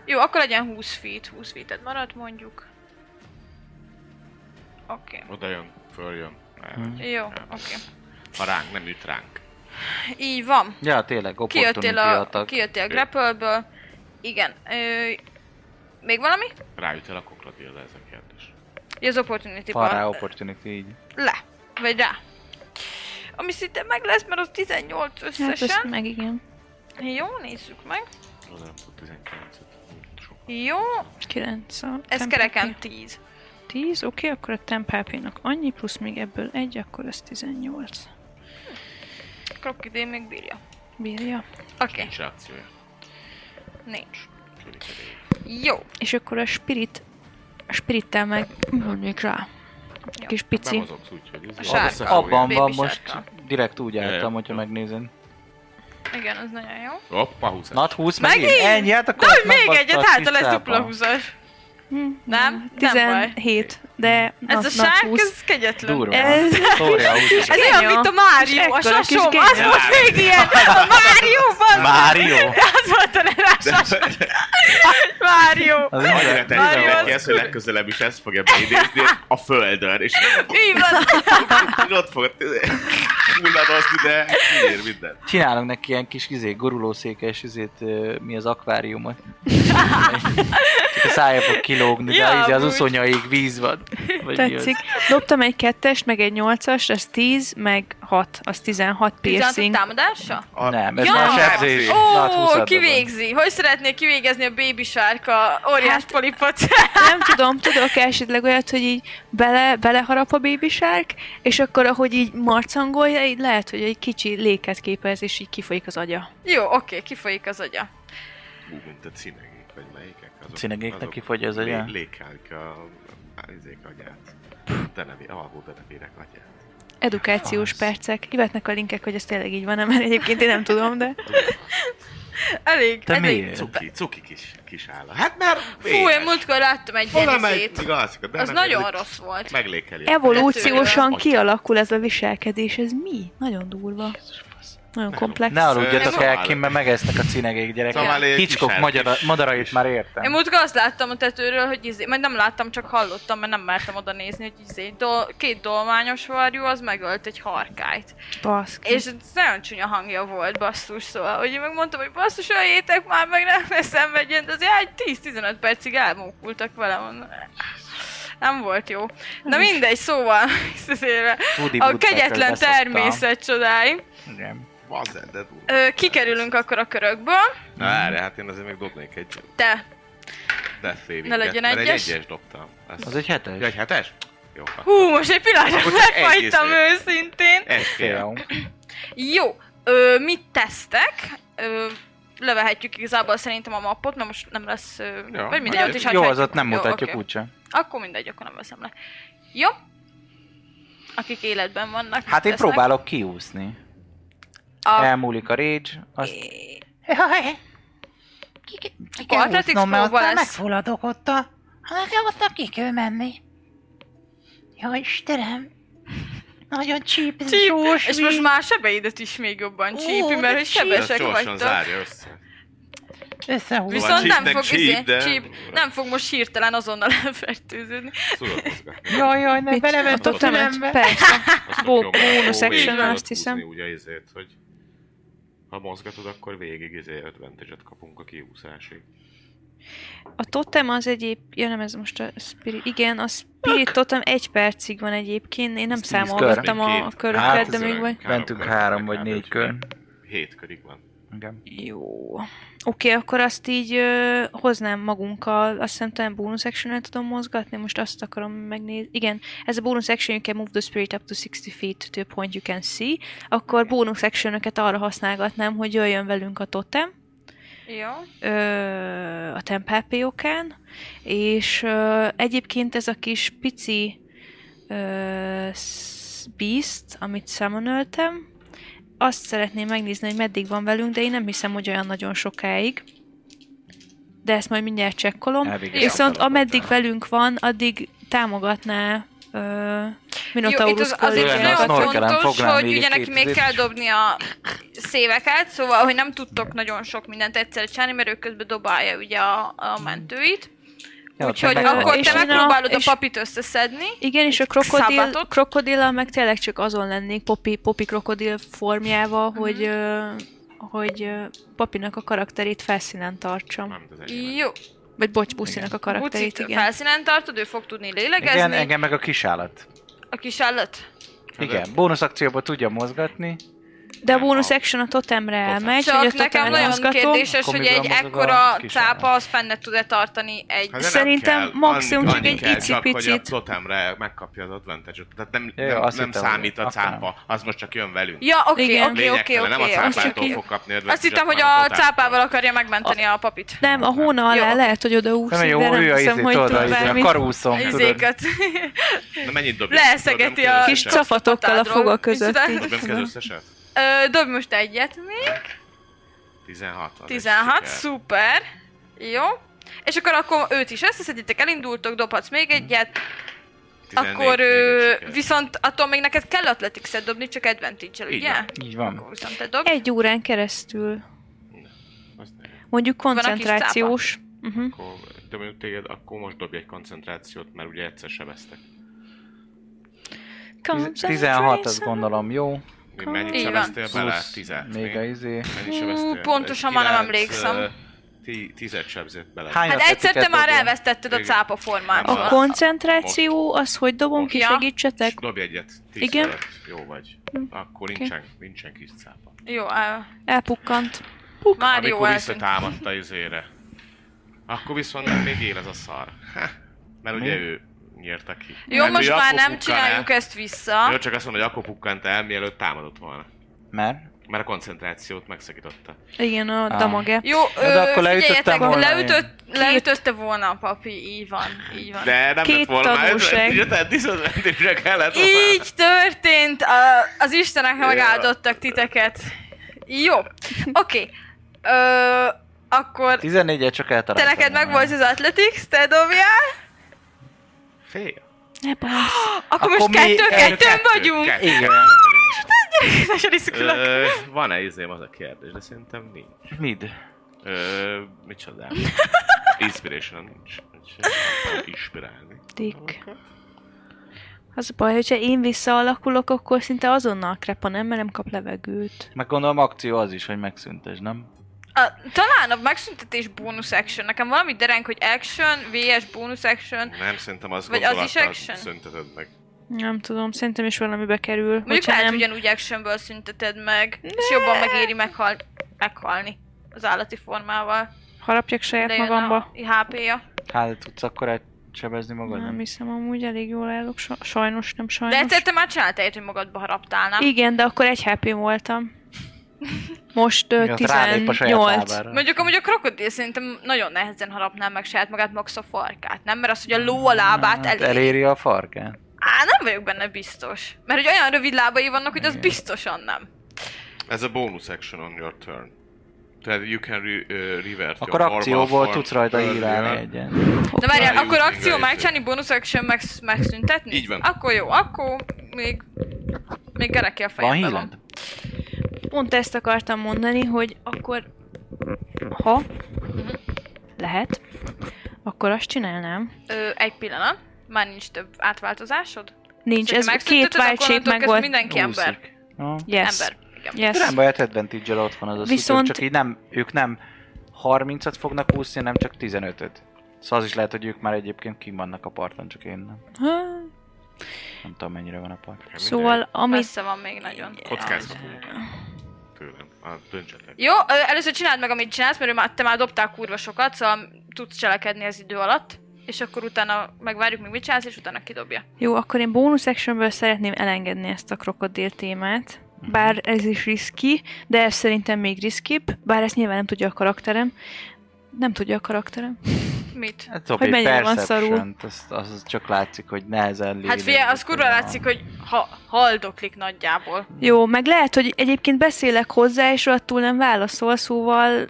S2: Jó, akkor legyen 20 feet, 20 feet marad mondjuk. Oké,
S3: Oda jön, följön. elmegy.
S2: jó, oké.
S3: Ha ránk, nem üt ránk.
S2: Így van.
S5: Ja, tényleg, opportunity
S2: Kijöttél a,
S5: attack.
S2: kijöttél a grapple-ből. Igen. Ö, még valami?
S3: Ráüt el a krokodil, de ez a kérdés.
S2: Ja, az opportunity
S5: Van rá
S2: bar.
S5: opportunity, így.
S2: Le. Vagy rá. Ami szinte meg lesz, mert az 18
S4: Hát ezt
S2: összesen.
S4: meg igen,
S2: Jó, nézzük meg.
S3: Oda nem tud 19-et. Sok.
S2: Jó,
S4: 9 a
S2: ez
S4: temp
S2: kereken
S4: HP.
S2: 10.
S4: 10, oké, okay, akkor a temp HP-nak annyi, plusz még ebből egy, akkor ez 18.
S2: Krokodil még bírja.
S4: Bírja.
S2: Oké, okay.
S3: Nincs reakciója.
S2: nincs.
S3: Csüli, csüli.
S2: Jó,
S4: És akkor a spirit, a spirittel meg mondjuk rá.
S2: Jó.
S4: Kis pici.
S3: Bemozogsz úgy, hogy ez
S2: A sárga.
S3: Abba-
S5: Abban
S2: Baby
S5: van
S2: sárga.
S5: most, direkt úgy álltam,
S3: Jaj.
S5: hogyha megnézed.
S2: igen, ez nagyon jó.
S3: Hoppa, 20
S5: Nagy 20
S2: Megint?
S5: megint? Ennyi, hát akkor
S2: Na,
S5: azt
S2: hogy még
S5: megbatta
S2: egyet,
S5: a
S2: hát lesz
S5: cicába.
S2: dupla húzás. Nem? Nem baj.
S4: 17, Hm, de
S2: Ez
S4: nat-
S2: a
S4: nat
S2: sárk,
S4: 20.
S2: ez kegyetlen.
S5: Durva.
S4: Ez-
S5: Szória,
S2: Ez olyan,
S4: Kenya.
S2: mint a Mário, a
S4: És ekkora kis
S2: sasom, az
S4: Kenya.
S2: volt még ilyen, a Mário van.
S5: Mário?
S2: Az volt a lerásás. Mário.
S3: Annyira tetszett
S2: Mário,
S3: neki
S2: az
S3: ez, hogy
S2: kurva.
S3: legközelebb is ezt fogja beidézni a földön, és
S2: Így van.
S3: ott fogod hulladozni, de kiír mindent.
S7: Csinálunk neki ilyen kis izé, gurulószékes izét, ö, mi az akváriumot. Csak a szája fog kilógni, de
S2: Ja,
S7: ja, izé, az
S2: amúgy.
S7: uszonyaig víz van. Vagy mi az?
S4: Tetszik. Loptam egy kettest, meg egy nyolcas, ez 10, meg 6, az 16
S2: Tizenhat
S4: piercing.
S2: támadása?
S3: A-
S7: Nem, ez
S2: Ja! hát,
S7: már sebzés. Nat 20
S2: Ó,
S7: -at dobod.
S2: kivégzi. Hogy szeretnék kivégezni a baby sárka óriás
S4: Hát-
S2: polipot?
S4: Nem tudom, tudok esetleg olyat, hogy így bele, beleharap a baby shark, és akkor ahogy így marcangolja, így lehet, hogy egy kicsi léket képez, és így kifolyik az agya.
S2: Jó, oké, kifolyik az agya.
S3: Ú, mint a cinegék, vagy melyikek azok.
S7: Cinegéknek
S3: azok
S7: kifogy az agya?
S3: lé- Lékelik a, a, a izék agyát. Denevi, alvó denevérek agyát.
S4: Edukációs percek. Kivetnek a linkek, hogy ez tényleg így van, mert egyébként én nem tudom, de...
S2: Elég,
S7: Te
S2: elég.
S7: miért?
S3: Cuki, cuki kis, kis állat. Hát mert
S2: Fú, én múltkor láttam egy
S3: Hol megy?
S2: genizét.
S3: Még alszik a
S2: Az
S3: denevér,
S2: nagyon
S3: hogy
S2: rossz volt.
S3: Meglékeli.
S4: Evolúciósan
S3: Ott.
S4: kialakul ez a viselkedés, ez mi? Nagyon durva. Nagyon komplex.
S7: Ne aludjatok
S2: Ez-
S7: el, kim, mert megesznek a cinegék
S3: Szóval
S7: gyerekek.
S3: egy
S7: Hicskok
S3: kis-
S7: magyara,
S3: kis-
S7: madarait
S3: kis-
S7: már értem.
S2: Én múltkor azt láttam a tetőről, hogy izé, majd nem láttam, csak hallottam, mert nem mertem oda nézni, hogy izé, do, két dolmányos varjú, az megölt egy harkályt.
S4: Baszki.
S2: És ez nagyon csúnya hangja volt, basszus, szóval, hogy én megmondtam, hogy basszus, öljétek már, meg nem ne szenvedjen, de azért egy 10-15 percig elmókultak vele, mondom. Nem volt jó. Na mindegy, szóval, visszatérve,
S7: Woody
S2: a
S7: Woodpecker
S2: kegyetlen
S7: beszoptam.
S2: természet csodái.
S7: Igen.
S3: Bazzed, de durva.
S2: Ö, kikerülünk akkor a körökből.
S3: Na erre, hát én azért még dobnék egy
S2: Te,
S3: death saving
S2: Ne legyen
S3: mert
S2: egyes.
S3: egy egyes dobtam. Ezt...
S7: Az egy hetes.
S3: Ja, egy hetes? Jó.
S2: hú, most egy pillanatra
S3: Akkor csak egy
S2: megfagytam
S3: izé.
S2: őszintén.
S3: Egy fél.
S7: Film.
S2: Jó, ö, mit tesztek? Ö, levehetjük igazából szerintem a mappot, mert most nem lesz... Ö,
S3: Jó,
S2: vagy mindegy,
S3: majd
S2: ott is
S7: Jó,
S2: hagyhatjuk.
S7: az ott nem
S2: Jó,
S7: mutatjuk
S2: oké.
S7: úgyse.
S2: Akkor mindegy, akkor nem veszem le. Jó. Akik életben vannak.
S7: Hát
S2: mit
S7: én
S2: tesznek?
S7: próbálok kiúszni.
S2: A
S7: Elmúlik a rage, azt
S6: Ki kell
S2: Athletics
S6: úsznom, mert
S2: próba
S6: aztán
S2: lesz.
S6: megfulladok ott a... Hát nekem aztán ki kell menni. Ja, Istenem. Nagyon csíp, ez
S2: csíp,
S6: sós
S2: és
S6: víz.
S2: most már sebeidet is még jobban csípi,
S6: Ó,
S2: mert
S6: de
S2: hogy
S6: csíp.
S3: Ezt
S2: sebesek
S3: gyorsan
S2: vagytok.
S3: zárja össze.
S6: Összehúz.
S3: Visz-
S2: Viszont nem
S3: csípnek
S2: fog,
S3: csíp,
S2: izé,
S3: de-
S2: csíp, nem fog most hirtelen azonnal elfertőződni.
S3: Tudod mozgatni.
S6: Jaj, jaj, ne
S4: Mit?
S6: belevett a
S4: Tudtam, hogy
S6: fülembe.
S4: Persze.
S3: Azt
S4: Bó-
S3: tök jó, mert
S4: bónusz
S3: akkor végig
S4: action,
S3: tudod
S4: azt hiszem.
S3: húzni Ugye ezért, hogy ha mozgatod, akkor végig izé advantage-et kapunk a kiúszásig.
S4: A totem az egyéb... Ja nem, ez most a spirit... Igen, a spirit totem egy percig van egyébként. Én nem
S7: Ez tíz
S4: számolgattam
S3: kör.
S4: a, a
S3: Két.
S4: köröket,
S7: Hát,
S4: de
S3: ez
S4: még
S3: olyan.
S4: vagy...
S7: mentünk
S3: kör,
S7: három
S3: kb.
S7: vagy négy
S3: kb.
S7: kör.
S3: Hét körig van.
S7: Igen.
S4: Jó. Oké, okay, akkor azt így ö, hoznám magunkkal, azt hiszem talán bonus action tudom mozgatni, most azt akarom megnézni. Igen, ez a bonus action, you can move the spirit up to 60 feet to a point you can see. Akkor bonus action arra használgatnám, hogy jöjjön velünk a totem,
S2: Jó.
S4: ö, a tempápiókán, és ö, egyébként ez a kis pici ö, sz- beast, amit summonöltem, azt szeretném megnézni, hogy meddig van velünk, de én nem hiszem, hogy olyan nagyon sokáig. De ezt majd mindjárt csekkolom.
S7: Elvégeztem
S4: Viszont
S7: a feladatot.
S4: ameddig velünk van, addig támogatná ö,
S2: Jó, itt
S4: Minotaurus
S2: az, azért
S7: Olyan,
S4: kollégiát.
S7: a
S2: nagyon
S7: snorkelen
S2: fontos,
S7: fognám
S2: hogy
S7: még
S2: ugye
S7: egy
S2: neki még
S7: két
S2: kell
S7: zip.
S2: dobni a széveket, szóval, hogy nem tudtok nagyon sok mindent egyszerre csinálni, mert ő közben dobálja ugye a, a mentőit.
S7: Ja, ott
S2: Úgyhogy
S7: meg
S2: akkor
S7: megvan.
S4: És
S2: te
S4: én a-
S2: megpróbálod a
S4: és-
S2: papit összeszedni.
S4: Igen, és a
S2: Egy
S4: krokodil,
S2: szabátot.
S4: krokodillal meg tényleg csak azon lennék, Poppy, Poppy krokodil formjával,
S2: Mhm.
S4: hogy, ö, hogy ö, Papinak a karakterét felszínen tartsam.
S3: Nem, ez egy.
S2: Jó.
S4: Vagy bocs, Buszinak a karakterét,
S2: Bucit
S4: igen.
S2: felszínen tartod, ő fog tudni lélegezni.
S7: Igen, engem meg a kisállat.
S2: A kis állat.
S7: Igen, bónusz akcióba tudja mozgatni.
S4: De a
S3: Nem,
S4: bonus
S3: a-
S4: action a totemre elmegy, hogy a
S2: Csak nekem
S4: totemre
S2: nagyon
S4: mozgatom.
S2: kérdéses,
S7: akkor
S2: hogy
S7: mivel
S2: egy
S7: mozog a
S2: ekkora
S7: kis
S2: cápa
S7: állat?
S2: az fenne tud-e tartani egy...
S3: Hát de nem
S4: Szerintem
S3: kell.
S4: maximum
S3: Annyi-
S4: csak
S3: annyi
S4: egy
S3: kell csak, hogy
S4: icipicit.
S3: a totemre megkapja az advantage Tehát nem,
S7: Jó,
S3: nem,
S7: azt
S3: nem
S7: hittem,
S3: számít
S7: hogy-
S3: a
S7: akkor nem.
S3: cápa, az most csak jön velünk.
S2: Ja, oké,
S4: Igen.
S2: oké, oké,
S3: Lényegtelen, nem a
S2: oké. azt csak
S3: cápától
S4: így-
S3: fog kapni
S2: Azt hittem, hogy
S3: hanem
S2: a
S3: totától.
S2: cápával akarja megmenteni a papit.
S4: Nem, a hóna
S2: Jó.
S4: alá lehet, hogy odaúszik,
S7: Nem,
S4: de
S7: jó,
S4: nem
S7: ő a
S4: hiszem,
S7: izé,
S4: hogy
S7: tudod,
S4: tud
S7: a izé, a
S4: bármit.
S7: karúszom, tudod.
S2: Izéket.
S3: Na mennyit dobjuk?
S2: Leeszegeti
S3: Dobjam ki
S2: a
S3: az
S4: Kis
S3: összeset?
S4: csafatokkal a foga között.
S2: Micsoda?
S4: így.
S3: Dobjam ki az összeset?
S2: Ö, Dobj most egyet még.
S3: 16. az egy
S2: 16,
S3: siker.
S2: szuper. Jó. És akkor, akkor őt is összeszeditek, elindultok, dobhatsz még egyet,
S3: 14
S2: akkor ö,
S3: még egy siker.
S2: viszont attól még neked kell athletics dobni, csak advantage
S3: Így
S2: ugye?
S3: van.
S7: Így van.
S2: Akkor viszont te dob.
S4: Egy órán keresztül.
S3: Azt ne-
S4: Mondjuk
S2: a kis
S4: koncentrációs. Uh-huh.
S3: Akkor, de mondjuk téged, akkor most dobj egy koncentrációt, mert ugye egyszer sebeztek.
S7: Tiz- 16, azt gondolom, jó.
S3: Még mennyit
S2: Így van.
S3: sebeztél bele?
S7: Plusz
S3: Tizet.
S7: Még a izé.
S3: Mennyit
S2: Hú,
S3: sebeztél? Ez
S2: pontosan már nem
S3: kilenc,
S2: emlékszem.
S3: ö, ti- Tizet sebzett bele.
S7: Hány
S2: Hát egyszer te
S7: atleticet
S2: már
S7: dobjál?
S2: elvesztetted a
S3: Igen.
S2: cápa formát.
S3: Nem
S4: A
S3: Most.
S4: koncentráció, az hogy dobom
S3: Most.
S4: ki,
S2: Ja.
S4: segítsetek?
S3: Dobj egyet. Tíz
S4: Igen.
S3: Igen. Fölött. Jó vagy. Akkor nincsen, nincsen kis cápa.
S2: Jó, á,
S4: Elpukkant.
S2: már jó
S3: Amikor
S2: elszűnt.
S3: visszatámadta izére. Akkor viszont nem még él ez a szar. Ha, Mert ugye ő nyerte ki.
S2: Jó,
S3: Hát,
S2: most
S3: ő
S2: már
S3: akkor
S2: nem
S3: pukkan
S2: csináljuk
S3: el.
S2: ezt vissza.
S3: Jó, csak azt mondom, hogy akkor pukkant el, mielőtt támadott volna.
S7: Mert?
S3: Mert a koncentrációt megszakította.
S4: Igen, a damage.
S2: Jó, ö,
S7: de akkor leütöttem
S2: figyeljetek,
S7: volna
S2: leütött, leütötte volna a papi, így van, így van.
S3: De nem
S4: Két
S3: lett volna, ez
S4: tanulság.
S3: tehát disadvantage kellett volna.
S2: Így történt, a, az Istenek megáldottak titeket. Jó, oké. Ö, Akkor
S7: 14-et csak
S2: te
S7: eltaláltam.
S2: neked meg
S7: volna.
S2: volt az Athletics, te dobjál,
S3: Fél.
S4: Ne bánsz.
S2: akkor,
S7: Akkor
S2: most
S7: mi
S2: kettő-kettőn
S3: Kettő,
S2: vagyunk.
S3: kettő.
S7: Igen.
S2: Nagyon iszkulak.
S3: Ö, Van-e izém az a kérdés, de szerintem nincs.
S7: Mid?
S3: Ö, micsoda? Inspiration nincs. Úgyhogy nem tudom Inspirálni.
S4: Dick. Az a baj, hogyha én visszaalakulok, akkor szinte azonnal krepa, nem? Mert nem kap levegőt.
S7: Meg gondolom akció az is, hogy megszüntes, nem?
S2: A, talán a megszüntetés bónusz action. Nekem valami derenk, hogy action, VS bónusz action.
S3: Nem, szerintem az
S2: Vagy az is
S3: gondolattal
S2: action?
S3: szünteted meg.
S4: Nem tudom, szerintem is valamibe kerül.
S2: Mondjuk
S4: hogyha
S2: lehet,
S4: nem...
S2: ugyanúgy actionből szünteted meg, és jobban megéri meghal, meghalni az állati formával.
S4: harapjak saját
S2: De jön
S4: magamba.
S2: a HP-ja.
S7: Hát tudsz akkor elsebezni magad?
S4: Nem
S7: Nem.
S4: hiszem, amúgy elég jól állok. so- Sajnos, nem
S2: De
S4: sajnos.
S2: egyszer te már csináltál ilyet, hogy magadba haraptál, nem?
S4: Igen, de akkor egy happy voltam. Most ö,
S7: Miatt rálép a saját
S4: 18.
S7: lábára.
S2: Mondjuk amúgy a krokodil szerintem nagyon nehezen harapná meg saját magát, max a farkát, nem? Mert az, hogy a ló a lábát
S7: Hát
S2: elé...
S7: eléri a farkát.
S2: Á, nem vagyok benne biztos. Mert hogy olyan rövid lábai vannak, hogy az biztosan nem.
S3: Ez a bonus action on your turn. Tehát you can re, uh, revert
S7: Akkor
S3: your normal
S7: akcióból
S3: form
S7: tudsz rajta
S3: earlier.
S7: írálni egyen.
S2: De várjál,
S3: Rájövünk
S2: akkor akció
S3: mindenre.
S2: megcsinálni, bonus action meg, megszüntetni?
S3: Így van.
S2: Akkor jó, akkor még... Még gereki a
S7: Van
S2: fejembe
S7: híled?
S2: van.
S4: Pont ezt akartam mondani, hogy akkor ha
S2: Mhm.
S4: lehet, akkor azt csinálnám.
S2: Ö, egy pillanat. Már nincs több átváltozásod?
S4: Nincs,
S2: Hogyha
S4: ez
S2: megszünteted,
S4: két
S2: akkor
S4: váltség
S2: onnantól
S4: meg
S2: kezdve
S4: volt.
S2: Mindenki ember.
S7: Úszik. Ja.
S4: Yes.
S2: Ember. Igen.
S4: Yes.
S7: Nem baj, hát advantage ott van az a Viszont...
S4: Viszont-
S7: csak így nem, ők nem 30-at fognak úszni, nem csak 15-öt. Szóval az is lehet, hogy ők már egyébként kim vannak a parton, csak én nem.
S4: Ha,
S7: Nem tudom, mennyire van a part.
S3: Mindegy.
S4: Szóval, amit...
S2: Messze van még nagyon.
S3: Kockázhatunk. Tőlem. Ah, döntsetek.
S2: Jó, ö, először csináld meg, amit csinálsz, mert ő már, te már dobtál kurva sokat, szóval tudsz cselekedni az idő alatt. És akkor utána megvárjuk, míg mit csinálsz, és utána kidobja.
S4: Jó, akkor én bónusz actionből szeretném elengedni ezt a krokodil témát. Bár ez is riski, de ez szerintem még riskibb, bár ezt nyilván nem tudja a karakterem. Nem tudja a karakterem.
S2: Mit?
S7: Hát, hogy
S4: Hogy mennyire van
S7: Az, az, csak látszik, hogy nehezen lévő.
S2: Hát figyelj, az kurva látszik, hogy ha, haldoklik nagyjából.
S4: Jó, meg lehet, hogy egyébként beszélek hozzá, és rohadtul nem válaszol, szóval...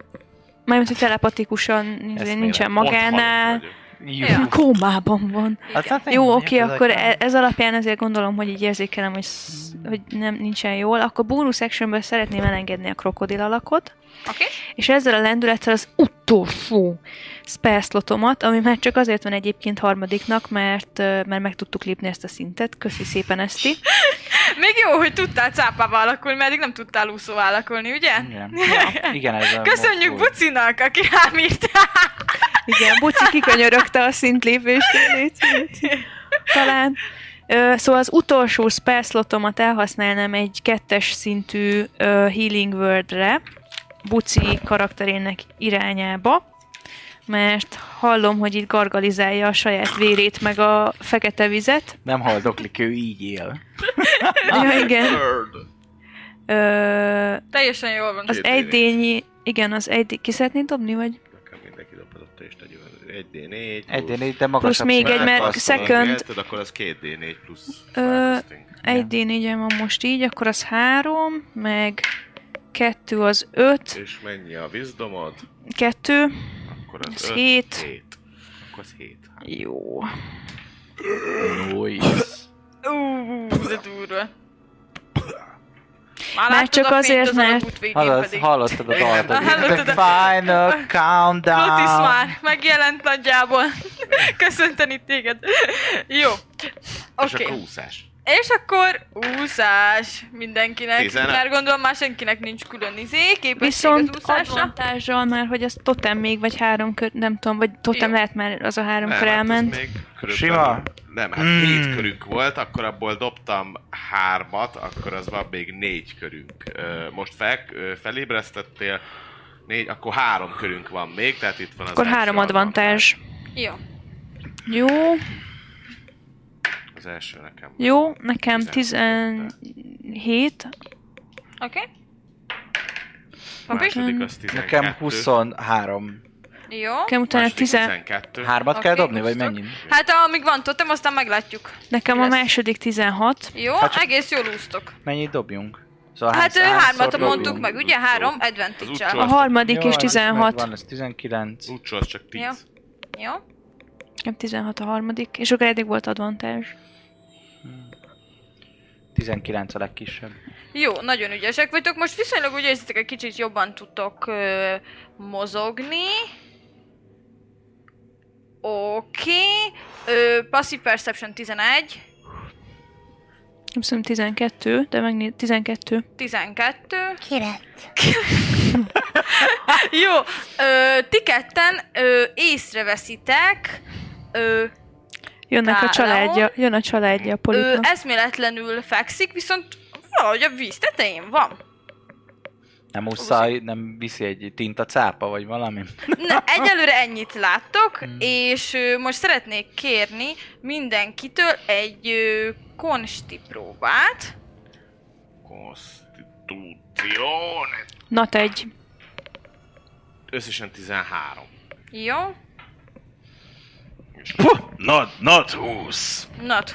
S4: Mármint, hogy telepatikusan
S7: Eszmélek.
S4: nincs- nincsen
S3: Ott halott
S4: magánál.
S3: vagyok.
S2: Ja.
S4: Kómában van.
S7: Hát, hát
S4: Jó,
S7: ennyi,
S4: oké,
S7: ez
S4: akkor
S7: a-
S4: e- ez alapján ezért gondolom, hogy így érzékelem, hogy, sz- hogy nem nincsen jól. Akkor bónusz actionből szeretném elengedni a krokodil alakot.
S2: Oké?
S4: És ezzel a lendülettel az utolsó spellslotomat, ami már csak azért van egyébként harmadiknak, mert, ö, mert meg tudtuk lépni ezt a szintet. Köszi szépen, Eszti.
S2: Még jó, hogy tudtál cápába alakulni, mert eddig nem tudtál úszó alakulni, ugye?
S7: Igen, ja, igen ez a
S2: Köszönjük
S7: most új.
S2: Bucinak, aki rám írt.
S4: Igen, Buci kikönyörögte a szintlépést. légy szíves. Talán. Ö, Szóval az utolsó spellslotomat elhasználnám egy kettes szintű ö, Healing Wordre, Buci karakterének irányába, mert hallom, hogy itt gargalizálja a saját vérét, meg a fekete vizet,
S7: Nem haldoklik, ő így él.
S4: Ja, igen.
S3: Bird.
S4: Ö,
S2: Teljesen jól van.
S4: az egydényi... Igen, az egy Ki szeretnéd dobni, vagy?
S3: Nekem mindenki dobhatott és tegyük. 1D4
S7: Egyén így, de magasabb
S4: Plusz még
S7: szintű.
S4: egy, mert
S3: Azt mondod,
S4: second-
S3: érted, akkor az 2D4 plusz
S4: Ö,
S3: változtunk.
S4: Egy d 4 van most így, akkor az három, meg kettő az öt,
S3: És mennyi a vízdomod?
S4: kettő,
S3: Akkor
S4: Az
S3: az 5,
S4: hét.
S3: 7. az 7.
S4: Jó.
S5: Nice.
S2: Ú, de durva. Már,
S4: Már
S2: láttad
S4: csak
S2: a fényt
S4: azért,
S2: az
S4: mert-
S2: alagút végén
S7: Hallasz,
S2: pedig.
S7: hallottad a dalt.
S2: Na, hallottad
S7: The
S2: a-
S7: final
S2: Plutis
S7: countdown.
S2: már megjelent nagyjából. Köszönteni téged. Jó.
S3: És
S2: Oké.
S3: akkor
S2: Okay.
S3: úszás.
S2: És akkor úszás mindenkinek.
S3: Tizenegy.
S2: Mert gondolom már senkinek nincs külön izé, képesség
S4: Viszont
S2: az úszásra.
S4: advantással már, hogy az totem még, vagy három kör, nem tudom, vagy totem
S2: Jó.
S4: lehet már az a három
S3: Nem,
S4: kör
S3: hát az
S4: elment.
S3: még körülbelül-
S7: Sima?
S3: Nem, hát
S7: Mm.
S3: hét körünk volt, akkor abból dobtam hármat, akkor az van még négy körünk. Ö, Most fel, ö, felébresztettél, négy, akkor három körünk van még, tehát itt van az
S4: Akkor
S3: első
S4: három advantázs.
S2: Jó.
S4: Jó,
S3: Az első nekem.
S4: jó, nekem
S3: 17.
S4: 17,
S2: Oké. Okay.
S3: A
S2: Papi?
S3: második az 12.
S5: Nekem 23.
S2: Jó.
S4: nekem utána
S3: Második
S4: 10,
S3: 12.
S5: Hármat kell
S2: Oké,
S5: dobni, vagy
S2: húztok.
S5: mennyit?
S2: Hát amíg van totem, aztán meglátjuk.
S4: nekem a
S2: lesz?
S4: második 16,
S2: Jó,
S5: Hát csak-
S2: egész jól úsztok.
S5: Mennyit dobjunk? Szóval
S2: Hát ő hármat
S5: hányszor
S2: mondtuk
S5: dobjunk?
S2: meg, ugye?
S3: Jó.
S2: Három
S3: Az
S2: advantage
S4: a
S3: utolsó.
S4: harmadik és
S5: Nyolc,
S4: 16.
S5: Megvan, ez 19.
S3: Lucsó az csak 10.
S2: Jó. Jó.
S4: Nekem 16 a harmadik, és akkor eddig volt advantage.
S5: 19 a legkisebb.
S2: Jó, nagyon ügyesek vagytok. Most viszonylag úgy érzitek, egy kicsit jobban tudtok ö, mozogni. Oké. Ö, Passive Perception 11,
S4: Nem hiszem 12, de megnéz 12.
S2: 12.
S6: Kilenc.
S2: Jó, ö, ti ketten ö, észreveszitek, ö,
S4: Jönnek a
S2: Káló.
S4: családja, jön a családja a
S2: ö, e-
S4: polipnak.
S2: eszméletlenül fekszik, viszont valahogy a víz tetején van.
S5: Nem muszáj, nem viszi egy tinta cápa, vagy valami?
S2: Na, egyelőre ennyit láttok,
S5: Hmm.
S2: és ö, most szeretnék kérni mindenkitől egy ö, konsti próbát.
S3: Konstitúció.
S4: Nat egy.
S3: Összesen 13.
S2: Jó?
S3: Nad, nad 20.
S2: Na, t-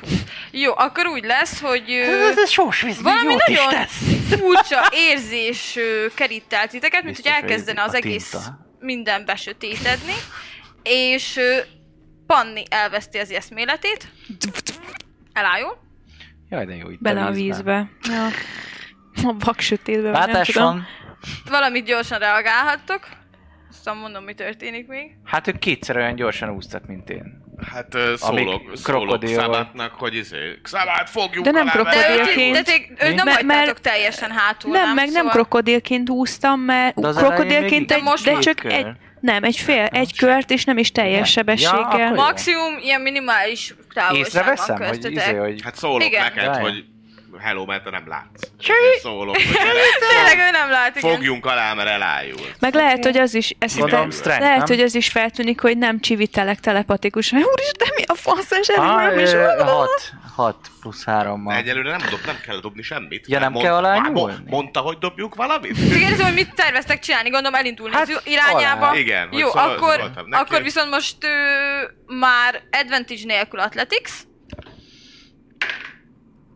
S2: jó, akkor úgy lesz, hogy... ö,
S6: Ez, ez sós víz, még
S2: Valami
S6: jót
S2: nagyon
S6: is tesz.
S2: furcsa érzés ö, kerít el titeket, mint hogy
S5: Biztos, hogy
S2: elkezdene
S5: a
S2: az egész
S5: tinta.
S2: minden besötétedni, és ö, Panni elveszti az eszméletét, elájul,
S5: Jaj, de jó itt
S4: Bele a vízbe. Ja. A vak sötétbe, vagy nem
S5: Látás
S4: tudom.
S5: van.
S2: valamit gyorsan reagálhattok, aztán mondom, mi történik még.
S5: Hát ők kétszer olyan gyorsan úsztak, mint én.
S3: Hát ö, szólok, szólok
S5: krokodil vagy.
S3: Xabátnak, hogy izé, Xabát fogjuk
S4: De nem
S3: alá,
S4: krokodil.
S2: De
S3: vezetjük.
S2: őt,
S4: Krokodilként.
S2: de tég, őt nem
S4: Mert-
S2: hagytátok
S4: mert-
S2: teljesen hátul,
S4: Nem, meg nem
S2: Szóval-
S4: krokodilként úsztam, mert
S5: De az elején
S4: krokodilként
S5: még
S4: egy,
S2: így- De most
S4: de
S2: már-
S4: csak
S5: Kör.
S4: egy, nem, egy fél, egy kört, és nem is teljes
S5: Ja, akkor
S4: sebességgel.
S5: jó.
S2: Maximum ilyen minimális távolságban
S5: Észreveszem, hogy
S2: köztetek.
S5: izé, hogy
S3: Hát szólok
S2: Igen.
S3: neked,
S5: Jaj.
S3: hogy hello, mert te nem látsz.
S6: Csí!
S3: Ezért Szólok, hogy gyere,
S2: Tényleg ő nem lát, igen.
S3: fogjunk alá, mert elájul.
S4: Meg lehet, hogy az is, ezt
S3: Gondolom,
S4: te-
S5: strength,
S4: lehet,
S5: nem?
S4: hogy az is feltűnik, hogy nem csivitelek telepatikusan. Úristen, mi a faszon, és elindulom, és...
S5: 6, 6 plusz 3
S3: De
S5: mal
S3: egyelőre nem dob, nem kell dobni semmit.
S5: Ja, nem
S3: Mond-
S5: kell alá
S3: Már mo-
S5: nyúlni?
S3: Mondta, hogy dobjuk valamit?
S2: Csak kérdezem, hogy mit terveztek csinálni, gondolom elindulni
S5: Hát,
S2: hát, az irányába.
S5: alá.
S3: Igen, hogy
S2: Jó,
S3: szóval-
S2: akkor,
S3: szóltam neki.
S2: akkor viszont most ö, már advantage nélkül athletics.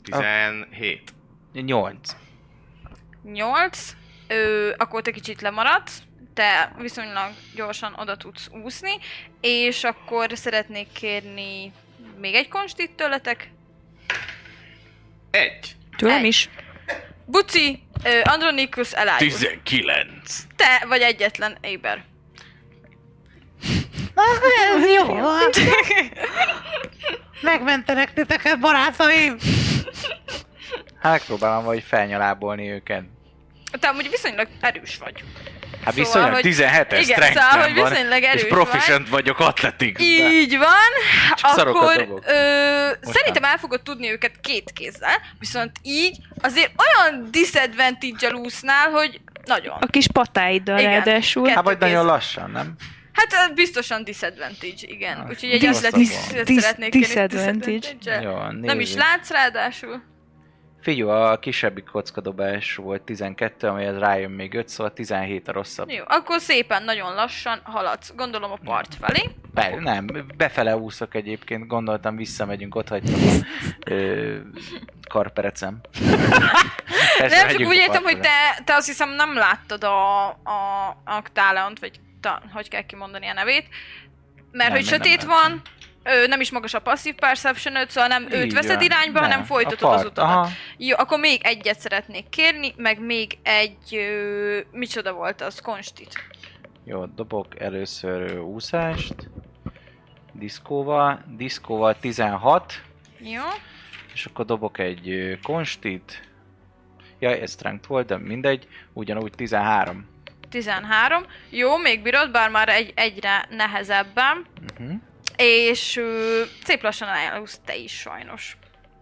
S3: 17.
S5: 8.
S2: 8. Ö, akkor te kicsit lemaradsz, te viszonylag gyorsan oda tudsz úszni, és akkor szeretnék kérni még egy konstit tőletek.
S3: Egy.
S4: Tőlem is.
S2: Buci, ö, Andronikus elájul.
S3: 19.
S2: Te vagy egyetlen éber.
S6: Na, ez jó volt. Megmentenek titeket, barátaim.
S5: Hát megpróbálom valahogy felnyalábolni őket.
S2: Te amúgy viszonylag erős vagy. Szóval,
S5: Hát viszonylag
S2: hogy-
S5: 17-es
S2: igen,
S5: strength
S2: szóval, hogy
S5: van,
S2: viszonylag erős
S5: és proficient vagyok atletikben.
S2: Így van,
S5: Csak szarokat
S2: akkor
S5: dobok.
S2: ö, szerintem el fogod tudni őket két kézzel, viszont így azért olyan disadvantage-el úsznál, hogy nagyon.
S4: A kis patáiddal
S2: Igen.
S4: ráadásul.
S2: Kettő
S5: Hát vagy nagyon
S2: kéz.
S5: lassan, nem?
S2: Hát ö, biztosan disadvantage, igen.
S5: Ah,
S2: Úgyhogy egy
S5: dis-
S2: athletics
S5: dis-
S4: dis-
S2: szeretnék kérni
S4: disadvantage.
S2: disadvantage-el.
S5: Jó,
S2: Nem is
S5: nézzük.
S2: látsz ráadásul.
S5: Figyú, a kisebbik kockadobás volt 12, amelyet rájön még 5, szóval 17 a rosszabb.
S2: Jó, akkor szépen nagyon lassan haladsz, gondolom a part felé.
S5: Be, nem, befele úszok egyébként, gondoltam visszamegyünk, ott hagytam a ö, karperecem. Persze,
S2: Nem, csak
S5: megyünk
S2: úgy
S5: a
S2: értem, hogy
S5: partra.
S2: te, te azt hiszem nem láttad a, a, a Talent, vagy ta, hogy kell kimondani a nevét, Mert
S5: Nem,
S2: hogy
S5: nem,
S2: sötét
S5: nem.
S2: van, ő nem is magas a passzív perception szóval nem őt
S5: Így
S2: veszed
S5: van.
S2: irányba,
S5: Nem,
S2: hanem
S5: a
S2: folytatod az
S5: part,
S2: utadat.
S5: aha.
S2: Jó, akkor még egyet szeretnék kérni, meg még egy... Ö, micsoda volt az? Konstit.
S5: Jó, dobok először ö, úszást. Diszkóval. Diszkóval 16.
S2: Jó?
S5: És akkor dobok egy ö, konstit. Jaj, ez strength volt, de mindegy. Ugyanúgy 13.
S2: 13. Jó, még bírod, bár már egy, egyre nehezebben.
S5: Uh-huh.
S2: És ö, szép lassan elállulsz te is sajnos.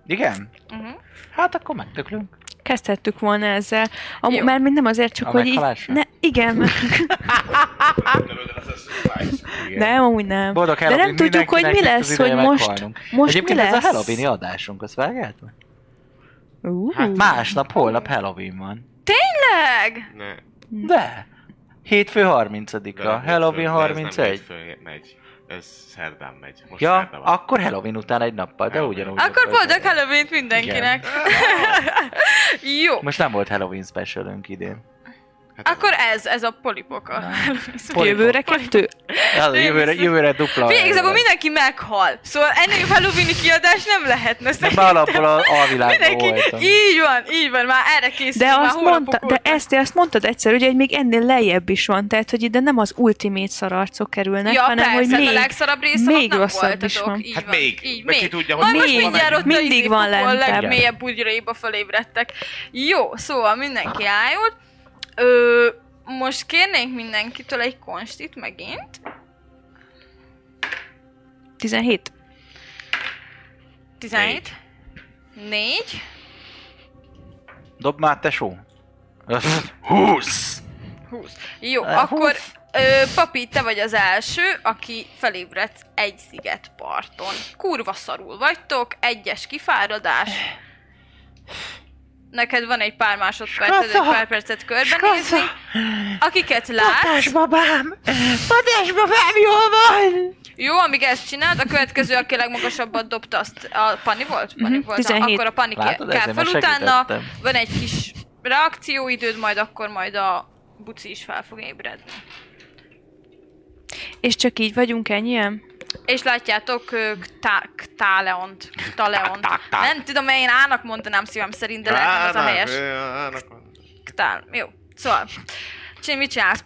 S5: Igen?
S2: Uh-huh.
S5: Hát akkor megtöklünk.
S4: Kezdhettük volna ezzel. Amú,
S2: Jó.
S4: már még nem azért, csak
S5: A
S4: hogy így...
S5: meghalásra?
S4: Ne, igen,
S5: Igen.
S4: nem, amúgy nem.
S5: Boldog
S4: De nem
S5: Halloween
S4: tudjuk, hogy mi
S5: mindenkinek, az
S4: lesz, hogy
S5: ideje
S4: most,
S5: meghalnunk.
S4: most mi
S5: Egyébként
S4: lesz.
S5: ez a halloween adásunk, azt vágjátok?
S4: Ú,
S5: Hát másnap, holnap Halloween van.
S2: Leg!
S3: Ne,
S5: De! Hétfő 30-a,
S3: de hétfőn-
S5: Halloween
S3: de ez nem
S5: 31.
S3: hétfőn megy. Ez szerdán megy. Most
S5: Ja,
S3: szerda van.
S5: akkor Halloween után egy nappal, de
S3: Halloween.
S5: ugyanúgy.
S2: Akkor
S5: volt
S2: boldog
S5: ez.
S2: halloween mindenkinek! Jó,
S5: Most nem volt Halloween specialünk idén.
S3: Hát
S2: akkor ez, ez a polipok a
S4: jövőre kettő?
S5: Ja, jövőre, jövőre dupla.
S2: Végigzabban mindenki meghal. Szóval ennél jobb halloween kiadás nem lehetne
S5: De
S2: szerintem.
S5: alapból a, a világban
S2: Mindenki,
S5: voltam.
S2: így van, így van, már erre készül,
S4: De
S2: már
S4: azt
S2: hónapok
S4: mondta, de
S2: óta.
S4: ezt, te azt mondtad egyszer, ugye, hogy még ennél lejjebb is van, tehát, hogy ide nem az ultimate szararcok kerülnek,
S2: ja,
S4: hanem,
S2: persze, hát
S4: hogy
S2: a
S4: még...
S2: legszarabb része
S4: még
S2: nem
S4: rosszabb
S2: voltatok.
S4: is van.
S2: Így
S3: Hát
S2: van,
S3: még,
S2: így,
S3: meg ki
S2: még.
S3: tudja, hogy
S2: Majd most
S4: még.
S2: mindjárt ott a
S4: Mindig
S2: izé
S4: van
S2: pokol
S4: lentebb.
S2: legmélyebb bugyraiba fölébredtek. Jó, szóval mindenki ájult. Ö, most kérnénk mindenkitől egy konstit megint.
S4: 17.
S2: 17. 4.
S5: Dob már, tesó. Húsz!
S2: 20. Jó,
S5: Eh,
S2: akkor ö, Papi, te vagy az első, aki felébredsz egy sziget parton. Kurva szarul vagytok, egyes kifáradás. Neked van egy pár másodpercet, egy pár percet körbenézni. Akiket látsz,
S6: Babám! Padás babám, jól van!
S2: jó, amíg ezt csináld, a következő, aki legmagasabbat dobta, azt a Pani volt? Pani
S4: Mhm,
S2: volt,
S4: 17.
S2: akkor a Pani
S5: Látod,
S2: kell
S5: ezzel már
S2: fel utána,
S5: segítettem.
S2: van egy kis reakcióidőd, majd akkor majd a buci is fel fog ébredni.
S4: És csak így vagyunk ennyien?
S2: És látjátok ö, Ktá- Ktáleont. Ktáleont. Nem tudom, én ának mondanám szívem szerint, de lehet nem az a
S3: Ának,
S2: helyes.
S3: ö, ának van.
S2: Ktál. Jó. Szóval. Csin, mit csinálsz?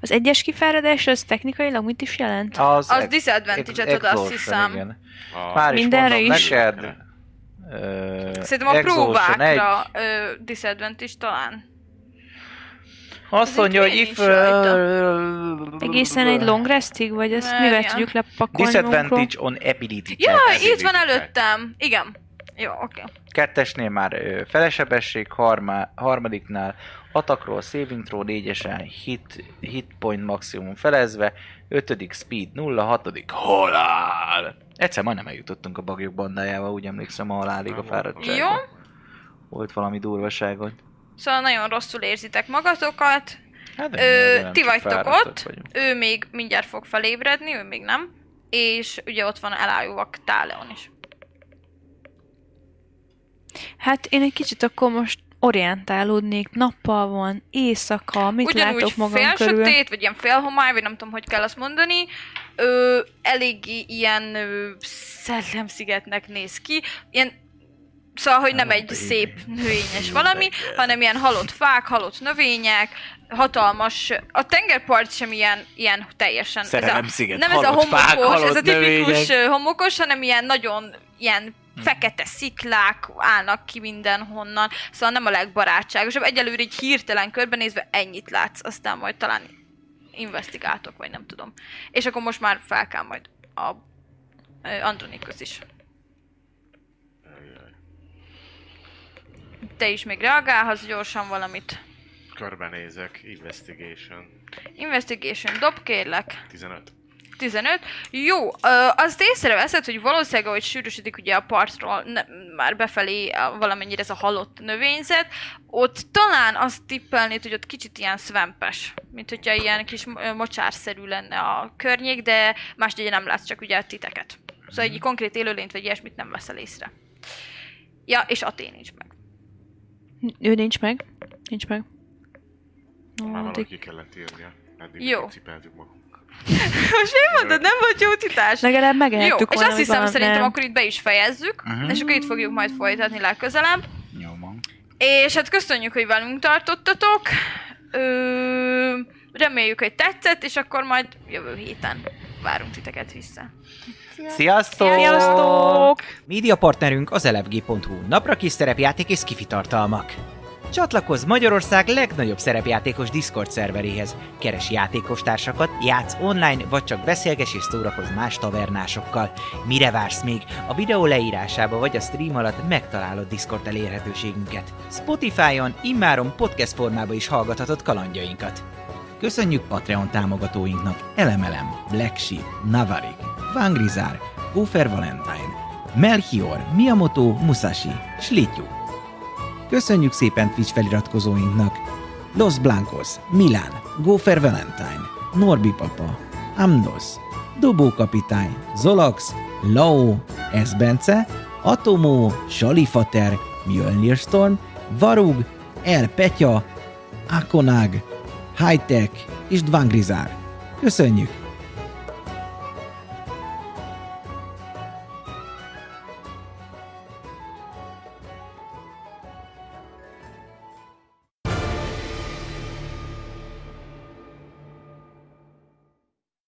S4: Az egyes kifáradás az technikailag mit is jelent?
S5: Az,
S2: Az
S5: ex-
S2: disadvantage-et
S5: ex-
S2: ad, azt
S5: exhaustion,
S2: hiszem.
S5: igen.
S3: A-
S5: Már is
S4: Mindenre
S5: mondom,
S4: is.
S5: neked. Ö,
S2: Szerintem a
S5: exhaustion egy.
S2: próbákra ö, disadvantage talán.
S5: Azt
S2: Ez
S5: mondja,
S2: itt
S5: hogy
S2: én
S5: if...
S2: is rajta.
S5: ö,
S4: Egészen egy long restig, vagy ezt
S2: Nem,
S4: mivel
S2: ja.
S4: tudjuk lepakolni magunkról?
S5: Disadvantage on ability
S2: Ja,
S5: check.
S2: itt van
S3: ability check.
S2: előttem. Igen. Jó, oké.
S5: Kettesnél már ö, felesebesség, harma, harmadiknál atakról, saving throw, négyesen hit, hit point maximum felezve, ötödik speed nulla, hatodik halál. Egyszer majdnem eljutottunk a bagyok bandájába, úgy emlékszem a halálig a
S3: Nem Csak.
S5: fáradtság.
S2: Jó.
S5: Volt valami durvaságot.
S2: Szóval nagyon rosszul érzitek magatokat.
S5: Hát, de
S2: Ö,
S5: nyilván
S2: ti
S5: csak
S2: vagytok
S5: fáradtak
S2: ott,
S5: vagyunk.
S2: ő még mindjárt fog felébredni, ő még nem. És ugye ott van elájúva Ktáleon is.
S4: Hát én egy kicsit akkor most orientálódnék, nappal van, éjszaka, mit látok magam
S2: fél
S4: körül?
S2: sötét, vagy ilyen fél homály, vagy nem tudom, hogy kell azt mondani, ö, eléggé ilyen ö, szellemszigetnek néz ki, ilyen Szóval, hogy nem egy szép növényes valami, hanem ilyen halott fák, halott növények, hatalmas... A tengerpart sem ilyen, ilyen teljesen... ez a-
S5: Szerelemsziget,
S2: Nem ez a
S5: halott fák,
S2: homokos, ez a
S5: halott
S2: tipikus
S5: növények. Hm.
S2: ö, homokos, hanem ilyen nagyon ilyen fekete sziklák állnak ki mindenhonnan, szóval nem a legbarátságosabb. Egyelőre így hirtelen körbenézve ennyit látsz, aztán majd talán investigáltok, vagy nem tudom. És akkor most már fel kell majd a ö, Andronikus is. Te is még reagálhatsz gyorsan valamit.
S3: Körbenézek, investigation.
S2: Investigation dob, kérlek.
S3: 15.
S2: 15. Jó, ö, azt észreveszed, hogy valószínűleg, ahogy sűrűsödik ugye a partról, ne, már befelé a- valamennyire ez a halott növényzet, ott talán azt tippelnéd, hogy ott kicsit ilyen szvempes, mint hogyha ilyen kis mo- ö, mocsárszerű lenne a környék, de más ugye nem látsz csak ugye a titeket. Szóval egy konkrét élőlényt vagy ilyesmit nem veszel észre. Ja, és Atén nincs meg.
S4: Ő nincs meg. Nincs meg.
S3: Már
S4: No,
S3: valaki
S4: addig
S3: ki kellett írnia. Eddig
S2: Jó.
S3: Jó. cipeltük magunk.
S2: Most mi mondod, nem volt jó titás?
S4: Legalább
S2: Jó,
S4: megehettük
S2: és
S4: volna,
S2: azt
S4: hogy
S2: hiszem
S4: valami-
S2: szerintem
S4: nem.
S2: akkor itt be is fejezzük,
S7: Mhm.
S2: és akkor itt fogjuk majd folytatni legközelebb.
S7: Jó van.
S2: És hát köszönjük, hogy velünk tartottatok. Ö, reméljük, hogy tetszett, és akkor majd jövő héten várunk titeket vissza.
S5: Sziasztok!
S4: Sziasztok!
S1: Média partnerünk az elefg.hu, napra kis szerepjáték és kifi tartalmak. Csatlakozz Magyarország legnagyobb szerepjátékos Discord szerveréhez. Keres játékostársakat, játsz online, vagy csak beszélges és szórakozz más tavernásokkal. Mire vársz még? A videó leírásába vagy a stream alatt megtalálod Discord elérhetőségünket. Spotify-on immáron podcast formába is hallgathatod kalandjainkat. Köszönjük Patreon támogatóinknak Elemelem, Black Sheep, Navarik, Vangrizár, Ufer Valentine, Melchior, Miyamoto, Musashi, Slityu. Köszönjük szépen Twitch feliratkozóinknak Los Blancos, Milán, Gófer Valentine, Norbi Papa, Amnos, Dobó Kapitány, Zolax, Lao, Esbence, Atomó, Salifater, Mjölnir Storm, Varug, El Petya, Akonag, Hightech és Dvangrizár. Köszönjük!